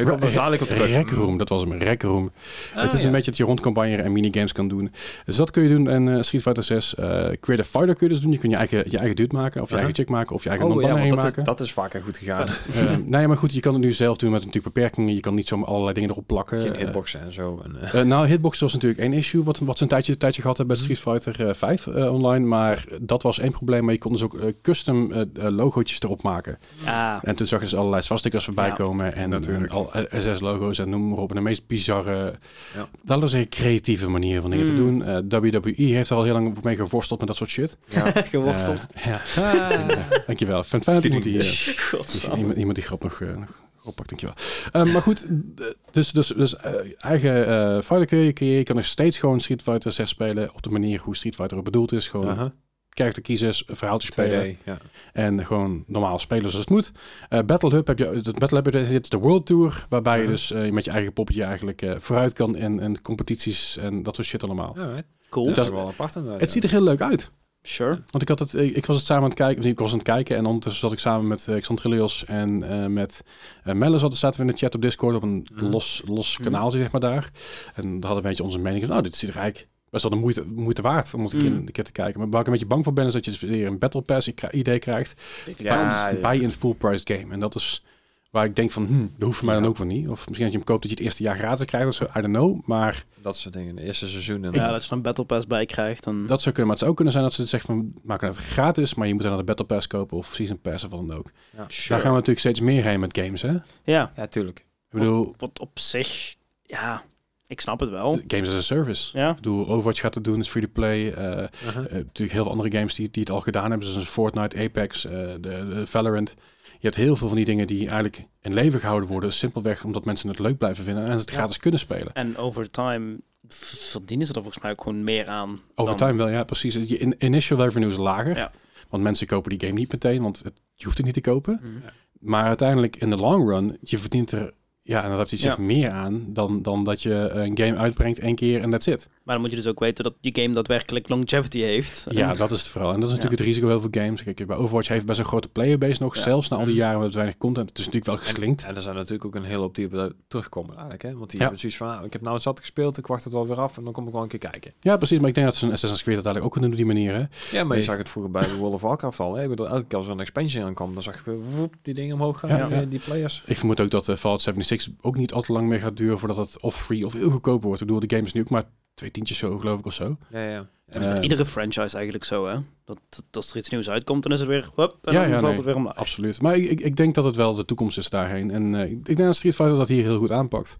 S2: ik kom er zadelijk op terug.
S1: Rekroom, dat was hem. Rekroom.
S2: Ah,
S1: het is
S2: ja.
S1: een beetje dat je rondcampagne en minigames kan doen. Dus dat kun je doen in eh, Street Fighter 6. eh Creative Fighter kun je dus doen. Je kunt je eigen, je eigen dude maken, of je
S2: Aha.
S1: eigen chick maken, of je eigen
S2: Oh ja,
S1: bandana
S2: want dat is,
S1: maken.
S2: dat is vaker goed gegaan.
S1: Eh, nee, maar goed, je kan het nu zelf doen met natuurlijk beperkingen. Je kan niet zomaar allerlei dingen erop plakken.
S2: Geen
S1: Eh,
S2: hitboxen en zo. En, eh,
S1: Eh, nou, hitbox was natuurlijk één issue wat, wat ze een tijdje, tijdje gehad hebben bij
S2: Mhm.
S1: Street Fighter eh, 5 eh, online. Maar dat was één probleem. Maar je kon dus ook eh, custom eh, eh, logootjes erop maken.
S3: Ah,
S1: En toen zag je dus allerlei swastikas voorbij
S3: Ja,
S1: komen. En
S2: natuurlijk.
S1: en al SS-logo's en noem maar op. En de meest bizarre,
S2: Ja.
S1: dat was een creatieve manier van dingen te
S3: Mm.
S1: doen. Eh, WWE heeft er al heel lang mee geworsteld met dat soort shit.
S2: ja.
S3: geworsteld.
S1: Eh, ja,
S2: Ah.
S1: dankjewel. Fun fijn dat iemand die... eh,
S3: Godsam.
S1: Iemand, iemand die grap nog, eh, nog oppakt, dankjewel. Ehm maar goed, d- dus, dus, dus eh, eigen eh fighter kun je creëren. Je kan nog steeds gewoon Street Fighter 6 spelen op de manier hoe Street Fighter ook bedoeld is. Gewoon
S2: Aha.
S1: character kiezers, verhaal te spelen
S2: 2D. Ja.
S1: en gewoon normaal spelen zoals het moet. Eh, Battle Hub heb je, dat Battle Hub dat is de World Tour, waarbij je
S2: Mhm.
S1: dus eh, met je eigen poppetje eigenlijk eh, vooruit kan en, en competities en dat soort shit allemaal.
S2: Alright.
S3: Cool.
S1: Dus
S2: dat
S1: dat-
S2: is wel apart inderdaad.
S1: Het
S2: ja.
S1: ziet er heel leuk uit.
S3: Sure.
S1: Want ik, had het, ik, ik was het samen aan het kijken. of nee, Ik was aan het kijken en ondertussen zat ik samen met eh Xandre Leos en eh, met eh Melle. Zaten, zaten we in de chat op Discord op een
S2: Mhm.
S1: los, los
S2: Mhm.
S1: kanaaltje, zeg maar daar. En daar hadden we een beetje onze mening. van, Nou, dit ziet er eigenlijk best wel de moeite, moeite waard om het een keer-
S3: Mm.
S1: een keer te kijken. Maar waar ik een beetje bang voor ben, is dat je dus weer een Battle Pass ik- idee krijgt
S2: Ja, ja.
S1: bij een full-priced game. En dat is waar ik denk van, hm, dat hoeft voor mij dan
S2: Ja.
S1: ook wel niet. Of misschien als je hem koopt dat je het eerste jaar gratis krijgt of zo, I don't know. Maar
S2: Dat soort dingen. De eerste seizoenen.
S3: Ja, dat je er een Battle Pass bij krijgt.
S2: Hm.
S3: Dan...
S1: Dat zou kunnen, maar het zou ook kunnen zijn dat ze zeggen van, maak het gratis, maar je moet dan de Battle Pass kopen of Season Pass of wat dan ook. Daar gaan we natuurlijk steeds meer heen met games, hè? Ik
S3: Ja,
S2: Ja, tuurlijk.
S1: bedoel,
S3: wat op zich... Ja, ik snap het wel.
S1: games as a service.
S3: Ja,
S1: Ik bedoel, Overwatch gaat het doen, is free-to-play. eh, eh, natuurlijk heel veel andere games die, die het al gedaan hebben, zoals Fortnite, Apex, eh, de, de Valorant. Je hebt heel veel van die dingen die eigenlijk in leven gehouden worden, simpelweg omdat mensen het leuk blijven vinden en ze het
S2: Ja.
S1: gratis kunnen spelen.
S3: en over time v- verdienen ze er volgens mij ook gewoon meer aan.
S1: Over
S3: dan-
S1: time wel, ja, precies. Je in- initial revenue is lager,
S3: Ja.
S1: want mensen kopen die game niet meteen, want het, je hoeft het niet te kopen.
S3: Mm.
S1: Maar uiteindelijk in de long run, je verdient er, ja, en dat heeft hij zegt,
S3: Ja.
S1: meer aan dan, dan dat je een game uitbrengt één keer en that's it.
S3: Maar dan moet je dus ook weten dat die game daadwerkelijk longevity heeft. En-
S1: Ja, dat is het vooral. En dat is natuurlijk het risico heel veel games. Kijk, bij Overwatch heeft best een grote playerbase nog,
S2: Ja.
S1: zelfs na al die jaren met weinig content. Het is natuurlijk wel geslinkt.
S2: En er zijn natuurlijk ook een hele hoop die op- terugkomen eigenlijk. Hè? Want die
S1: Ja.
S2: hebben zoiets van, nou, ik heb nou zat gespeeld, ik wacht het wel weer af en dan kom ik wel een keer kijken.
S1: Ja, precies. Maar ik denk dat ze een Assassin's Creed dat eigenlijk ook kunnen doen op die manier. Hè?
S2: Ja, maar je
S1: Nee.
S2: zag het vroeger bij World of Warcraft al. Hè? Ik bedoel, elke keer als er een expansion aan kwam, dan zag je weer, woep, die dingen omhoog gaan,
S1: Ja,
S2: eh,
S1: ja.
S2: die players.
S1: Ik vermoed ook dat eh, Fallout 76 ook niet al te lang meer gaat duren voordat het of free of heel goedkoop wordt. Ik bedoel, de game is nu ook maar twee tientjes zo, geloof ik, of zo.
S2: Ja, ja.
S1: Eh,
S3: Iedere franchise eigenlijk zo, hè? Dat, dat- als er iets nieuws uitkomt, dan is het weer... Hup, en
S1: Ja, ja,
S3: dan valt
S1: nee.
S3: het weer omlaag.
S1: Absoluut. Maar ik, ik, ik denk dat het wel de toekomst is daarheen. En eh, ik denk dat Street Fighter dat hier heel goed aanpakt.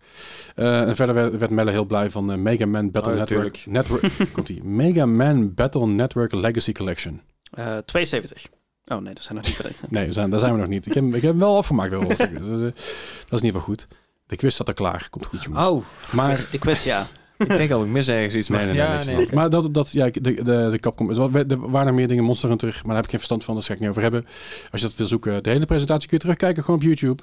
S1: Eh, en verder werd, werd Melle heel blij van eh, Mega Man Battle
S2: Oh, ja,
S1: Network. Network komt die Mega Man Battle Network Legacy Collection.
S3: Eh, 72. Oh nee, dat zijn nog niet bedenkt. hè?
S1: Nee, we zijn, daar zijn we nog niet. Ik heb, hem- ik heb hem wel afgemaakt. hoor. Dus, eh, dat is in ieder geval goed. De quiz staat er klaar. Komt goed,
S3: Ah,
S1: jongen.
S2: Oh,
S1: Maar,
S3: De quiz, ja.
S2: ik denk al, ik mis ergens iets.
S1: nee, nee, nee.
S2: ja,
S1: niks.
S2: oké.
S1: Maar dat, dat ja, de, de, de Capcom... Er wa- er waren nog meer dingen, Monster Hunter, maar daar heb ik geen verstand van. Dus daar ga ik niet over hebben. Als je dat wil zoeken, de hele presentatie kun je terugkijken gewoon op YouTube.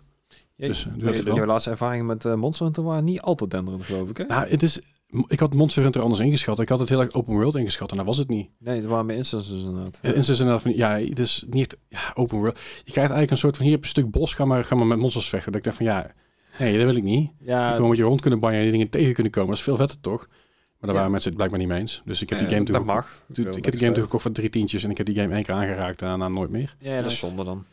S2: Jee.
S1: Dus, eh, doe dat
S2: Jouw-
S1: vooral.
S2: Jouw laatste ervaringen met eh, Monster Hunter waren niet altijd denderend, geloof ik, hè?
S1: Nou, het is, ik had Monster Hunter anders ingeschat. Ik had het heel erg open world ingeschat en dat was het niet.
S2: Nee, het waren meer instances inderdaad.
S1: Eh, En ze zijn van, ja, het is niet ja, open world. Je krijgt eigenlijk een soort van, hier heb je een stuk bos, ga maar, ga maar met monsters vechten. Dat ik dacht van, ja, nee, dat wil ik niet.
S2: ja,
S1: Gewoon met je rond kunnen bangen en die dingen tegen kunnen komen. Dat is veel vetter, toch? Maar daar
S2: Ja.
S1: waren mensen het blijkbaar niet mee eens. Dus ik heb die
S2: nee,
S1: game
S2: dat
S1: toen
S2: mag.
S1: Ik, ik heb die game toen gekocht voor drie tientjes en ik heb die game één keer aangeraakt en daarna nooit meer.
S2: eh, Ja, dat is
S3: Nice.
S2: zonde dan.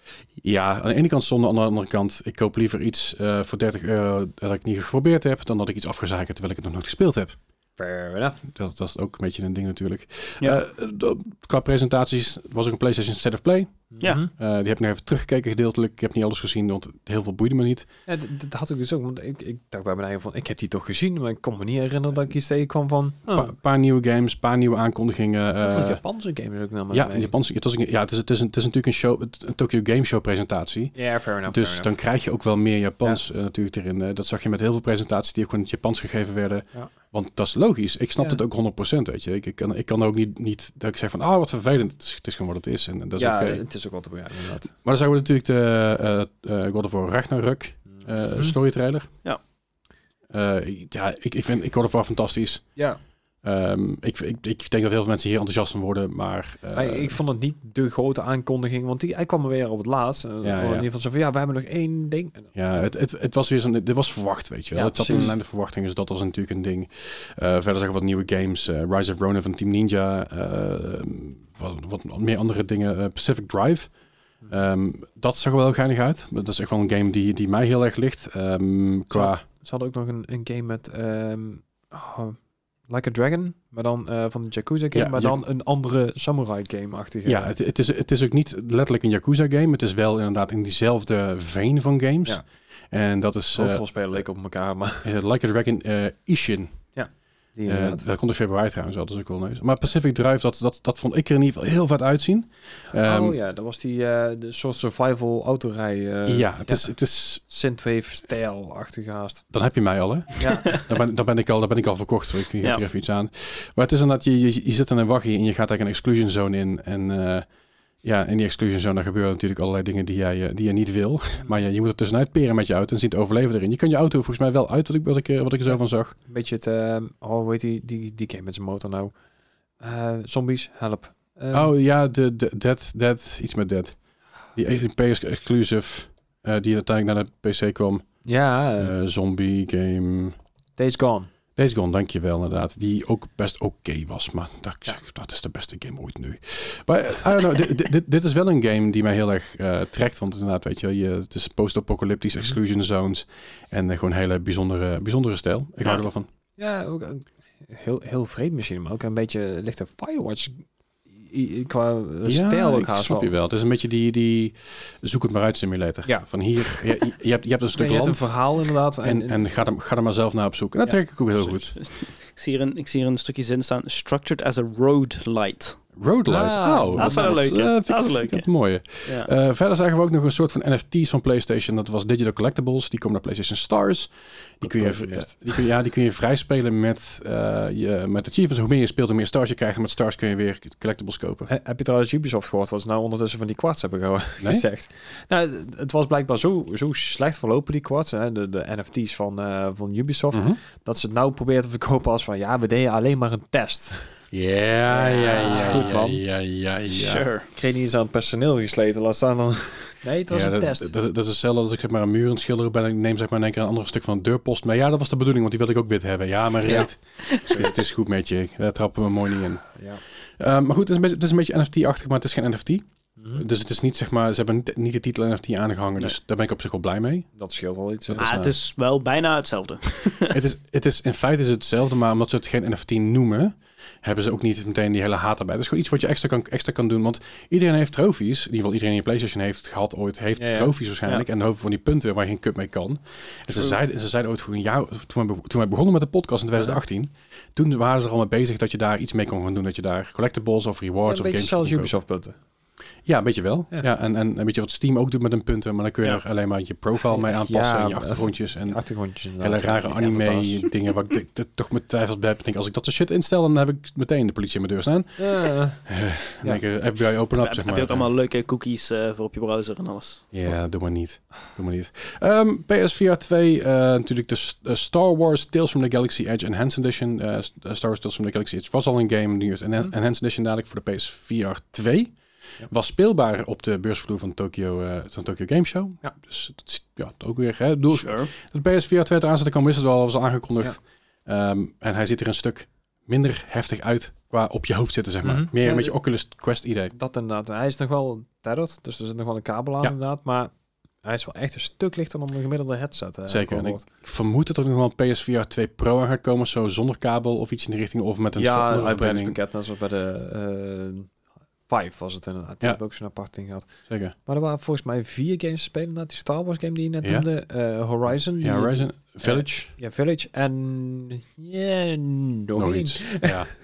S1: Ja, aan de ene kant zonde, aan de andere kant, ik koop liever iets eh, voor 30 euro dat ik niet geprobeerd heb, dan dat ik iets afgezaakt heb terwijl ik het nog nooit gespeeld heb.
S2: Fair enough.
S1: Dat, dat is ook een beetje een ding natuurlijk.
S3: Ja.
S1: Eh, d- qua presentaties was ook een PlayStation State of Play.
S3: Ja.
S2: Mhm.
S1: Eh, die heb ik nog even teruggekeken gedeeltelijk. Ik heb niet alles gezien, want heel veel boeide me niet.
S2: Ja, d- dat had ik dus ook. Want ik, ik dacht bij mijn eigen van, ik heb die toch gezien, maar ik kon me niet herinneren dat ik iets tegenkwam van...
S1: Een
S2: Oh,
S1: paar nieuwe games, een paar nieuwe aankondigingen. eh,
S2: heel veel Japanse games ook nou namelijk.
S1: ja, een Japanse, het, was een- ja het, is, het, is een, het is natuurlijk een, show, een Tokyo Game Show presentatie.
S2: Ja, nou, fair enough.
S1: Dus
S2: fair
S1: dan
S2: enough.
S1: krijg je ook wel meer Japans eh, natuurlijk erin. Eh, dat zag je met heel veel presentaties die ook gewoon in het Japans gegeven werden.
S2: Ja.
S1: Want dat is logisch. Ik snap
S2: Ja.
S1: het ook 100%, weet je. Ik, ik, kan, ik kan ook niet, niet dat ik zeg van, ah, wat vervelend. Het is, het is gewoon wat het is en, en dat is
S2: ja,
S1: oké.
S2: het is ook wel te begrijpen inderdaad.
S1: Maar dan zagen we natuurlijk de eh, eh, God of War Ragnarok eh
S2: Mhm.
S1: story trailer.
S3: Ja.
S1: Eh, ja, ik, ik vind ik God of War fantastisch.
S2: Ja,
S1: Ehm, ik, ik, ik denk dat heel veel mensen hier enthousiast van worden, maar... eh,
S2: maar ik vond het niet de grote aankondiging, want die, hij kwam er weer op het laatst. eh,
S1: ja.
S2: In ieder geval zo van, ja, we hebben nog één ding. En-
S1: ja, het, het, het was weer zo'n... Dit was verwacht, weet je wel.
S2: Ja,
S1: het zat in
S2: precies.
S1: de lijn de verwachting, dus dat was natuurlijk een ding. Eh, verder zagen we wat nieuwe games. eh, Rise of Ronin van Team Ninja. eh, wat, wat meer andere dingen. eh, Pacific Drive. Ehm, dat zag er wel geinig uit. Dat is echt wel een game die, die mij heel erg ligt. Ehm, qua...
S2: Ze hadden ook nog een, een game met ehm, oh, Like a Dragon, maar dan eh, van de Yakuza game,
S1: Ja,
S2: maar
S1: Yak-
S2: dan een andere samurai game-achtige.
S1: Ja, het, het, is, het is ook niet letterlijk een Yakuza-game. Het is wel inderdaad in diezelfde veen van games.
S2: Ja.
S1: En dat is eh,
S2: Hoofdrolspelen leek op elkaar, maar...
S1: eh, Like a Dragon eh, Ishin.
S2: Die
S1: Eh,
S2: inderdaad.
S1: dat komt in februari trouwens al, dat is ook wel neus. Maar Pacific Drive, dat, dat, dat vond ik er in ieder geval heel vet uitzien. Ehm,
S2: oh ja, dat was die eh, de soort survival autorij. eh
S1: ja, het is, het is,
S2: Synthwave stijl achtergaast.
S1: dan heb je mij al, hè?
S2: Ja.
S1: Dan ben, dan ben, ik, al, dan ben ik al verkocht, dus ik geef
S3: Ja.
S1: er even iets aan. Maar het is inderdaad, je, je, je zit in een waggie en je gaat eigenlijk een exclusion zone in. En eh, ja, in die exclusion zone daar gebeuren natuurlijk allerlei dingen die jij, eh, die je niet wil. Maar ja, je moet er tussenuit peren met je auto en ziet overleven erin. Je kan je auto volgens mij wel uit, wat ik, wat ik, eh, wat ik er zo van zag.
S2: Een beetje het, eh, oh, hoe heet die, die, die game met zijn motor nou? Eh, zombies, help. Eh,
S1: oh ja, de, de, Dead, Dead, iets met Dead. Die e- PS-exclusive, eh, die uiteindelijk naar de PC kwam.
S2: Ja, eh,
S1: Eh, zombie game.
S2: Days Gone.
S1: Days Gone, dankjewel inderdaad. Die ook best oké was. Maar dat, ik zeg, dat is de beste game ooit nu. Maar eh, I don't know, dit- dit, dit, dit is wel een game die mij heel erg eh, trekt. Want inderdaad, weet je, wel, je het is post-apocalyptisch,
S2: Mhm.
S1: exclusion zones. En eh, gewoon hele bijzondere, bijzondere stijl. Ik hou
S3: Ja.
S1: er wel van.
S2: Ja, ook een- heel, heel vreemd misschien, maar ook een beetje lichte Firewatch i- i- qua eh, stijl ook
S1: ik
S2: haast
S1: snap
S2: wel.
S1: je wel. Het is een beetje die, die zoek het maar uit simulator.
S2: Ja.
S1: Van hier, je, je- je hebt, je hebt een
S2: Nee,
S1: stuk
S2: je hebt een
S1: land
S2: verhaal inderdaad. En,
S1: en, en ga, er, ga er maar zelf naar op zoek. En dat
S2: Ja.
S1: trek ik ook heel goed.
S3: Ik zie, hier een, ik zie hier een stukje zin staan. Structured as a road light.
S1: Road Life.
S2: Ah,
S1: oh,
S3: dat is wel een
S1: eh,
S3: leuke.
S1: vind ik-
S3: Dat is een
S1: vind ik
S3: leuke.
S1: het mooie.
S3: Ja.
S1: Eh, verder zagen we ook nog een soort van NFT's van PlayStation. Dat was Digital Collectibles. Die komen naar PlayStation Stars. Die
S2: Dat
S1: kun je,
S2: was het eerst.
S1: eh, die kun, je- ja, die kun je vrij spelen met, eh je, met achievements. Hoe meer je speelt, hoe meer stars je krijgt. En met stars kun je weer collectibles kopen.
S2: He- heb je trouwens Ubisoft gehoord wat ze nou ondertussen van die kwarts hebben gehouden?
S1: Nee?
S2: gezegd? Nou, het- het was blijkbaar zo, zo slecht verlopen die kwarts, hè, de, de NFT's van, eh, van Ubisoft,
S1: Mhm.
S2: dat ze het nou proberen te verkopen als van ja, we deden alleen maar een test.
S1: Ja, ja,
S2: Ja, dat is
S1: ja,
S2: goed,
S1: ja,
S2: man.
S1: ja, ja, Eh, ja.
S3: Sure.
S2: Ik kreeg niet eens aan het personeel gesleten, laat staan dan. Nee, het was
S1: Ja,
S2: een
S1: dat,
S2: test.
S1: Dat, dat is hetzelfde als ik zeg maar een muur aan het schilderen ben en ik neem zeg maar in één keer een ander stuk van een deurpost mee. Ja, dat was de bedoeling, want die wilde ik ook wit hebben. Ja, maar
S2: Ja.
S1: reet. Het is goed met je. Daar trappen we mooi niet in.
S2: ja.
S1: Ehm, maar goed, het is een beetje, het is een beetje NFT-achtig, maar het is geen NFT.
S2: Mhm.
S1: Dus het is niet zeg maar, ze hebben niet, niet de titel NFT aangehangen,
S2: Nee.
S1: dus daar ben ik op zich wel blij mee.
S2: Dat scheelt al iets. hè.
S1: Dat
S3: Ah,
S1: is,
S3: het
S1: eh,
S3: is wel bijna hetzelfde.
S1: het is, het is, in feite is het hetzelfde, maar omdat ze het geen NFT noemen, hebben ze ook niet meteen die hele haat erbij. Dat is gewoon iets wat je extra kan, extra kan doen, want iedereen heeft trofies. In ieder geval iedereen die een PlayStation heeft gehad ooit, heeft
S2: Ja, ja.
S1: trofies waarschijnlijk. En een hoop van die punten waar je geen cup mee kan. En ze
S2: True.
S1: zeiden, ze zeiden ooit voor een jaar, toen wij, toen wij begonnen met de podcast in 2018, toen waren ze er al mee bezig dat je daar iets mee kon gaan doen. Dat je daar collectibles of
S2: Ja,
S1: rewards
S2: een
S1: of
S2: beetje
S1: games voor
S2: zelfs
S1: kon kopen.
S2: Ubisoft punten.
S1: Ja, een beetje wel. Ja.
S2: Ja.
S1: en, en een beetje wat Steam ook doet met hun punten, maar dan kun je
S3: Ja.
S1: er alleen maar je profile mee aanpassen
S2: Ja,
S1: en je
S2: maar-
S1: achtergrondjes en
S2: Achtergrondjes.
S1: hele
S2: inderdaad.
S1: rare
S2: Ja, fantastisch.
S1: anime dingen waar ik de- de- toch met twijfels bij heb. Ik Denk, als ik dat soort shit instel, dan heb ik meteen de politie aan mijn deur staan.
S2: Ja.
S1: En denk ik, eh, FBI open up,
S3: heb,
S1: zeg
S3: heb
S1: maar.
S3: je ook allemaal leuke cookies eh, voor op je browser en alles.
S1: Ja, doe maar niet. Doe maar niet. Ehm, PSVR 2, eh, natuurlijk de S- eh, Star Wars Tales from the Galaxy Edge Enhanced Edition. Eh, S- eh, Star Wars Tales from the Galaxy Edge was al een game, nu is een
S3: Hm.
S2: Mhm.
S1: Enhanced Edition dadelijk voor de PSVR 2.
S2: Ja.
S1: Was speelbaar op de beursvloer van Tokyo, eh, van Tokyo Game Show.
S2: Ja.
S1: Dus dat is ja, ook weer. Hè, doel,
S3: Sure.
S1: dat PSVR 2 eraan zit te komen, is het wel was al aangekondigd. Ehm, en hij ziet er een stuk minder heftig uit qua op je hoofd zitten, zeg maar.
S2: Mhm.
S1: Meer
S2: Ja,
S1: een beetje
S2: de-
S1: Oculus Quest idee.
S2: Dat inderdaad. Hij is nog wel tethered, dus er zit nog wel een kabel aan
S1: Ja.
S2: inderdaad. Maar hij is wel echt een stuk lichter dan een gemiddelde headset. hè,
S1: Zeker,
S2: heb ik
S1: en
S2: gehoord.
S1: Ik vermoed dat er nog wel een PSVR 2 Pro aan gaat komen, zo zonder kabel of iets in de richting, of met een soort
S2: ja,
S1: andere
S2: een
S1: verbinding.
S2: uitbreidingspakket, net zoals bij de eh 5 was het inderdaad. Die
S1: Ja.
S2: hebben ook zo'n apart ding gehad.
S1: Zeker.
S2: Maar er waren volgens mij vier games te spelen inderdaad. Die Star Wars game die je net
S1: Ja.
S2: noemde. eh, Horizon.
S1: Ja,
S2: die-
S1: Horizon Village.
S2: Ja, Eh, Village. En ja, nog,
S1: nog
S2: één.
S1: Oh, iets. ja.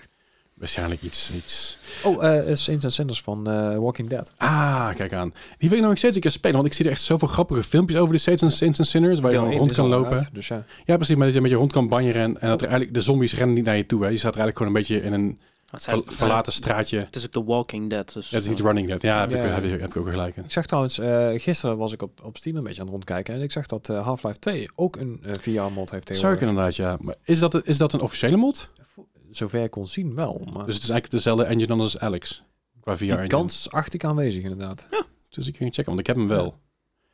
S1: Waarschijnlijk iets, iets.
S2: Oh, eh Saints and Sinners van eh, Walking Dead.
S1: Ah, kijk aan. Die wil ik nog steeds een keer spelen, want ik zie er echt zoveel grappige filmpjes over de Saints and, Saints and Sinners, waar je
S2: Deel
S1: gewoon
S2: één
S1: rond
S2: is
S1: kan
S2: al
S1: lopen.
S2: uit, dus ja.
S1: Ja, precies, maar dat je met je rond kan banjeren en, en dat er eigenlijk, de zombies rennen niet naar je toe. Hè. Je staat er eigenlijk gewoon een beetje in een
S3: Ah, Het, zijn-
S1: Ver- verlaten straatje.
S3: het is ook The Walking Dead. Dus,
S1: Ja, het is niet Running Dead. Ja, heb, Ik,
S2: Ja.
S1: heb, ik- heb ik ook gelijk in.
S2: Ik zag trouwens, eh, gisteren was ik op, op Steam een beetje aan het rondkijken. En ik zag dat eh, Half-Life 2 ook een eh, VR-mod heeft
S1: Zou ik
S2: tegenwoordig.
S1: inderdaad, ja. Maar is dat, is dat een officiële mod?
S2: Vo- Zover ik kon zien wel. Maar
S1: Dus het is eigenlijk dezelfde engine dan als Alex. Qua VR
S2: Oh, die
S1: engine.
S2: kans acht ik aanwezig inderdaad.
S1: Dus ik ging checken, want ik heb hem wel.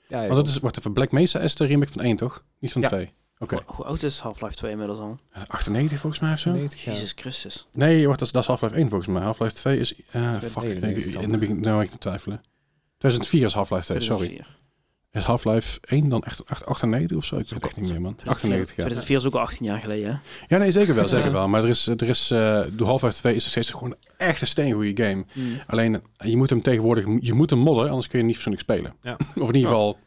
S2: Ja,
S1: Want dat is, wacht even, Black Mesa is de remake van 1, toch? Niet van
S2: Ja.
S1: 2. Oké.
S3: Hoe- Hoe oud is Half-Life 2 inmiddels al?
S1: Eh, 98 volgens mij of zo? Nee,
S2: 90 jaar.
S3: Jezus Christus.
S1: wacht, dat is, dat is Half-Life 1 volgens mij. Half-Life 2 is... eh fuck,
S2: 99
S1: ik-
S2: dan.
S1: in de begin, nou ben ik te twijfelen. 2004 is Half-Life 2, sorry.
S3: 2004.
S1: Is Half-Life 1 dan echt 8 98 of zo? Ik weet het echt niet meer, man. 98, ja.
S3: 2004 is ook al 18 jaar geleden, hè?
S1: Ja, nee, zeker wel,
S2: Ja.
S1: zeker wel. Maar er is, er is, eh, de Half-Life 2 is nog steeds gewoon echt een steengoede game. Alleen, je moet hem tegenwoordig, je moet hem modden, anders kun je hem niet persoonlijk spelen.
S2: Ja.
S1: Of in ieder geval,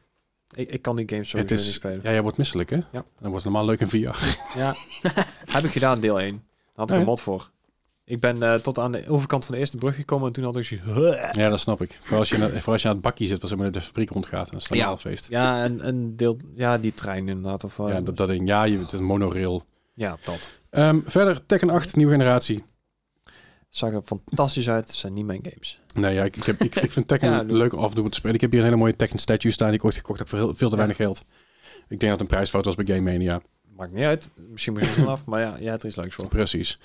S2: Ik, ik kan die games
S1: het
S2: sowieso niet
S1: is,
S2: spelen.
S1: ja, jij wordt misselijk, hè? Dan wordt het normaal leuk in VR.
S2: Ja. heb ik gedaan, deel 1. Daar had ik
S1: Oh,
S2: een
S1: ja?
S2: mod voor. Ik ben eh, tot aan de overkant van de eerste brug gekomen en toen had ik zoiets...
S1: Ja, dat snap ik. Vooral als je, na- vooral als je aan het bakkie zit, als je met de fabriek rondgaat. Dan is het
S2: Ja.
S1: normaal feest.
S2: Ja, en, en deel... Ja, die trein inderdaad. Of, eh,
S1: Ja, dat, dat ding. Ja, je, het is een monorail.
S2: ja, dat.
S1: Ehm, verder, Tekken 8, nieuwe generatie.
S2: Zag er fantastisch uit. Het zijn niet mijn games.
S1: Nee, ja, ik, ik, heb, ik, ik vind Tekken
S2: Ja,
S1: leuk leuk afdoen te spelen. Ik heb hier een hele mooie Tekken statue staan die ik ooit gekocht heb voor heel, veel te weinig geld. Ik denk dat het een prijsfout was bij Game Mania.
S2: Maakt niet uit. Misschien moet je het vanaf, maar ja, jij hebt er iets leuks voor.
S1: Precies.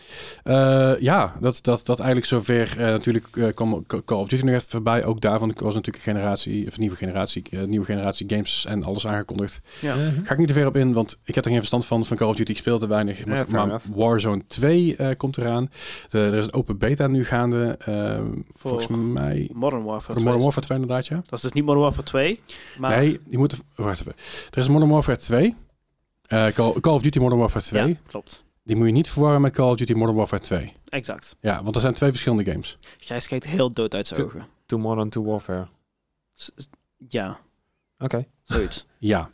S1: Eh, ja, dat, dat, dat eigenlijk zover. eh, natuurlijk eh, kwam Call of Duty nog even voorbij. Ook daarvan was natuurlijk een generatie, of nieuwe generatie, eh, nieuwe generatie games en alles aangekondigd.
S3: Ja.
S1: Ga ik niet te ver op in, want ik heb er geen verstand van. Van Call of Duty, ik speel te weinig. Maar,
S2: fair
S1: maar
S2: enough.
S1: Warzone 2 eh, komt eraan. De- er is een open beta nu gaande. eh,
S3: Voor
S1: volgens mij...
S3: Modern Warfare
S1: Voor
S3: 2.
S1: Modern Warfare 2 inderdaad, ja.
S3: Dat is dus niet Modern Warfare 2, maar
S1: Nee, je moet... Wacht even. Er is Modern Warfare 2. eh, Call, Call of Duty Modern Warfare 2.
S3: Ja, klopt.
S1: Die moet je niet verwarren met Call of Duty Modern Warfare 2.
S3: Exact.
S1: Ja, want er zijn twee verschillende games.
S3: Gijs kijkt heel dood uit zijn
S2: Te-
S3: ogen.
S2: Too Modern, Too Warfare. Oké.
S3: S- s- Ja, zoiets.
S1: Ja.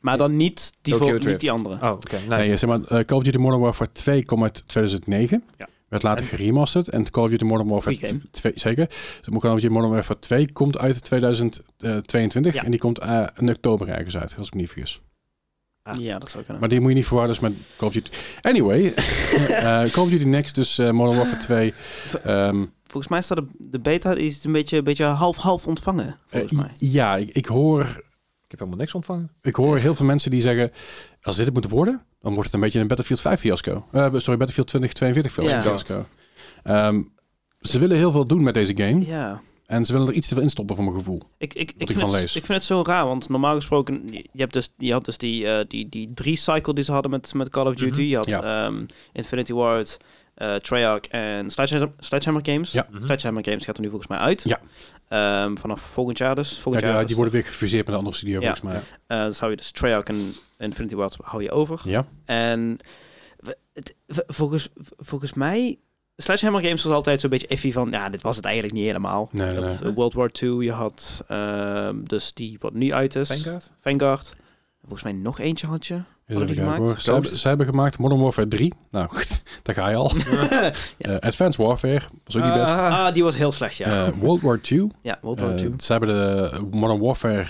S3: Maar dan niet die,
S2: Tokyo
S3: vol- niet
S2: Drift.
S3: die andere.
S2: Oh, oké. Nee.
S1: Nee, zeg maar, eh, Call of Duty Modern Warfare 2 komt uit 2009.
S3: Ja.
S1: Werd later geremasterd. En Call of Duty Modern
S3: Goeie
S1: Warfare
S3: game.
S1: 2, zeker. Dus Call of Duty Modern Warfare 2 komt uit 2022.
S3: Ja.
S1: En die komt eh, in oktober ergens uit, als ik me niet vergis.
S2: Ah.
S3: Ja, dat zou kunnen.
S1: Maar die moet je niet verwarren dus met Call of Duty. Anyway, eh, Call of Duty Next, dus eh, Modern Warfare 2. Ehm,
S3: Volgens mij staat de, de beta is een beetje, een beetje half-half ontvangen, volgens
S1: eh,
S3: mij.
S1: ja, ik, ik hoor,
S2: Ik heb helemaal niks ontvangen.
S1: ik hoor heel veel mensen die zeggen... Als dit het moet worden, dan wordt het een beetje een Battlefield 5 fiasco. Eh, sorry, Battlefield 2042 fiasco.
S3: Ja.
S1: fiasco. Ehm, ze willen heel veel doen met deze game.
S3: Ja. Oh,
S1: En ze willen er iets te veel instoppen voor mijn gevoel.
S3: Ik, ik, ik,
S1: hm? ik
S3: vind
S1: van
S3: het,
S1: lees.
S3: ik vind het zo raar, want normaal gesproken, je, hebt dus, je had dus die, eh, die, die drie cycle die ze hadden met, met Call of Duty.
S2: Mhm.
S3: Je had
S1: Ja.
S3: ehm, Infinity Ward, eh, Treyarch en Sledgehammer, Sledgehammer Games.
S1: Ja.
S2: Mhm.
S3: Sledgehammer Games gaat er nu volgens mij uit.
S1: Ja.
S3: Ehm, vanaf volgend jaar dus.
S1: Ja,
S3: Volgend
S1: die,
S3: jaar
S1: die worden weer gefuseerd met een andere studio,
S3: Ja.
S1: volgens mij.
S3: eh, dus hou je dus Treyarch en Infinity Ward hou je over.
S1: Ja.
S3: En we- het, we- volgens, volgens mij... Sledgehammer Games was altijd zo'n beetje iffy van... Ja, dit was het eigenlijk niet helemaal.
S1: Nee,
S3: Je
S1: nee,
S3: had,
S1: nee.
S3: eh, World War II, je had ehm, dus die wat nu uit is.
S2: Vanguard?
S3: Vanguard. Volgens mij nog eentje had je.
S1: Even
S3: die
S1: kijken
S3: gemaakt?
S1: hoor. Ze hebben,
S2: Ghost?
S1: ze hebben gemaakt Modern Warfare 3. Nou, goed, daar ga je al. Eh, Advanced Warfare, was ook niet best.
S2: Ah,
S3: Ah, die was heel slecht, ja.
S1: Eh, World War II.
S3: ja, World War
S1: Eh,
S3: II.
S1: ze hebben de Modern Warfare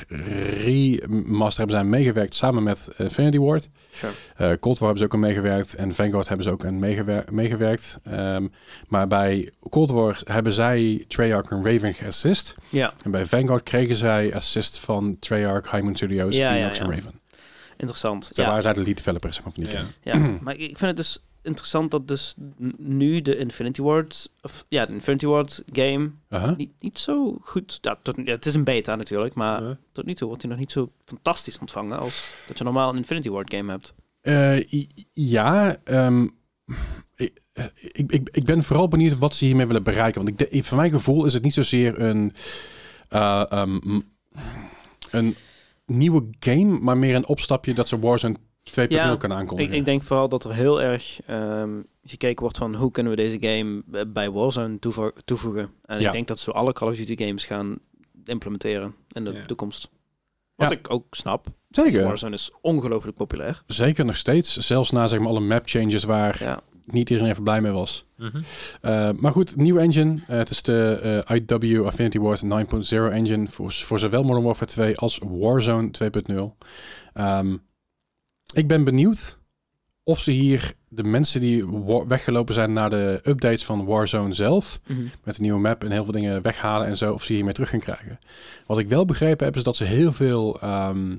S1: remaster hebben zij meegewerkt samen met Infinity Ward.
S3: Sure.
S1: Eh, Cold War hebben ze ook aan meegewerkt en Vanguard hebben ze ook aan meegewer- meegewerkt. Ehm, maar bij Cold War hebben zij Treyarch en Raven geassist.
S3: Ja,
S1: En bij Vanguard kregen zij assist van Treyarch, High Moon Studios,
S3: Ja, ja,
S1: Enox en
S3: ja.
S1: Raven.
S3: interessant.
S1: Zij
S3: ja.
S1: waren zij de lead developers zeg maar, van die game.
S3: Ja, maar ik ik vind het dus interessant dat dus n- nu de Infinity Ward, of ja, de Infinity Ward game
S1: Uh-huh.
S3: niet, niet zo goed. Ja, tot, ja, het is een beta natuurlijk, maar
S2: Ja.
S3: tot nu toe wordt hij nog niet zo fantastisch ontvangen als dat je normaal een Infinity Ward game hebt.
S1: Eh, i- ja, ehm, ik, ik, ik, ik ben vooral benieuwd wat ze hiermee willen bereiken. Want ik, de- van mijn gevoel is het niet zozeer een, eh, ehm, m- een nieuwe game, maar meer een opstapje dat ze Warzone 2.0
S3: Ja,
S1: kan
S3: Ik,
S1: aankondigen.
S3: ik denk vooral dat er heel erg ehm, gekeken wordt van hoe kunnen we deze game eh, bij Warzone toevo- toevoegen. En
S1: Ja.
S3: ik denk dat ze alle Call of Duty games gaan implementeren in de
S2: Ja.
S3: toekomst. Wat
S1: Ja.
S3: ik ook snap.
S1: Zeker,
S3: Warzone is ongelooflijk populair.
S1: zeker nog steeds. Zelfs na zeg maar, alle map changes waar
S3: Ja.
S1: niet iedereen even blij mee was.
S2: mhm.
S1: Eh, maar goed, nieuwe engine. Eh, het is de eh, IW Affinity Ward 9.0 engine voor, voor zowel Modern Warfare 2 als Warzone 2.0. Ehm, ik ben benieuwd of ze hier de mensen die wa- weggelopen zijn naar de updates van Warzone zelf,
S3: Mhm.
S1: met de nieuwe map en heel veel dingen weghalen en zo, of ze hiermee terug gaan krijgen. Wat ik wel begrepen heb, is dat ze heel veel ehm,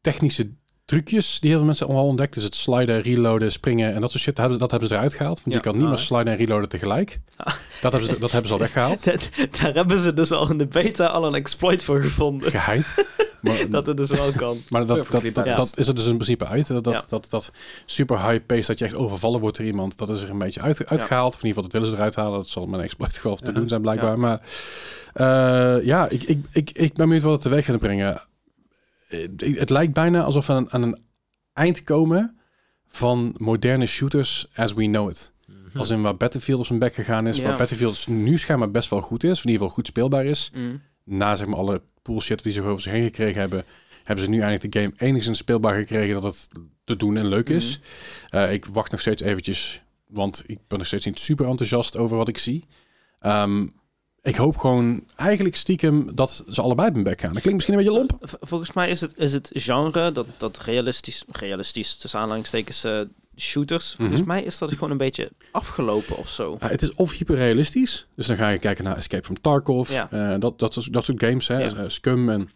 S1: technische trucjes die heel veel mensen al ontdekt, dus het sliden, reloaden, springen en dat soort shit, dat hebben, dat hebben ze eruit gehaald. Want
S3: Ja.
S1: je kan niet
S3: Ah,
S1: meer
S3: hè?
S1: sliden en reloaden tegelijk.
S3: Ah.
S1: Dat, hebben ze, dat hebben ze al weggehaald.
S3: Dat- daar hebben ze dus al in de beta al een exploit voor gevonden.
S1: Geheid. Maar,
S3: Dat het dus wel kan.
S1: maar dat, dat,
S2: Perfectly
S1: dat,
S3: balanced.
S1: dat is er dus in principe uit. Dat, dat,
S3: Ja.
S1: dat, dat super high pace dat je echt overvallen wordt door iemand, dat is er een beetje uit, uitgehaald. Of in ieder geval, dat willen ze eruit halen. Dat zal met een exploit geloof te
S2: Ja.
S1: doen zijn blijkbaar. Maar eh, ja, ik, ik, ik, ik ben benieuwd wat het teweeg gaat brengen. Eh, Het lijkt bijna alsof we aan, aan een eind komen van moderne shooters as we know it.
S2: Mhm.
S1: Als in waar Battlefield op zijn bek gegaan is.
S3: Ja.
S1: Waar Battlefield nu schijnbaar best wel goed is. Of in ieder geval goed speelbaar is. Na zeg maar alle bullshit die ze over zich heen gekregen hebben. Hebben ze nu eindelijk de game enigszins speelbaar gekregen. Dat het te doen en leuk is.
S3: Mhm.
S1: Eh, ik wacht nog steeds eventjes. Want ik ben nog steeds niet super enthousiast over wat ik zie. Ehm, ik hoop gewoon eigenlijk stiekem dat ze allebei op hun bek gaan. Dat klinkt misschien een beetje lomp.
S3: V- volgens mij is het, is het genre, dat, dat realistisch, realistisch tussen aanhalingstekens eh, shooters, volgens
S1: Mhm.
S3: mij is dat gewoon een beetje afgelopen of zo.
S1: Ja, Eh, het is of hyperrealistisch, dus dan ga je kijken naar Escape from Tarkov,
S3: Ja.
S1: eh, dat, dat, soort- dat soort games, hè,
S3: Ja.
S1: eh, Scum en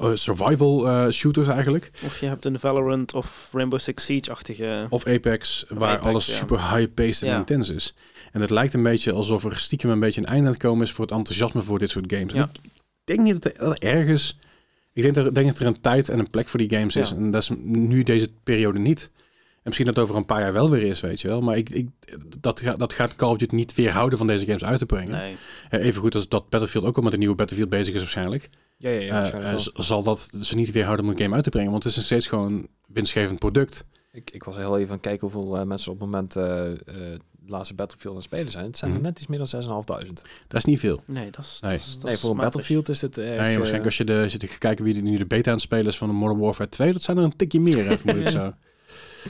S1: eh, survival eh, shooters eigenlijk.
S3: Of je hebt een Valorant of Rainbow Six Siege-achtige...
S1: Of Apex, waar
S3: Apex,
S1: alles
S3: ja.
S1: super high-paced en
S3: Ja.
S1: intens is. En het lijkt een beetje alsof er stiekem een beetje een einde aan het komen is voor het enthousiasme voor dit soort games. En
S3: Ja.
S1: Ik denk niet dat er ergens... Ik denk, dat- denk dat er een tijd en een plek voor die games is.
S3: Ja.
S1: En dat is nu deze periode niet. En misschien dat het over een paar jaar wel weer is, weet je wel. Maar ik, ik, dat, ga- dat gaat Call of Duty niet weerhouden van deze games uit te brengen.
S3: Nee.
S1: Eh, Even goed als dat Battlefield ook al met een nieuwe Battlefield bezig is waarschijnlijk.
S2: Ja, ja, ja.
S1: Eh,
S2: waarschijnlijk
S1: eh,
S2: wel.
S1: z- zal dat ze niet weerhouden om een game uit te brengen. Want het is nog steeds gewoon winstgevend product.
S2: ik, ik was heel even aan het kijken hoeveel eh, mensen op het moment eh, eh, de laatste Battlefield aan het spelen zijn. Het zijn er
S1: Mhm.
S2: net iets meer dan 6.500.
S1: Dat is niet veel.
S3: Nee, dat is...
S1: Nee.
S3: dat is- dat
S2: Nee,
S3: is
S2: voor een
S3: matig.
S2: Battlefield is het... eh,
S1: Nee,
S2: even-
S1: waarschijnlijk als je, de, als je gaat kijken wie de- nu de beta aan het spelen is van de Modern Warfare 2, dat zijn er een tikje meer, hè, vermoed ik zo.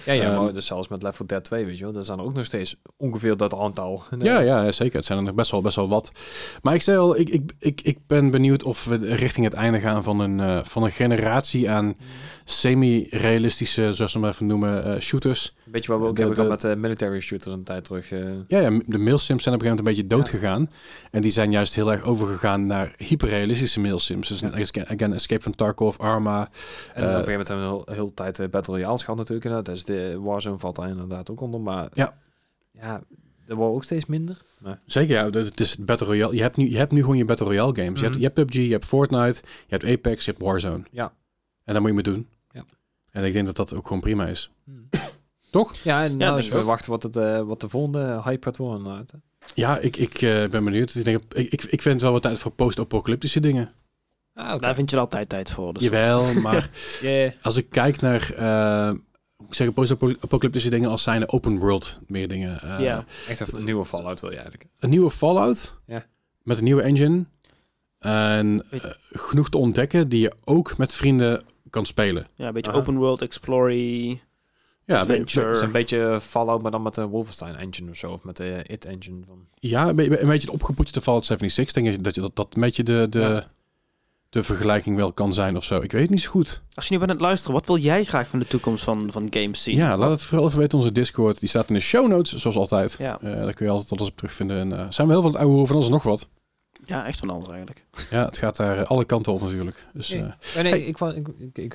S2: Ja, ja,
S1: Ehm,
S2: maar dus zelfs met Left 4 Dead 2, weet je wel. Dat is dan ook nog steeds ongeveer dat aantal.
S1: Ja, ja, zeker. Het zijn er nog best wel, best wel wat. Maar ik zei al, ik, ik, ik, ik ben benieuwd of we richting het einde gaan van een, eh, van een generatie aan semi-realistische, zoals ze hem even noemen, eh, shooters.
S2: Weet je waar we ook
S1: De-
S2: hebben
S1: de-
S2: gehad met eh, military shooters een tijd terug. eh.
S1: Ja, ja, de mailsims zijn op een gegeven moment een beetje dood gegaan. En die zijn juist heel erg overgegaan naar hyperrealistische mailsims. Dus een esca- again, Escape from Tarkov, Arma.
S2: En op een gegeven moment hebben we heel, heel tijd eh, Battle Royales gehad natuurlijk. En dat is de Warzone valt daar inderdaad ook onder. Maar
S1: Ja.
S2: ja dat wordt ook steeds minder.
S1: Zeker, ja. dat- Het is het Battle Royale. Je hebt nu, je hebt nu gewoon je Battle Royale games. je, hebt,
S2: Mhm.
S1: je hebt PUBG, je hebt Fortnite, je hebt Apex, je hebt Warzone.
S2: Ja.
S1: En dat moet je me doen.
S2: Ja.
S1: En ik denk dat dat ook gewoon prima is.
S2: Toch? Hmm. Ja, en nou,
S3: denk
S2: dus
S3: ik
S2: we
S3: ook.
S2: wachten wat, het, eh, wat de volgende hype gaat worden. inderdaad, hè.
S1: Ja, ik, ik eh, ben benieuwd. Ik, denk, ik, ik, ik vind het wel wat tijd voor post-apocalyptische dingen.
S2: Ah, oké.
S3: Daar nou, vind je er altijd tijd voor. Dus
S1: Jawel, maar
S2: Yeah.
S1: als ik kijk naar... eh, hoe ik zeg post-apocalyptische dingen als zijn open world meer dingen. Eh,
S3: Ja.
S2: Echt een nieuwe Fallout wil je eigenlijk.
S1: Een nieuwe Fallout
S2: Ja.
S1: met een nieuwe engine. En
S3: Weet-
S1: eh, genoeg te ontdekken die je ook met vrienden kan spelen.
S3: Ja, een beetje
S2: Aha.
S3: open world, explory,
S1: Ja, we- we-
S3: adventure.
S2: Het is een beetje Fallout, maar dan met de Wolfenstein engine of zo. Of met de eh, It engine. Van.
S1: Ja, een beetje, een beetje het opgepoetste Fallout 76. Denk ik dat je dat, dat een beetje de, de,
S2: Ja.
S1: de vergelijking wel kan zijn of zo. Ik weet het niet zo goed.
S3: Als je nu bent aan het luisteren, wat wil jij graag van de toekomst van, van games zien?
S1: Ja, laat het vooral even weten. Onze Discord die staat in de show notes, zoals altijd.
S3: Ja.
S1: Eh, daar kun je altijd alles op terugvinden. En eh, zijn we heel veel aan het ouwe hoeren van ons en nog wat.
S3: Ja, echt van alles eigenlijk.
S1: Ja, het gaat daar eh, alle kanten op natuurlijk. Dus eh,
S2: Ja, Oh, nee, ik, wou- ik, ik, ik,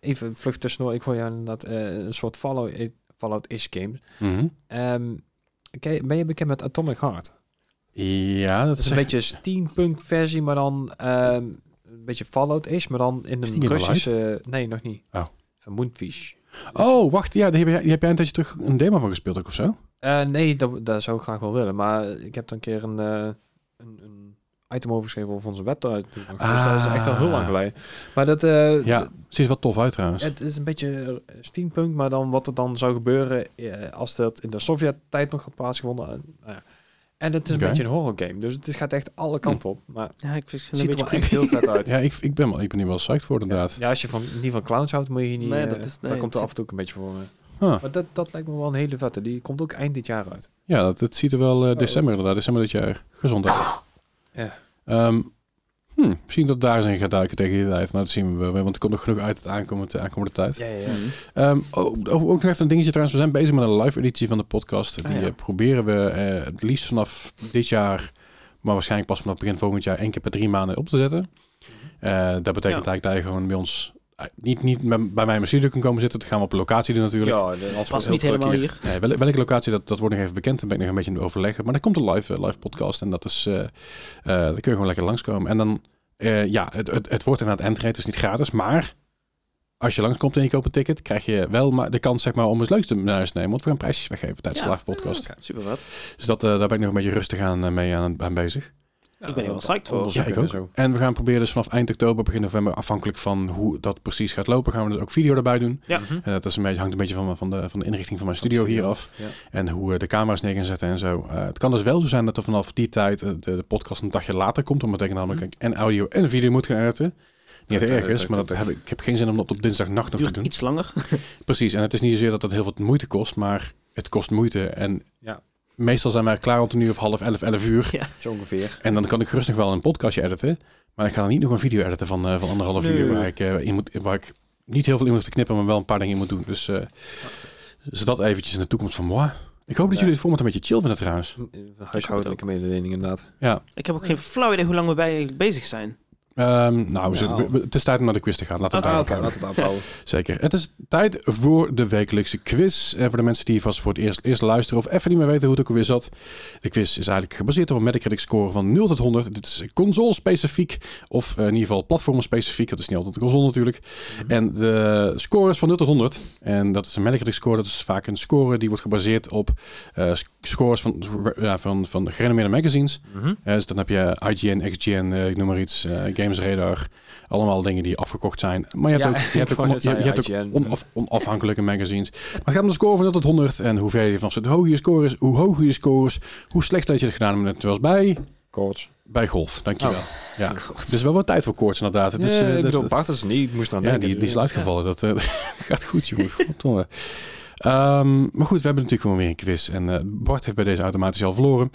S2: even vlug tussendoor. Ik hoor jou inderdaad eh, een soort Fallout- Fallout-ish game.
S1: mhm.
S2: Ehm, ken- ben je bekend met Atomic Heart?
S1: ja, dat,
S2: Dat is een beetje steampunk versie, maar dan ehm, een beetje Fallout-ish, maar dan in
S1: Is
S2: een
S1: die helemaal
S2: Russische... Nee, nog niet.
S1: Oh.
S2: Van Moonfish. Dus,
S1: Oh, wacht. Ja, daar heb, jij, die heb jij een tijdje terug een demo van gespeeld ook of zo?
S2: Eh, nee, dat, dat zou ik graag wel willen. Maar ik heb dan een keer een, eh, een, een item overgeschreven op onze website. Dus dat is echt al heel lang geleden. Maar dat, eh,
S1: Ah. Ja, ziet er wel tof uit trouwens.
S2: Het is een beetje eh, steampunk, maar dan wat er dan zou gebeuren eh, als dat in de Sovjet-tijd nog had plaatsgevonden. En, nou ja. en het is
S1: Oké. Hm.
S2: een beetje een horror game, dus het is, gaat echt alle kanten op. Maar
S3: Ja, ik vind
S2: het
S3: het een
S2: ziet er
S3: beetje
S2: wel echt heel vet uit.
S1: Ja, ik, ik, ben, wel- ik ben hier wel psyched voor inderdaad.
S2: Ja, als je van, niet van clowns houdt, moet je hier niet...
S3: Nee,
S2: eh,
S3: dat is- nee,
S2: daar komt er
S3: het-
S2: af en toe ook een beetje voor me.
S1: Ah,
S2: Maar dat, dat lijkt me wel een hele vette. Die komt ook eind dit jaar uit.
S1: ja, dat, dat ziet er wel eh, december inderdaad. December dit jaar. Gezondheid.
S2: Oh. Ja.
S1: Ehm, hm, misschien dat daar eens in gaat duiken tegen die tijd. Maar dat zien we wel. weer, Want er komt nog genoeg uit het aankomende, aankomende tijd.
S2: ja, ja.
S3: Mhm.
S1: Ehm, oh, over- ook nog even een dingetje trouwens. We zijn bezig met een live editie van de podcast.
S2: Ah,
S1: die
S2: ja.
S1: eh, proberen we eh, het liefst vanaf dit jaar... maar waarschijnlijk pas vanaf begin volgend jaar... één keer per drie maanden op te zetten.
S2: Mhm.
S1: Eh, dat betekent eigenlijk dat je gewoon bij ons... eh, niet, niet bij, bij mij in mijn studio kan komen zitten. Dat gaan we op locatie doen natuurlijk.
S2: Ja, de- als
S3: Past
S2: heel
S3: niet
S2: druk
S3: helemaal hier.
S1: Nee, wel- welke locatie, dat, dat wordt nog even bekend. Daar ben ik nog een beetje aan het overleggen. Maar dan komt een live, eh, live podcast. En dat is, eh eh, daar kun je gewoon lekker langskomen. En dan, eh, ja, het, het, het wordt inderdaad entree. Het is niet gratis. Maar als je langskomt en je koopt een ticket, krijg je wel maar de kans zeg maar, om het leukste naar huis te nemen. Want we gaan prijsjes weggeven tijdens de
S3: Ja.
S1: live podcast.
S2: Ja, oké.
S3: Super vet.
S1: Dus dat, eh, daar ben ik nog een beetje rustig aan eh, mee aan, aan bezig.
S2: Ja,
S3: Ik ben hier wel psyched voor.
S2: onderzoeken
S1: Ja, ik
S2: en zo.
S1: En we gaan proberen dus vanaf eind oktober, begin november, afhankelijk van hoe dat precies gaat lopen, gaan we dus ook video erbij doen.
S3: Ja.
S2: Mhm.
S1: En dat is een beetje, hangt een beetje van, van, de, van de inrichting van mijn studio hier af.
S2: Ja.
S1: En hoe eh, de camera's neer gaan zetten en zo. Eh, het kan dus wel zo zijn dat er vanaf die tijd eh, de, de podcast een dagje later komt. Omdat ik namelijk
S2: Hm.
S1: en audio en video moet gaan editen. Niet dat
S2: Dat,
S1: het erg
S2: eh,
S1: is,
S2: dat-
S1: maar
S2: dat-
S1: dat heb ik, ik heb geen zin om dat op dinsdagnacht nog te
S3: Duurt
S1: doen.
S3: iets langer.
S1: Precies, en het is niet zozeer dat het heel wat moeite kost, maar het kost moeite. En
S2: Ja.
S1: meestal zijn wij klaar rond een uur of half elf, elf uur.
S2: Zo ongeveer.
S1: En dan kan ik gerust nog wel een podcastje editen. Maar ik ga dan niet nog een video editen van, eh, van anderhalf
S2: Nee.
S1: uur. Waar ik, eh, in moet, waar ik niet heel veel in moet knippen, maar wel een paar dingen in moet doen. Dus, eh dus dat eventjes in de toekomst van moi. Ik hoop dat
S2: Ja.
S1: jullie het format een beetje chill vinden trouwens.
S2: Een- een Huishoudelijke mededeling inderdaad.
S1: Ja,
S3: Ik heb ook geen flauw idee hoe lang we bij bezig zijn.
S1: Ehm, nou, we
S2: Nou.
S1: zullen- we- het is tijd om naar de quiz te gaan. Laten we
S3: Ah,
S1: het
S2: Ah,
S1: daarop
S2: Oké,
S1: houden.
S2: laten we het afbouwen.
S1: Zeker. Het is tijd voor de wekelijkse quiz. En voor de mensen die vast voor het eerst, eerst luisteren of even niet meer weten hoe het ook alweer zat. De quiz is eigenlijk gebaseerd op een Metacritic score van 0 tot 100. Dit is console specifiek of eh, in ieder geval platform specifiek. Dat is niet altijd de console natuurlijk. En de score is van 0 tot 100. En dat is een Metacritic score. Dat is vaak een score die wordt gebaseerd op eh, sc- scores van, ja, van, van gerenommeerde magazines.
S2: Mhm.
S1: Eh, dus dan heb je IGN, XGN, eh, ik noem maar iets, eh Games Radar. Allemaal dingen die afgekocht zijn. Maar je hebt
S2: Ja,
S1: ook, je hebt
S2: ik
S1: ook,
S2: wou
S1: on-
S2: net
S1: je, je
S2: zeggen,
S1: hebt ook
S2: IGN.
S1: onaf- onafhankelijke magazines. Maar het gaat om de score van 0 tot 100. En hoe verder je vanaf zit, hoe hoger je score is, hoe hoger je score is, hoe slecht dat je het gedaan hebt. Terwijl bij,
S2: Koorts.
S1: bij golf. Dankjewel.
S2: Oh.
S1: Ja.
S3: God.
S1: Er is wel wat tijd voor koorts inderdaad. Het is,
S2: Nee,
S1: eh,
S2: ik
S1: dat-
S2: bedoel, Bart is niet, ik moest aan
S1: ja,
S2: denken.
S1: die, die is uitgevallen. Dat eh, gaat goed, jongen. Goddomme. Ehm, maar goed, we hebben natuurlijk gewoon weer een quiz. En eh, Bart heeft bij deze automatisch al verloren.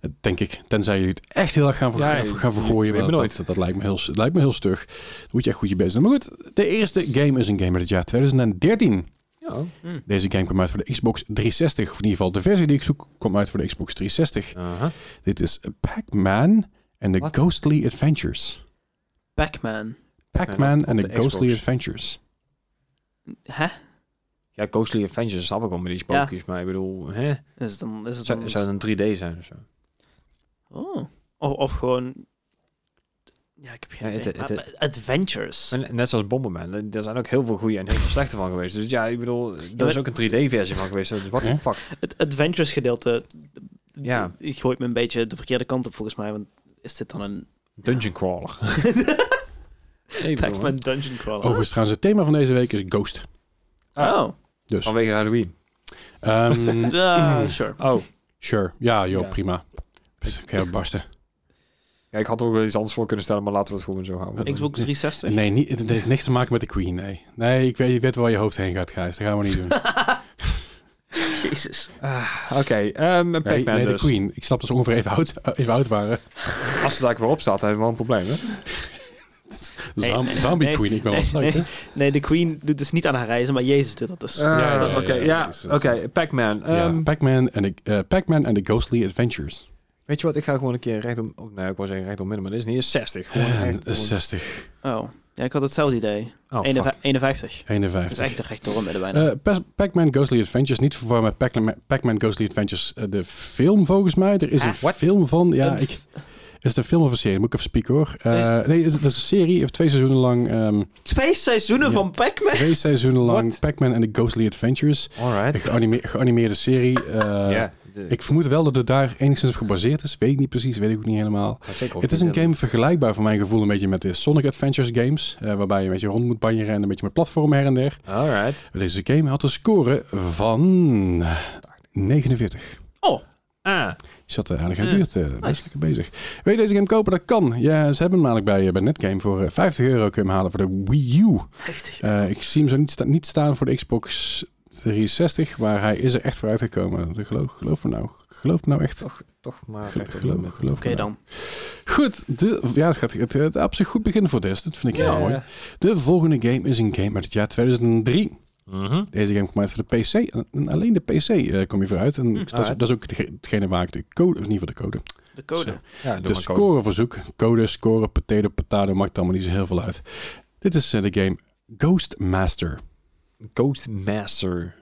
S1: Eh, Denk ik. Tenzij jullie het echt heel erg gaan, ver-
S2: Ja,
S1: gaan, gaan
S2: je-
S1: vergooien.
S2: je weet
S1: maar
S2: me
S1: dat,
S2: nooit.
S1: dat, dat lijkt, me heel, s- lijkt me heel stug. Dan moet je echt goed je best doen. Maar goed, de eerste game is een game uit het jaar 2013.
S2: Ja.
S3: Hm.
S1: Deze game kwam uit voor de Xbox 360. Of in ieder geval de versie die ik zoek kwam uit voor de Xbox 360.
S2: Aha.
S1: Dit is Pac-Man and the
S2: Wat?
S1: Ghostly Adventures.
S3: Pac-Man.
S1: Pac-Man
S2: op
S1: and
S2: de
S1: the Ghostly
S2: Xbox.
S1: Adventures.
S3: Hè?
S2: Ja, Ghostly Adventures snap ik wel met die spookjes, maar ik bedoel, hè?
S3: Is het dan... Is het
S2: Zou,
S3: dan
S2: zou het een 3D zijn of zo?
S3: oh. of, of gewoon... Ja, ik heb geen
S2: Ja, het-
S3: idee.
S2: het-
S3: Maar- maar Adventures.
S2: En net zoals Bomberman, er zijn ook heel veel goede en heel veel slechte van geweest. Dus ja, ik bedoel, er is ook een 3D-versie van geweest. Dus what
S1: Ja.
S2: the fuck?
S3: Het adventures gedeelte
S2: Ja.
S3: ja. gooit me een beetje de verkeerde kant op volgens mij. Want is dit dan een
S2: Dungeon crawler. Nee, ik bedoel,
S3: Pac-Man dungeon crawler?
S2: Oh.
S1: Overigens trouwens, het thema van deze week is Ghost.
S3: Oh,
S1: Dus.
S2: Ah, Vanwege Halloween.
S1: Ehm,
S3: Ja, Ah, sure.
S2: Oh,
S1: sure. Ja, joh,
S2: Ja.
S1: prima. Dus Ik heb barsten.
S2: ja, ik had er ook wel iets anders voor kunnen stellen, maar laten we het gewoon zo houden.
S3: Xbox 360?
S1: Nee, niet, het heeft niks te maken met de Queen, nee. Nee, ik weet, je weet waar je hoofd heen gaat, Gijs. Dat gaan we niet doen.
S3: Jezus.
S2: Ah, Oké, ehm Pac-Man
S1: Nee, nee,
S2: dus.
S1: de Queen. Ik snap dat ze ongeveer even oud, eh, even oud waren.
S2: Als het daar weer op staat, hebben we wel een probleem, hè? Ah,
S3: Nee,
S1: Zam-
S3: nee,
S1: zombie
S3: nee,
S1: Queen, ik ben
S3: nee,
S1: wel psyched,
S3: nee.
S1: hè?
S3: Nee, de Queen doet dus niet aan haar reizen, maar Jezus doet dat dus.
S1: ja, ja,
S2: Ah,
S1: ja,
S2: Oké,
S1: ja,
S2: ja,
S1: precies.
S2: oké, Pac-Man.
S1: ja,
S2: ehm,
S1: Pac-Man en de- eh, Pac-Man and the Ghostly Adventures.
S2: Weet je wat, ik ga gewoon een keer rechtom... Oh, nee, ik wou zeggen rechtom midden, maar dit is niet eens 60. Gewoon
S1: Eh,
S2: recht- gewoon-
S1: 60,
S3: Oh, ja, ik had hetzelfde idee.
S1: eh,
S2: Oh, fuck.
S3: 51. 51. Dat is
S1: 51.
S3: echt een recht door midden bijna.
S1: Eh, Pas- Pac-Man Ghostly Adventures, niet te verwarren met Pac-Man- Pac-Man Ghostly Adventures, eh, de film volgens mij. Er is
S3: Ah,
S1: een
S3: what?
S1: film van, ja,
S3: Een
S1: ik, is het een film of een serie? Moet ik even spieken hoor. Eh,
S3: Is-
S1: nee, het is een serie, of twee seizoenen lang. ehm,
S3: Twee seizoenen
S1: Ja.
S3: van Pac-Man?
S1: Twee seizoenen lang
S2: What?
S1: Pac-Man and the Ghostly Adventures. Een
S2: Alright.
S1: geanime- geanimeerde serie. eh,
S2: Ja. de-
S1: Ik vermoed wel dat het daar enigszins op gebaseerd is. Weet ik niet precies, weet ik ook niet helemaal.
S2: Maar zeker of
S1: het is
S2: niet,
S1: een
S2: hè.
S1: game vergelijkbaar voor mijn gevoel een beetje met de Sonic Adventures games. eh, waarbij je een beetje rond moet banjeren en een beetje met platformen her en der.
S2: Alright.
S1: Deze game had een score van 49.
S2: Ah,
S1: Je zat er aardig in de
S3: Ja.
S1: buurt. eh, best lekker bezig. Wil je deze game kopen? Dat kan. Ja, ze hebben hem namelijk bij, eh, bij Netgame voor eh, 50 euro kunnen halen voor de Wii U.
S3: 50.
S1: Eh, ik zie hem zo niet, sta- niet staan voor de Xbox 360, maar hij is er echt voor uitgekomen. Dus Geloof, geloof me nou. Geloof me nou echt.
S2: toch, toch maar
S1: Geloof,
S2: recht op
S1: geloof,
S2: midden.
S1: geloof me nou.
S3: Oké dan.
S1: Goed, de, ja, het gaat het, het, op zich goed begin voor Des. Dat vind ik heel mooi.
S2: Ja.
S1: De volgende game is een game uit het jaar 2003.
S2: Mhm.
S1: Deze game kwam uit voor de PC. En, en alleen de PC eh, kom je vooruit. En
S3: Hm.
S1: dat, is,
S2: Ah,
S1: dat is ook dege- hetgene waar ik de code, of in ieder geval de code.
S3: De
S1: Zo.
S3: code.
S2: Ja,
S1: De
S2: doe maar code.
S1: scoreverzoek. Code, score, potato, potato, maakt allemaal niet zo heel veel uit. Dit is eh, de game Ghostmaster.
S2: Ghostmaster.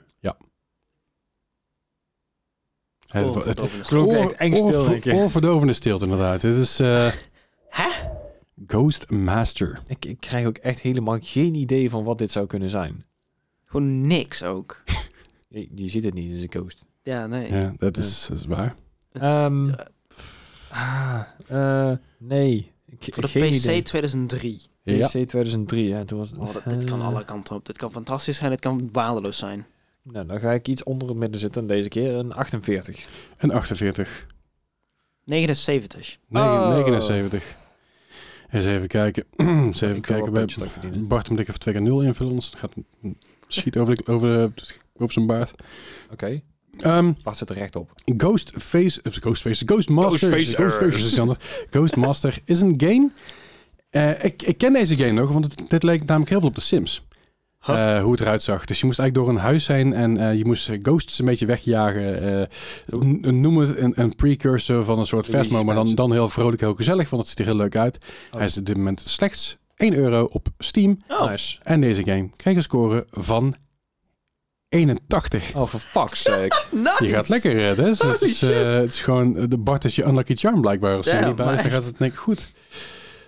S1: Het- het-
S3: Oh, verdomme.
S2: Klonk echt
S1: Oor-
S2: eng stil,
S1: oorver-
S2: denk ik.
S1: Oorverdovende stilte, inderdaad. Dit is... eh
S3: Hè?
S1: Ghostmaster.
S2: Ik, ik krijg ook echt helemaal geen idee van wat dit zou kunnen zijn.
S3: Gewoon niks ook.
S2: Je, je ziet het niet, het is een ghost.
S3: Ja, nee.
S1: Ja, dat is, dat is waar.
S2: Ehm,
S3: Ja,
S2: ah, eh, nee. Ik,
S3: Voor
S2: ik-
S3: de
S2: geen
S3: PC
S2: idee.
S3: 2003.
S1: Ja.
S2: PC 2003, ja, toen was het...
S3: Oh, dat, dit kan
S2: Eh,
S3: alle kanten op. Dit kan fantastisch zijn, dit kan waardeloos zijn.
S2: Nou, dan ga ik iets onder het midden zitten. en Deze keer een 48.
S1: En 48.
S3: 79.
S1: Negen-
S2: Oh.
S1: 79. Eens even kijken. eens even
S2: Ik wil wel
S1: kijken.
S2: een
S1: Bij
S2: puntje terug verdienen.
S1: Bart moet ik even 2 keer 0 invullen. Anders gaat schiet over, de- over, de- over zijn baard.
S2: Oké,
S1: Ehm,
S2: Bart zit er recht op.
S1: Ghostface, of Ghostface, Ghostmaster.
S2: Ghostfacer.
S1: is iets anders. Ghostmaster is een game. Eh, ik, ik ken deze game nog, want het- dit leek namelijk heel veel op The Sims.
S3: Huh?
S1: eh, hoe het eruit zag. Dus je moest eigenlijk door een huis heen en eh, je moest eh, ghosts een beetje wegjagen. eh, n- noem het een, een precursor van een Oh. soort
S2: Luigi's
S1: Vesmo, maar dan,
S2: Mansion.
S1: dan heel vrolijk, heel gezellig, want het ziet er heel leuk uit. Hij is op dit moment slechts 1 euro op Steam.
S3: Oh,
S2: Nice.
S1: En deze game kreeg een score van 81.
S2: Oh, for fuck's sake.
S3: nice.
S1: Je gaat lekker, hè, Des?
S3: Holy
S1: Het is, eh,
S3: shit.
S1: het is gewoon, eh, de Bart is je unlucky charm blijkbaar. Als je er
S3: Damn,
S1: niet bij is, dan
S3: meid.
S1: gaat het denk ik goed.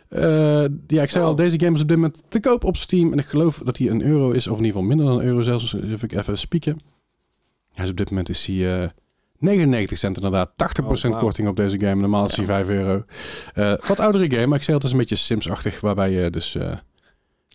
S1: Eh, ja, ik zei al,
S2: Oh.
S3: Wow.
S1: deze game is op dit moment te koop op Steam. En ik geloof dat hij een euro is, of in ieder geval minder dan een euro zelfs. Dus Even, even spieken. Hij is op dit moment is hij eh, 99 cent inderdaad. 80%
S2: Oh, wauw.
S1: korting op deze game. Normaal is hij 5 euro. Eh, wat oudere game, maar ik zei al, het is een beetje Sims-achtig. Waarbij je dus... eh,
S2: eh,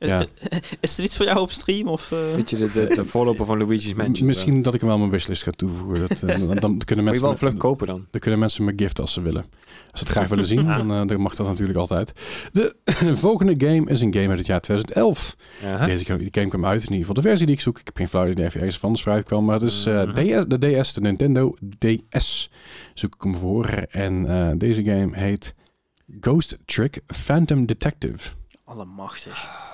S1: Ja.
S3: eh, Is er iets voor jou op stream? Of, eh?
S2: Weet je, de, de, de voorloper van Luigi's Mansion. eh.
S1: misschien dat ik hem wel aan mijn wishlist ga toevoegen. Dat, eh, dan, dan kunnen
S2: Moet je
S1: mensen...
S2: wel vlug kopen dan.
S1: Dan kunnen mensen me gift als ze willen. Als ze het graag willen zien, dan, eh, dan mag dat natuurlijk altijd. De volgende game is een game uit het jaar 2011.
S2: Ja,
S1: Deze game, die game kwam uit, in ieder geval de versie die ik zoek. Ik heb geen flauw idee of je ergens anders vooruit kwam. Maar het is eh,
S2: Mhm.
S1: DS, de DS, de Nintendo DS. Zoek ik hem voor. En eh, deze game heet Ghost Trick Phantom Detective.
S3: Allemachtig.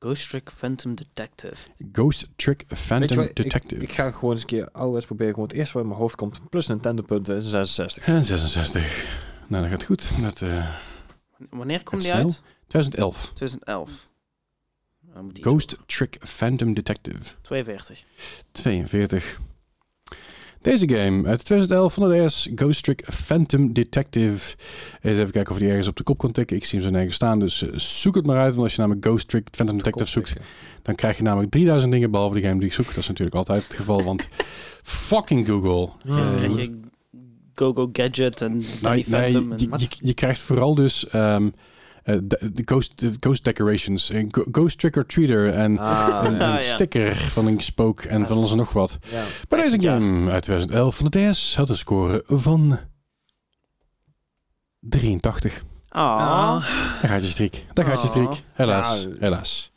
S3: Ghost Trick Phantom Detective.
S1: Ghost Trick
S2: Weet je
S1: Phantom
S2: wat, ik-
S1: Detective.
S2: Ik ga gewoon eens een keer ouderwets proberen. Gewoon het eerste wat in mijn hoofd komt. Plus Nintendo punten is een 66.
S1: En 66. Nou, dat gaat goed. Dat, eh,
S3: Wanneer komt die
S1: Gaat snel.
S3: uit?
S1: 2011.
S3: 2011. Nou, moet die
S1: Ghost Trick Phantom Detective.
S3: zo- 42.
S1: 42. Deze game uit 2011 van de DS, Ghost Trick Phantom Detective. Eens even kijken of we die ergens op de kop kon tikken. Ik zie hem zo nergens staan, dus eh, zoek het maar uit. Want als je namelijk Ghost Trick Phantom Detective zoekt, dan krijg je namelijk 3000 dingen behalve de game die ik zoek. Dat is natuurlijk altijd het geval, want fucking Google. Eh,
S2: Ja,
S3: Dan
S2: dat
S3: krijg
S2: moet-
S3: je Go-Go Gadget en Danny
S1: Nee, Nou, nee
S3: Phantom. en-
S1: je, je, je krijgt vooral dus ehm, eh, de, de ghost, de ghost decorations, en go- Ghost Trick or Treater en
S2: Ah,
S1: een, een
S2: ja.
S3: ja.
S1: sticker van een spook en van alles en nog wat.
S2: Ja.
S1: Maar deze
S3: 15 jaar.
S1: game uit 2011 van de DS had een score van 83.
S3: Ah.
S1: Daar gaat je streak. Daar gaat je
S3: Ah.
S1: streak. Helaas.
S2: Ja.
S1: helaas.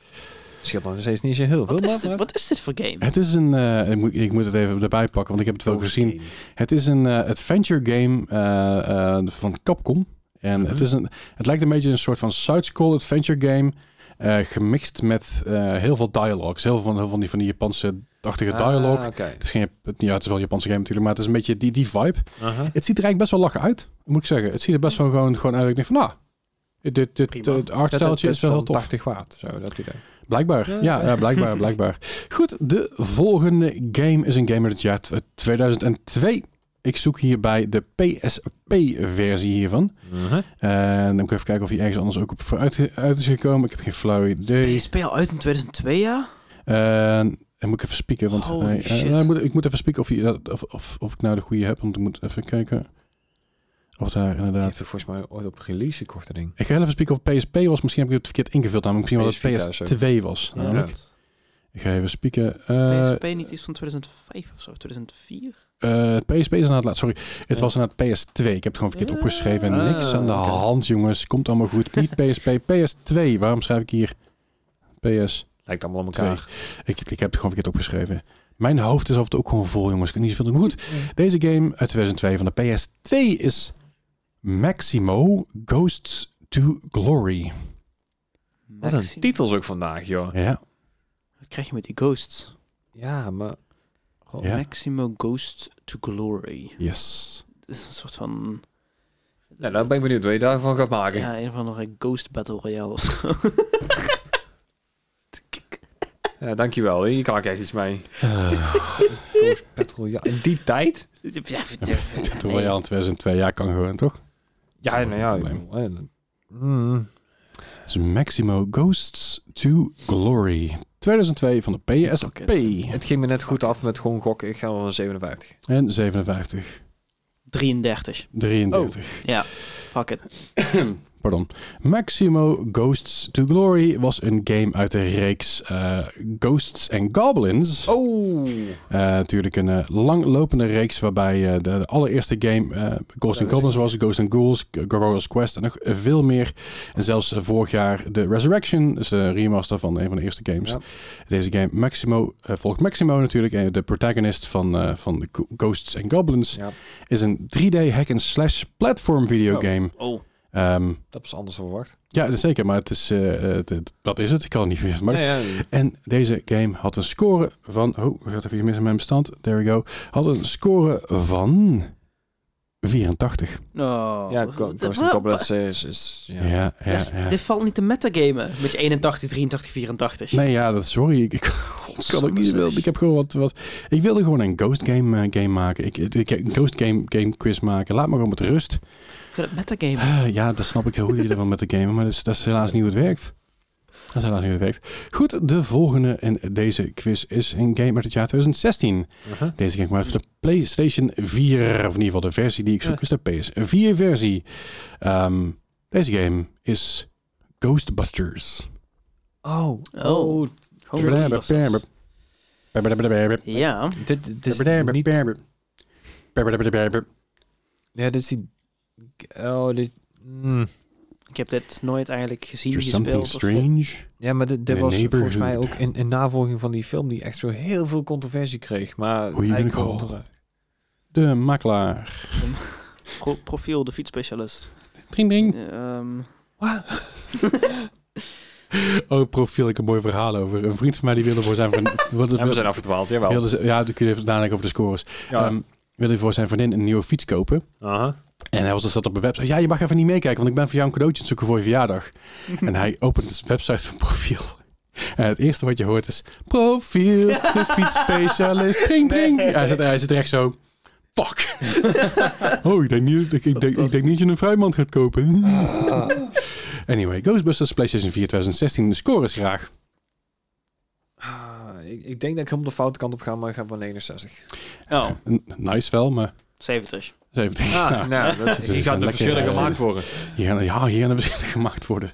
S2: Het scheelt nog steeds niet zo heel veel.
S3: Wat is,
S2: maar-
S3: dit,
S2: maar-
S3: wat is dit voor game?
S1: Het is een... eh, ik, moet, ik moet het even erbij pakken, want ik heb het wel gezien. Het is een eh, adventure game eh, eh, van Capcom. En
S2: Mhm.
S1: het, is een, het lijkt een beetje een soort van side-scroll adventure game. eh, gemixt met eh, heel veel dialogues. Heel veel van, heel veel van die, van die Japanse-achtige dialogue.
S2: Ah, oké.
S1: Het, is geen, Jap- ja, het is wel een Japanse game natuurlijk, maar het is een beetje die, die vibe.
S2: Uh-huh.
S1: Het ziet er eigenlijk best wel lachen uit, moet ik zeggen. Het ziet er best wel gewoon, gewoon uit. Ik denk van, nou, dit, dit, dit
S3: Prima.
S1: eh, het artstijltje is wel heel tof.
S2: 80 watt, zo dat idee.
S1: Blijkbaar, ja,
S2: Ja.
S1: ja, blijkbaar, blijkbaar. Goed, de volgende game is een game uit het jaar t- 2002. Ik zoek hierbij de PSP-versie hiervan.
S2: Uh-huh.
S1: En dan moet ik even kijken of hij ergens anders ook op vooruit uit is gekomen. Ik heb geen flauw idee.
S3: PSP al uit in 2002, ja?
S1: En dan moet ik even spieken, want
S3: Holy
S1: eh, eh,
S3: shit.
S1: nou, ik, moet, ik moet even spieken of, hij dat- of, of, of ik nou de goede heb. Want ik moet even kijken of daar
S2: Die
S1: inderdaad...
S2: heeft er volgens mij ooit op release gekocht, dat ding.
S1: Ik ga heel even spieken of PSP was. Misschien heb ik het verkeerd ingevuld. Namelijk misschien wel dat
S2: PS4
S1: het PS2 was.
S2: Ja.
S1: namelijk.
S3: Want
S1: Ik ga even spieken. Eh,
S3: PSP niet iets van 2005 of zo, 2004?
S1: eh, PSP is inderdaad laat. Sorry, het
S2: Ja.
S1: was inderdaad PS2. Ik heb het gewoon verkeerd
S3: Ja.
S1: opgeschreven. En niks
S2: Ah,
S1: aan de
S2: oké.
S1: hand, jongens. Komt allemaal goed. Niet PSP, PS2. Waarom schrijf ik hier PS?
S2: Lijkt allemaal aan elkaar.
S1: Ik, ik heb het gewoon verkeerd opgeschreven. Mijn hoofd is altijd ook gewoon vol, jongens. Ik kan niet zoveel doen. Goed, deze game uit 2002 van de PS2 is Maximo Ghosts to Glory.
S2: Wat een
S3: Maxim-
S2: titels ook vandaag, joh.
S1: Ja,
S3: Wat krijg je met die ghosts?
S2: Ja, maar... Goh.
S1: Ja.
S3: Maximo Ghost to Glory.
S1: yes.
S3: Dat is een soort van...
S2: Nou, dan ben ik benieuwd wat je daarvan gaat maken.
S3: Ja, een of andere Ghost Battle Royale of zo.
S2: Ja, Eh, dankjewel. Hier kan ik echt iets mee.
S1: Eh,
S2: Ghost Patrol, ja. In die tijd?
S3: Ja,
S1: Battle Royale in 2002 jaar kan gewoon, toch?
S2: Ja, nou ja.
S1: Probleem.
S2: ik bedoel, eh, mm.
S1: Dus Maximo Ghosts to Glory. 2002 van de PSP.
S2: Het ging me net goed af met gewoon gokken. Ik ga wel een 57.
S1: En 57.
S3: 33.
S2: Oh.
S1: 33.
S3: Fuck it.
S1: Pardon. Maximo Ghosts to Glory was een game uit de reeks eh, Ghosts and Goblins.
S2: Oh!
S1: Eh, natuurlijk een eh, langlopende reeks waarbij eh, de, de allereerste game eh Ghost
S2: Ja,
S1: and
S2: dat
S1: Goblins
S2: is-
S1: was, Ghost and Ghouls, Gargoyle's Quest en nog eh, veel meer. En zelfs eh, vorig jaar de Resurrection, dus de remaster van een van de eerste games.
S2: Ja.
S1: Deze game Maximo, eh, volgt Maximo natuurlijk, eh, de protagonist van, eh, van de Go- Ghosts and Goblins,
S2: Ja.
S1: is een 3D hack and slash platform videogame.
S3: Oh,
S1: Ehm,
S2: Dat was anders dan verwacht.
S1: ja, dat is zeker, maar het is, eh, eh, d- dat is het. Ik kan het niet meer van maken.
S2: Nee, ja,
S1: En deze game had een score van... Oh, er gaat even iets mis in mijn bestand. There we go. Had een score van 84.
S3: Oh,
S2: ja,
S3: wat-
S2: Co- Ghost
S3: wat-
S2: and Goblins is... is ja.
S1: Ja, ja, ja.
S3: Dat is- Dit valt niet te metagamen met je 81, 83, 84.
S1: Nee, ja, dat, sorry. Ik, ik kan ook niet wilde. Ik heb gewoon wat, wat... Ik wilde gewoon een ghost game, eh, game maken. Ik, ik, ik- een ghost game, game quiz maken. Laat me gewoon met rust.
S3: Ik wil het metagamen.
S1: Ah, ja, dat snap ik heel goed dat je er wel met de game. Maar dat is, dat is helaas niet hoe het werkt. Dat is helaas niet hoe het werkt. Goed, de volgende in deze quiz is een game uit het jaar 2016.
S2: Uh-huh.
S1: Deze ging maar uit voor de PlayStation 4. Of in ieder geval de versie die ik zoek
S2: Ja.
S1: is de PS4 versie. Ehm, deze game is Ghostbusters.
S2: Oh,
S3: Oh.
S2: oh.
S3: Holy Ghostbusters. Ja,
S2: Dit, dit is niet... Ja, dit is die... Oh, dit... mm.
S3: ik heb dit nooit eigenlijk gezien,
S1: There's something
S3: gespeeld. of-
S1: strange.
S2: Ja, maar dit, dit
S1: The
S2: was volgens mij ook
S1: Neighborhood.
S2: in, in navolging van die film die echt zo heel veel controversie kreeg. Maar
S1: Hoe je
S2: eigenlijk
S1: bent
S2: wel
S1: geholpen.
S2: onder-
S1: De makelaar.
S3: Pro- profiel, de fietsspecialist.
S1: Dring, dring.
S3: Ehm,
S1: Oh, profiel, ik heb een mooi verhaal over. Een vriend van mij die wilde voor zijn... Van,
S2: Ja, we zijn afgedwaald, jawel.
S1: wilde, ze- ja, dan kun je even nadenken over de scores.
S2: ja.
S1: Ehm, wilde voor zijn vriendin een nieuwe fiets kopen.
S2: Aha.
S1: En hij was dus dat op een website. Ja, je mag even niet meekijken, want ik ben voor jou een cadeautje aan het zoeken voor je verjaardag. en hij opent dus de website van profiel. En het eerste wat je hoort is... Profiel, de fietsspecialist. Ding, ding. Hij, zit, hij zit er echt zo... Fuck. oh, ik denk, niet, ik, ik denk, ik denk niet dat je een vrijmand gaat kopen. anyway, Ghostbusters PlayStation 4 2016. De score is graag.
S2: Ah, ik, ik denk dat ik helemaal de foute kant op ga, maar ik ga voor 69.
S3: oh,
S1: N- Nice wel, maar...
S3: 70.
S1: 70. Ja.
S2: nou, dat,
S1: is een lekker, eh,
S2: worden.
S1: Hier gaan, ja, hier gaan de verschillen gemaakt worden.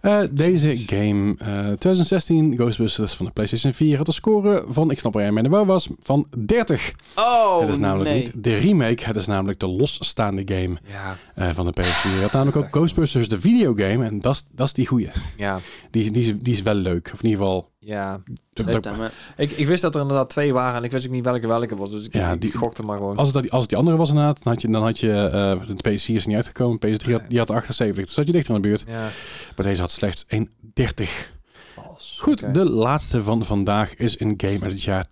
S1: Eh, deze game, eh, 2016, Ghostbusters van de PlayStation 4, had een score van, ik snap waar jij mee naar was, van 30.
S3: Oh,
S1: het is namelijk
S3: nee.
S1: niet de remake, het is namelijk de losstaande game
S2: Ja,
S1: eh, van de PS4. Je had namelijk ook Ghostbusters, de videogame, en dat is- dat is die goeie.
S2: ja,
S1: Die, is- die, is- die is wel leuk, of in ieder geval...
S2: ja.
S3: Leuk daarmee.
S2: Ik, ik wist dat er inderdaad twee waren en ik wist ook niet welke welke was. Dus ik,
S1: Ja,
S2: ik
S1: die-
S2: gokte maar gewoon.
S1: Als het, als het die andere was inderdaad, dan had je, dan had je eh, de PS4 is niet uitgekomen, PS3 had, die had 78, dus zat je dichter aan de buurt.
S2: Ja.
S1: Maar deze had slechts een 30.
S2: Pas.
S1: Goed,
S2: Oké.
S1: de laatste van vandaag is een game uit het jaar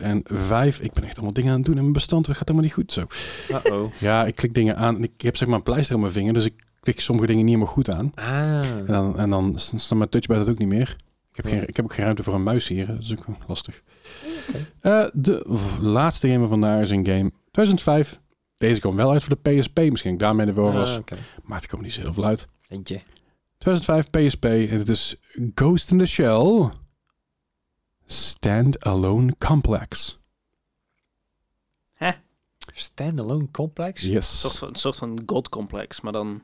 S1: 2005. Ik ben echt allemaal dingen aan het doen in mijn bestand. Het gaat helemaal niet goed zo.
S2: Uh-oh.
S1: Ja, ik klik dingen aan en ik heb zeg maar een pleister aan mijn vinger. Dus ik klik sommige dingen niet helemaal goed aan. En
S2: Ah.
S1: dan, en dan s- snapt mijn touchpad het ook niet meer. Ik heb,
S2: Ja.
S1: geen, ik heb ook geen ruimte voor een muis hier. Dat is ook lastig. Eh, de v- laatste game van vandaag is een game 2005. Deze kwam wel uit voor de PSP. Misschien daarmee de wel was.
S2: Ah, oké.
S1: Maar het kwam niet zo heel veel uit.
S2: Eentje.
S1: 2005 PSP en het is Ghost in the Shell Stand-Alone Complex.
S2: Standalone complex?
S3: Een soort
S1: Yes.
S3: van, een soort van godcomplex, maar dan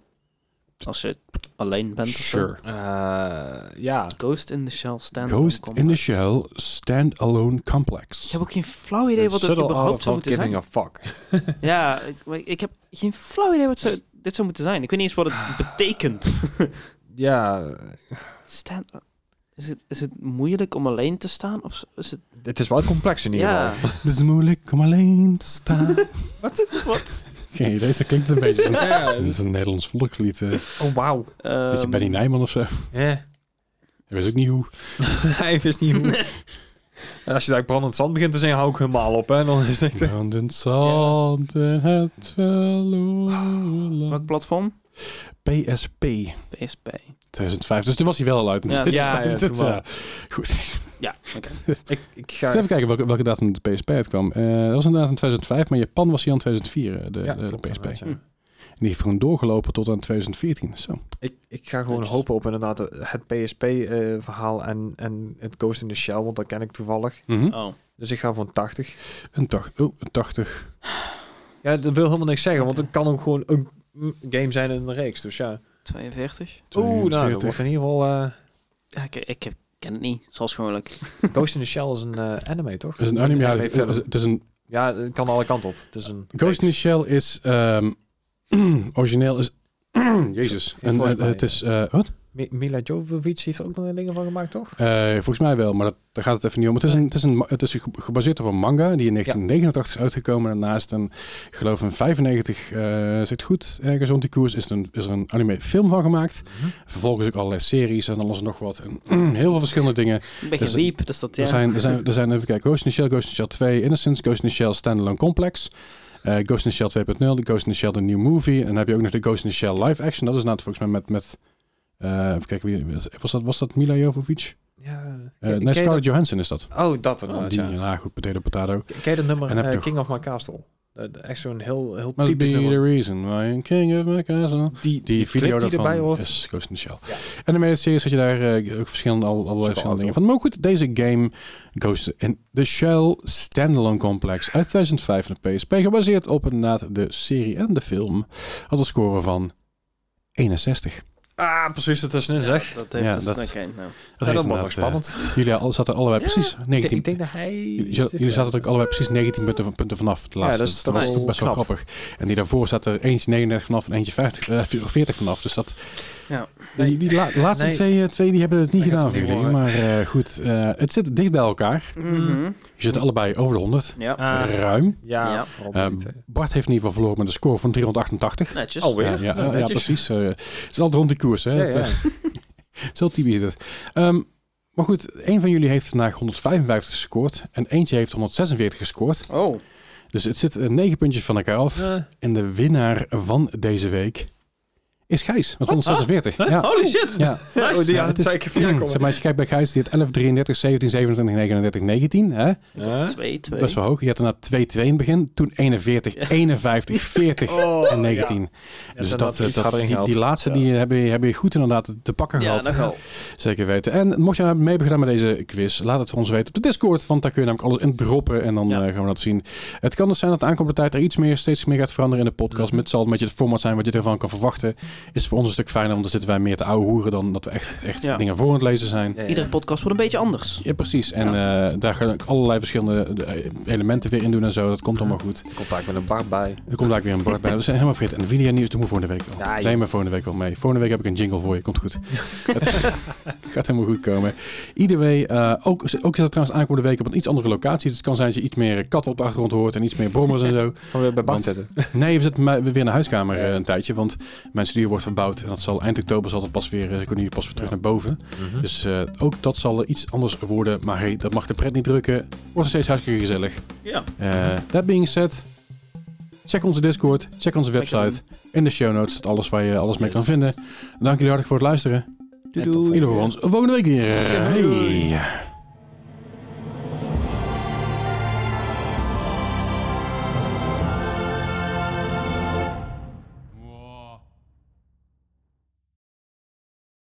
S3: als je alleen bent. of zo.
S1: Sure.
S2: Eh, ja.
S3: Ghost in the Shell stand
S1: Ghost in the Shell Stand-Alone
S3: Ik
S1: Complex.
S3: heb ook geen flauw idee wat het überhaupt zou moeten zijn.
S2: giving a fuck.
S3: Ja, ik, maar ik heb geen flauw idee wat zo, dit zou moeten zijn. Ik weet niet eens wat het betekent.
S2: Ja,
S3: Stand is, het, is het moeilijk om alleen te staan? Of zo? is het...
S2: het is wel complex in ieder geval.
S3: Ja,
S1: Het is moeilijk om alleen te staan.
S3: wat?
S1: Geen idee, zo klinkt het een beetje.
S2: Ja, ja,
S1: Dat is een Nederlands volkslied. eh. Weet
S2: Oh, wauw.
S1: Dus je,
S3: Ehm,
S1: Benny Nijman of zo? Ik weet ook niet hoe.
S2: Hij wist niet hoe. En Als je daar brandend zand begint te zingen, hou ik helemaal op. Hè? En Dan is het echt...
S1: Brandend zand en het verloren
S3: Welk
S1: land.
S3: platform?
S1: PSP
S3: PSP.
S1: 2005. Dus toen was hij wel al uit.
S3: Ja,
S2: ja, ja,
S1: dat,
S2: toen wel.
S1: ja. eh, Goed.
S3: Ja, oké.
S2: Ik, ik ga...
S1: Dus even kijken welke, welke datum de PSP uitkwam. Eh dat was inderdaad in 2005, maar in Japan was hij aan 2004, eh, de,
S2: Ja,
S1: de, de
S2: klopt,
S1: PSP.
S2: inderdaad, ja.
S3: Hm.
S1: En die heeft gewoon doorgelopen tot aan 2014. Zo.
S2: ik, ik ga
S1: Dus-
S2: gewoon
S3: Netjes.
S2: hopen op inderdaad het PSP-verhaal eh, en, en het Ghost in the Shell, want dat ken ik toevallig.
S3: Oh.
S2: Dus ik ga voor een 80.
S1: Een, tach- oh, een 80.
S2: Ja, dat wil helemaal niks zeggen, want het kan ook gewoon een mm, game zijn in een reeks. Dus ja.
S3: 42?
S2: Oeh, nou, dat
S1: 42.
S2: wordt in ieder geval... eh,
S3: Ja, ik, ik heb- ken het niet, zoals gewoonlijk.
S2: Ghost in the Shell is een eh, anime, toch?
S1: Het is een anime. Ja, het
S2: film.
S1: is- het is een,
S2: Ja, het kan alle kanten op. Het is een...
S1: Ghost in the Shell is ehm, origineel is. Jezus.
S2: Ja,
S1: En,
S2: volgens
S1: eh,
S2: mij,
S1: het is. eh, wat?
S2: Mi- Mila Jovovich heeft ook nog een ding van gemaakt, toch?
S1: Eh, volgens mij wel, maar dat, daar gaat het even niet om. Het is, een, het, is een, ma- het is ge- gebaseerd op een manga die in 1989 is uitgekomen. En naast een, ik geloof in 95, eh zit het goed, ergens rond die koers, is er een, is er een anime film van gemaakt. Vervolgens ook allerlei series en alles en nog wat. En heel veel verschillende dingen.
S3: Een beetje
S1: Dus-
S3: weep, dus dat ja.
S1: Er, zijn, er, zijn, er zijn even kijken, Ghost in the Shell, Ghost in the Shell 2, Innocence, Ghost in the Shell Standalone Complex, eh, Ghost in the Shell 2.0, de Ghost in the Shell The New Movie. En dan heb je ook nog de Ghost in the Shell Live Action. Dat is nou volgens mij met, met eh, even kijken, wie, was, dat, was dat Mila Jovovich?
S2: Ja.
S1: Eh,
S2: Ken-
S1: nee,
S2: ken je dat-
S1: Scarlett Johansson is dat.
S2: Oh, dat
S1: Ja,
S2: inderdaad,
S1: die, eh,
S2: ja.
S1: ja, goed, potato, potato.
S2: Ken je dat nummer
S1: En heb
S2: eh,
S1: je-
S2: King of My Castle? Dat- Echt zo'n heel, heel
S1: Must be
S2: typisch nummer.
S1: the reason why I'm king of my castle.
S2: Die,
S1: Die video
S2: clip die
S1: daarvan
S2: erbij hoort.
S1: is Ghost in the Shell.
S2: Ja.
S1: En de mede series had je daar eh, ook verschillende, al, allerlei verschillende dingen van. Maar goed, deze game Ghost in the Shell Standalone Complex uit 2005 van de PSP. Gebaseerd op inderdaad de serie en de film. Had een score van 61.
S2: Ah, precies dat tussenin zeg.
S3: Ja, dat heeft
S1: Ja,
S3: dus-
S1: dat-
S3: oké, nou.
S2: Dat,
S1: heeft
S2: dat wordt nog
S1: inderdaad,
S2: spannend.
S1: eh, jullie al- zaten allebei
S3: Ja,
S1: precies
S2: ik, denk,
S1: 19
S2: ik denk dat hij...
S1: Jullie, zat- jullie zaten ook allebei precies 19 punten, van, punten vanaf de laatste.
S2: dat is
S1: dus dat
S2: toch
S1: was
S2: wel
S1: toch best wel
S2: knap.
S1: grappig. En die daarvoor zat er eentje 39 vanaf en eentje 50, eh, 40 vanaf. Dus dat...
S3: Ja.
S1: Die- die, la- de laatste
S2: Nee.
S1: twee, eh, twee die hebben het niet
S2: Ik had
S1: gedaan
S2: het
S1: voor
S2: niet
S1: jullie. Maar eh, goed, eh, het zit dicht bij elkaar.
S3: Mhm.
S1: Je zit allebei over de 100.
S3: Ja,
S2: Ah,
S1: Ruim.
S2: ja,
S3: Ja.
S2: vooral
S1: Eh,
S2: met die twee.
S1: Bart heeft in ieder geval verloren met een score van 388.
S3: netjes.
S2: Alweer.
S1: Ja, ja,
S2: Nou,
S1: ja,
S2: netjes.
S1: precies. eh, het is altijd rond de koers. Hè?
S2: Ja,
S1: Het,
S2: ja.
S1: eh, Het is heel typisch dit. Ehm, maar goed, één van jullie heeft vandaag 155 gescoord. En eentje heeft 146 gescoord.
S3: Oh,
S1: Dus het zit eh, negen puntjes van elkaar af.
S2: Eh,
S1: En de winnaar van deze week is Gijs. Met 146. Ja.
S3: holy shit.
S1: Ja.
S3: Nice.
S2: Oh, die
S1: Ja,
S2: had
S1: het is- mm,
S2: zei ik even
S1: Zeg maar, als je kijkt bij Gijs, die had 11, 33, 17, 27, 39, 19. Hè? dus
S2: Eh?
S3: Twee, twee.
S1: Best wel hoog. Je had daarna 2, 2 in het begin. Toen 41, 51, 40
S2: Oh,
S1: en 19. Dus dat,
S2: inderdaad,
S1: dat-
S2: iets harder
S1: die,
S2: ingehaald.
S1: die laatste die hebben, hebben je goed inderdaad te pakken
S3: Ja,
S1: gehad.
S3: nog wel.
S1: Zeker weten. En mocht je nou mee hebben gedaan met deze quiz, laat het voor ons weten op de Discord. Want daar kun je namelijk alles in droppen en dan
S3: Ja.
S1: eh, gaan we dat zien. Het kan dus zijn dat de aankomende tijd er iets meer, steeds meer gaat veranderen in de podcast.
S2: Mhm.
S1: Met zal een beetje het format zijn wat je ervan kan verwachten. Is voor ons een stuk fijner, want dan zitten wij meer te ouwe hoeren dan dat we echt, echt
S3: Ja.
S1: dingen voor aan het lezen zijn.
S2: Ja, ja.
S3: Iedere podcast wordt een beetje anders.
S1: Ja, precies. En eh, daar gaan ook allerlei verschillende eh, elementen weer in doen en zo. Dat komt allemaal goed.
S2: Contact met een bar bij.
S1: Er komt daar weer een bord bij. We zijn helemaal vergeten. En de video nieuws doen we volgende week wel.
S2: Ja, joh.
S1: Neem maar volgende week wel mee. Volgende week heb ik een jingle voor je. Komt goed. Het gaat helemaal goed komen. Ieder week, eh, ook, ook zit het trouwens aankomende week op een iets andere locatie. Dus het kan zijn dat je iets meer katten op de achtergrond hoort en iets meer brommers en zo.
S2: Gaan we bij
S1: Want-
S2: Bart zetten.
S1: Nee, we zitten maar weer in de huiskamer eh, een tijdje. Want mijn studio wordt verbouwd. En dat zal eind oktober zal dat pas weer, eh, kunnen jullie pas weer terug naar boven.
S2: Dus
S1: Dus eh, ook dat zal iets anders worden. Maar hey, dat mag de pret niet drukken. Wordt nog steeds hartstikke gezellig.
S3: Ja.
S1: Eh, that being said, check onze Discord, check onze website. In de show notes staat alles waar je alles mee kan
S2: Yes.
S1: vinden. Dank jullie hartelijk voor het luisteren.
S2: Doei
S1: Jullie horen ons volgende week weer. Hey.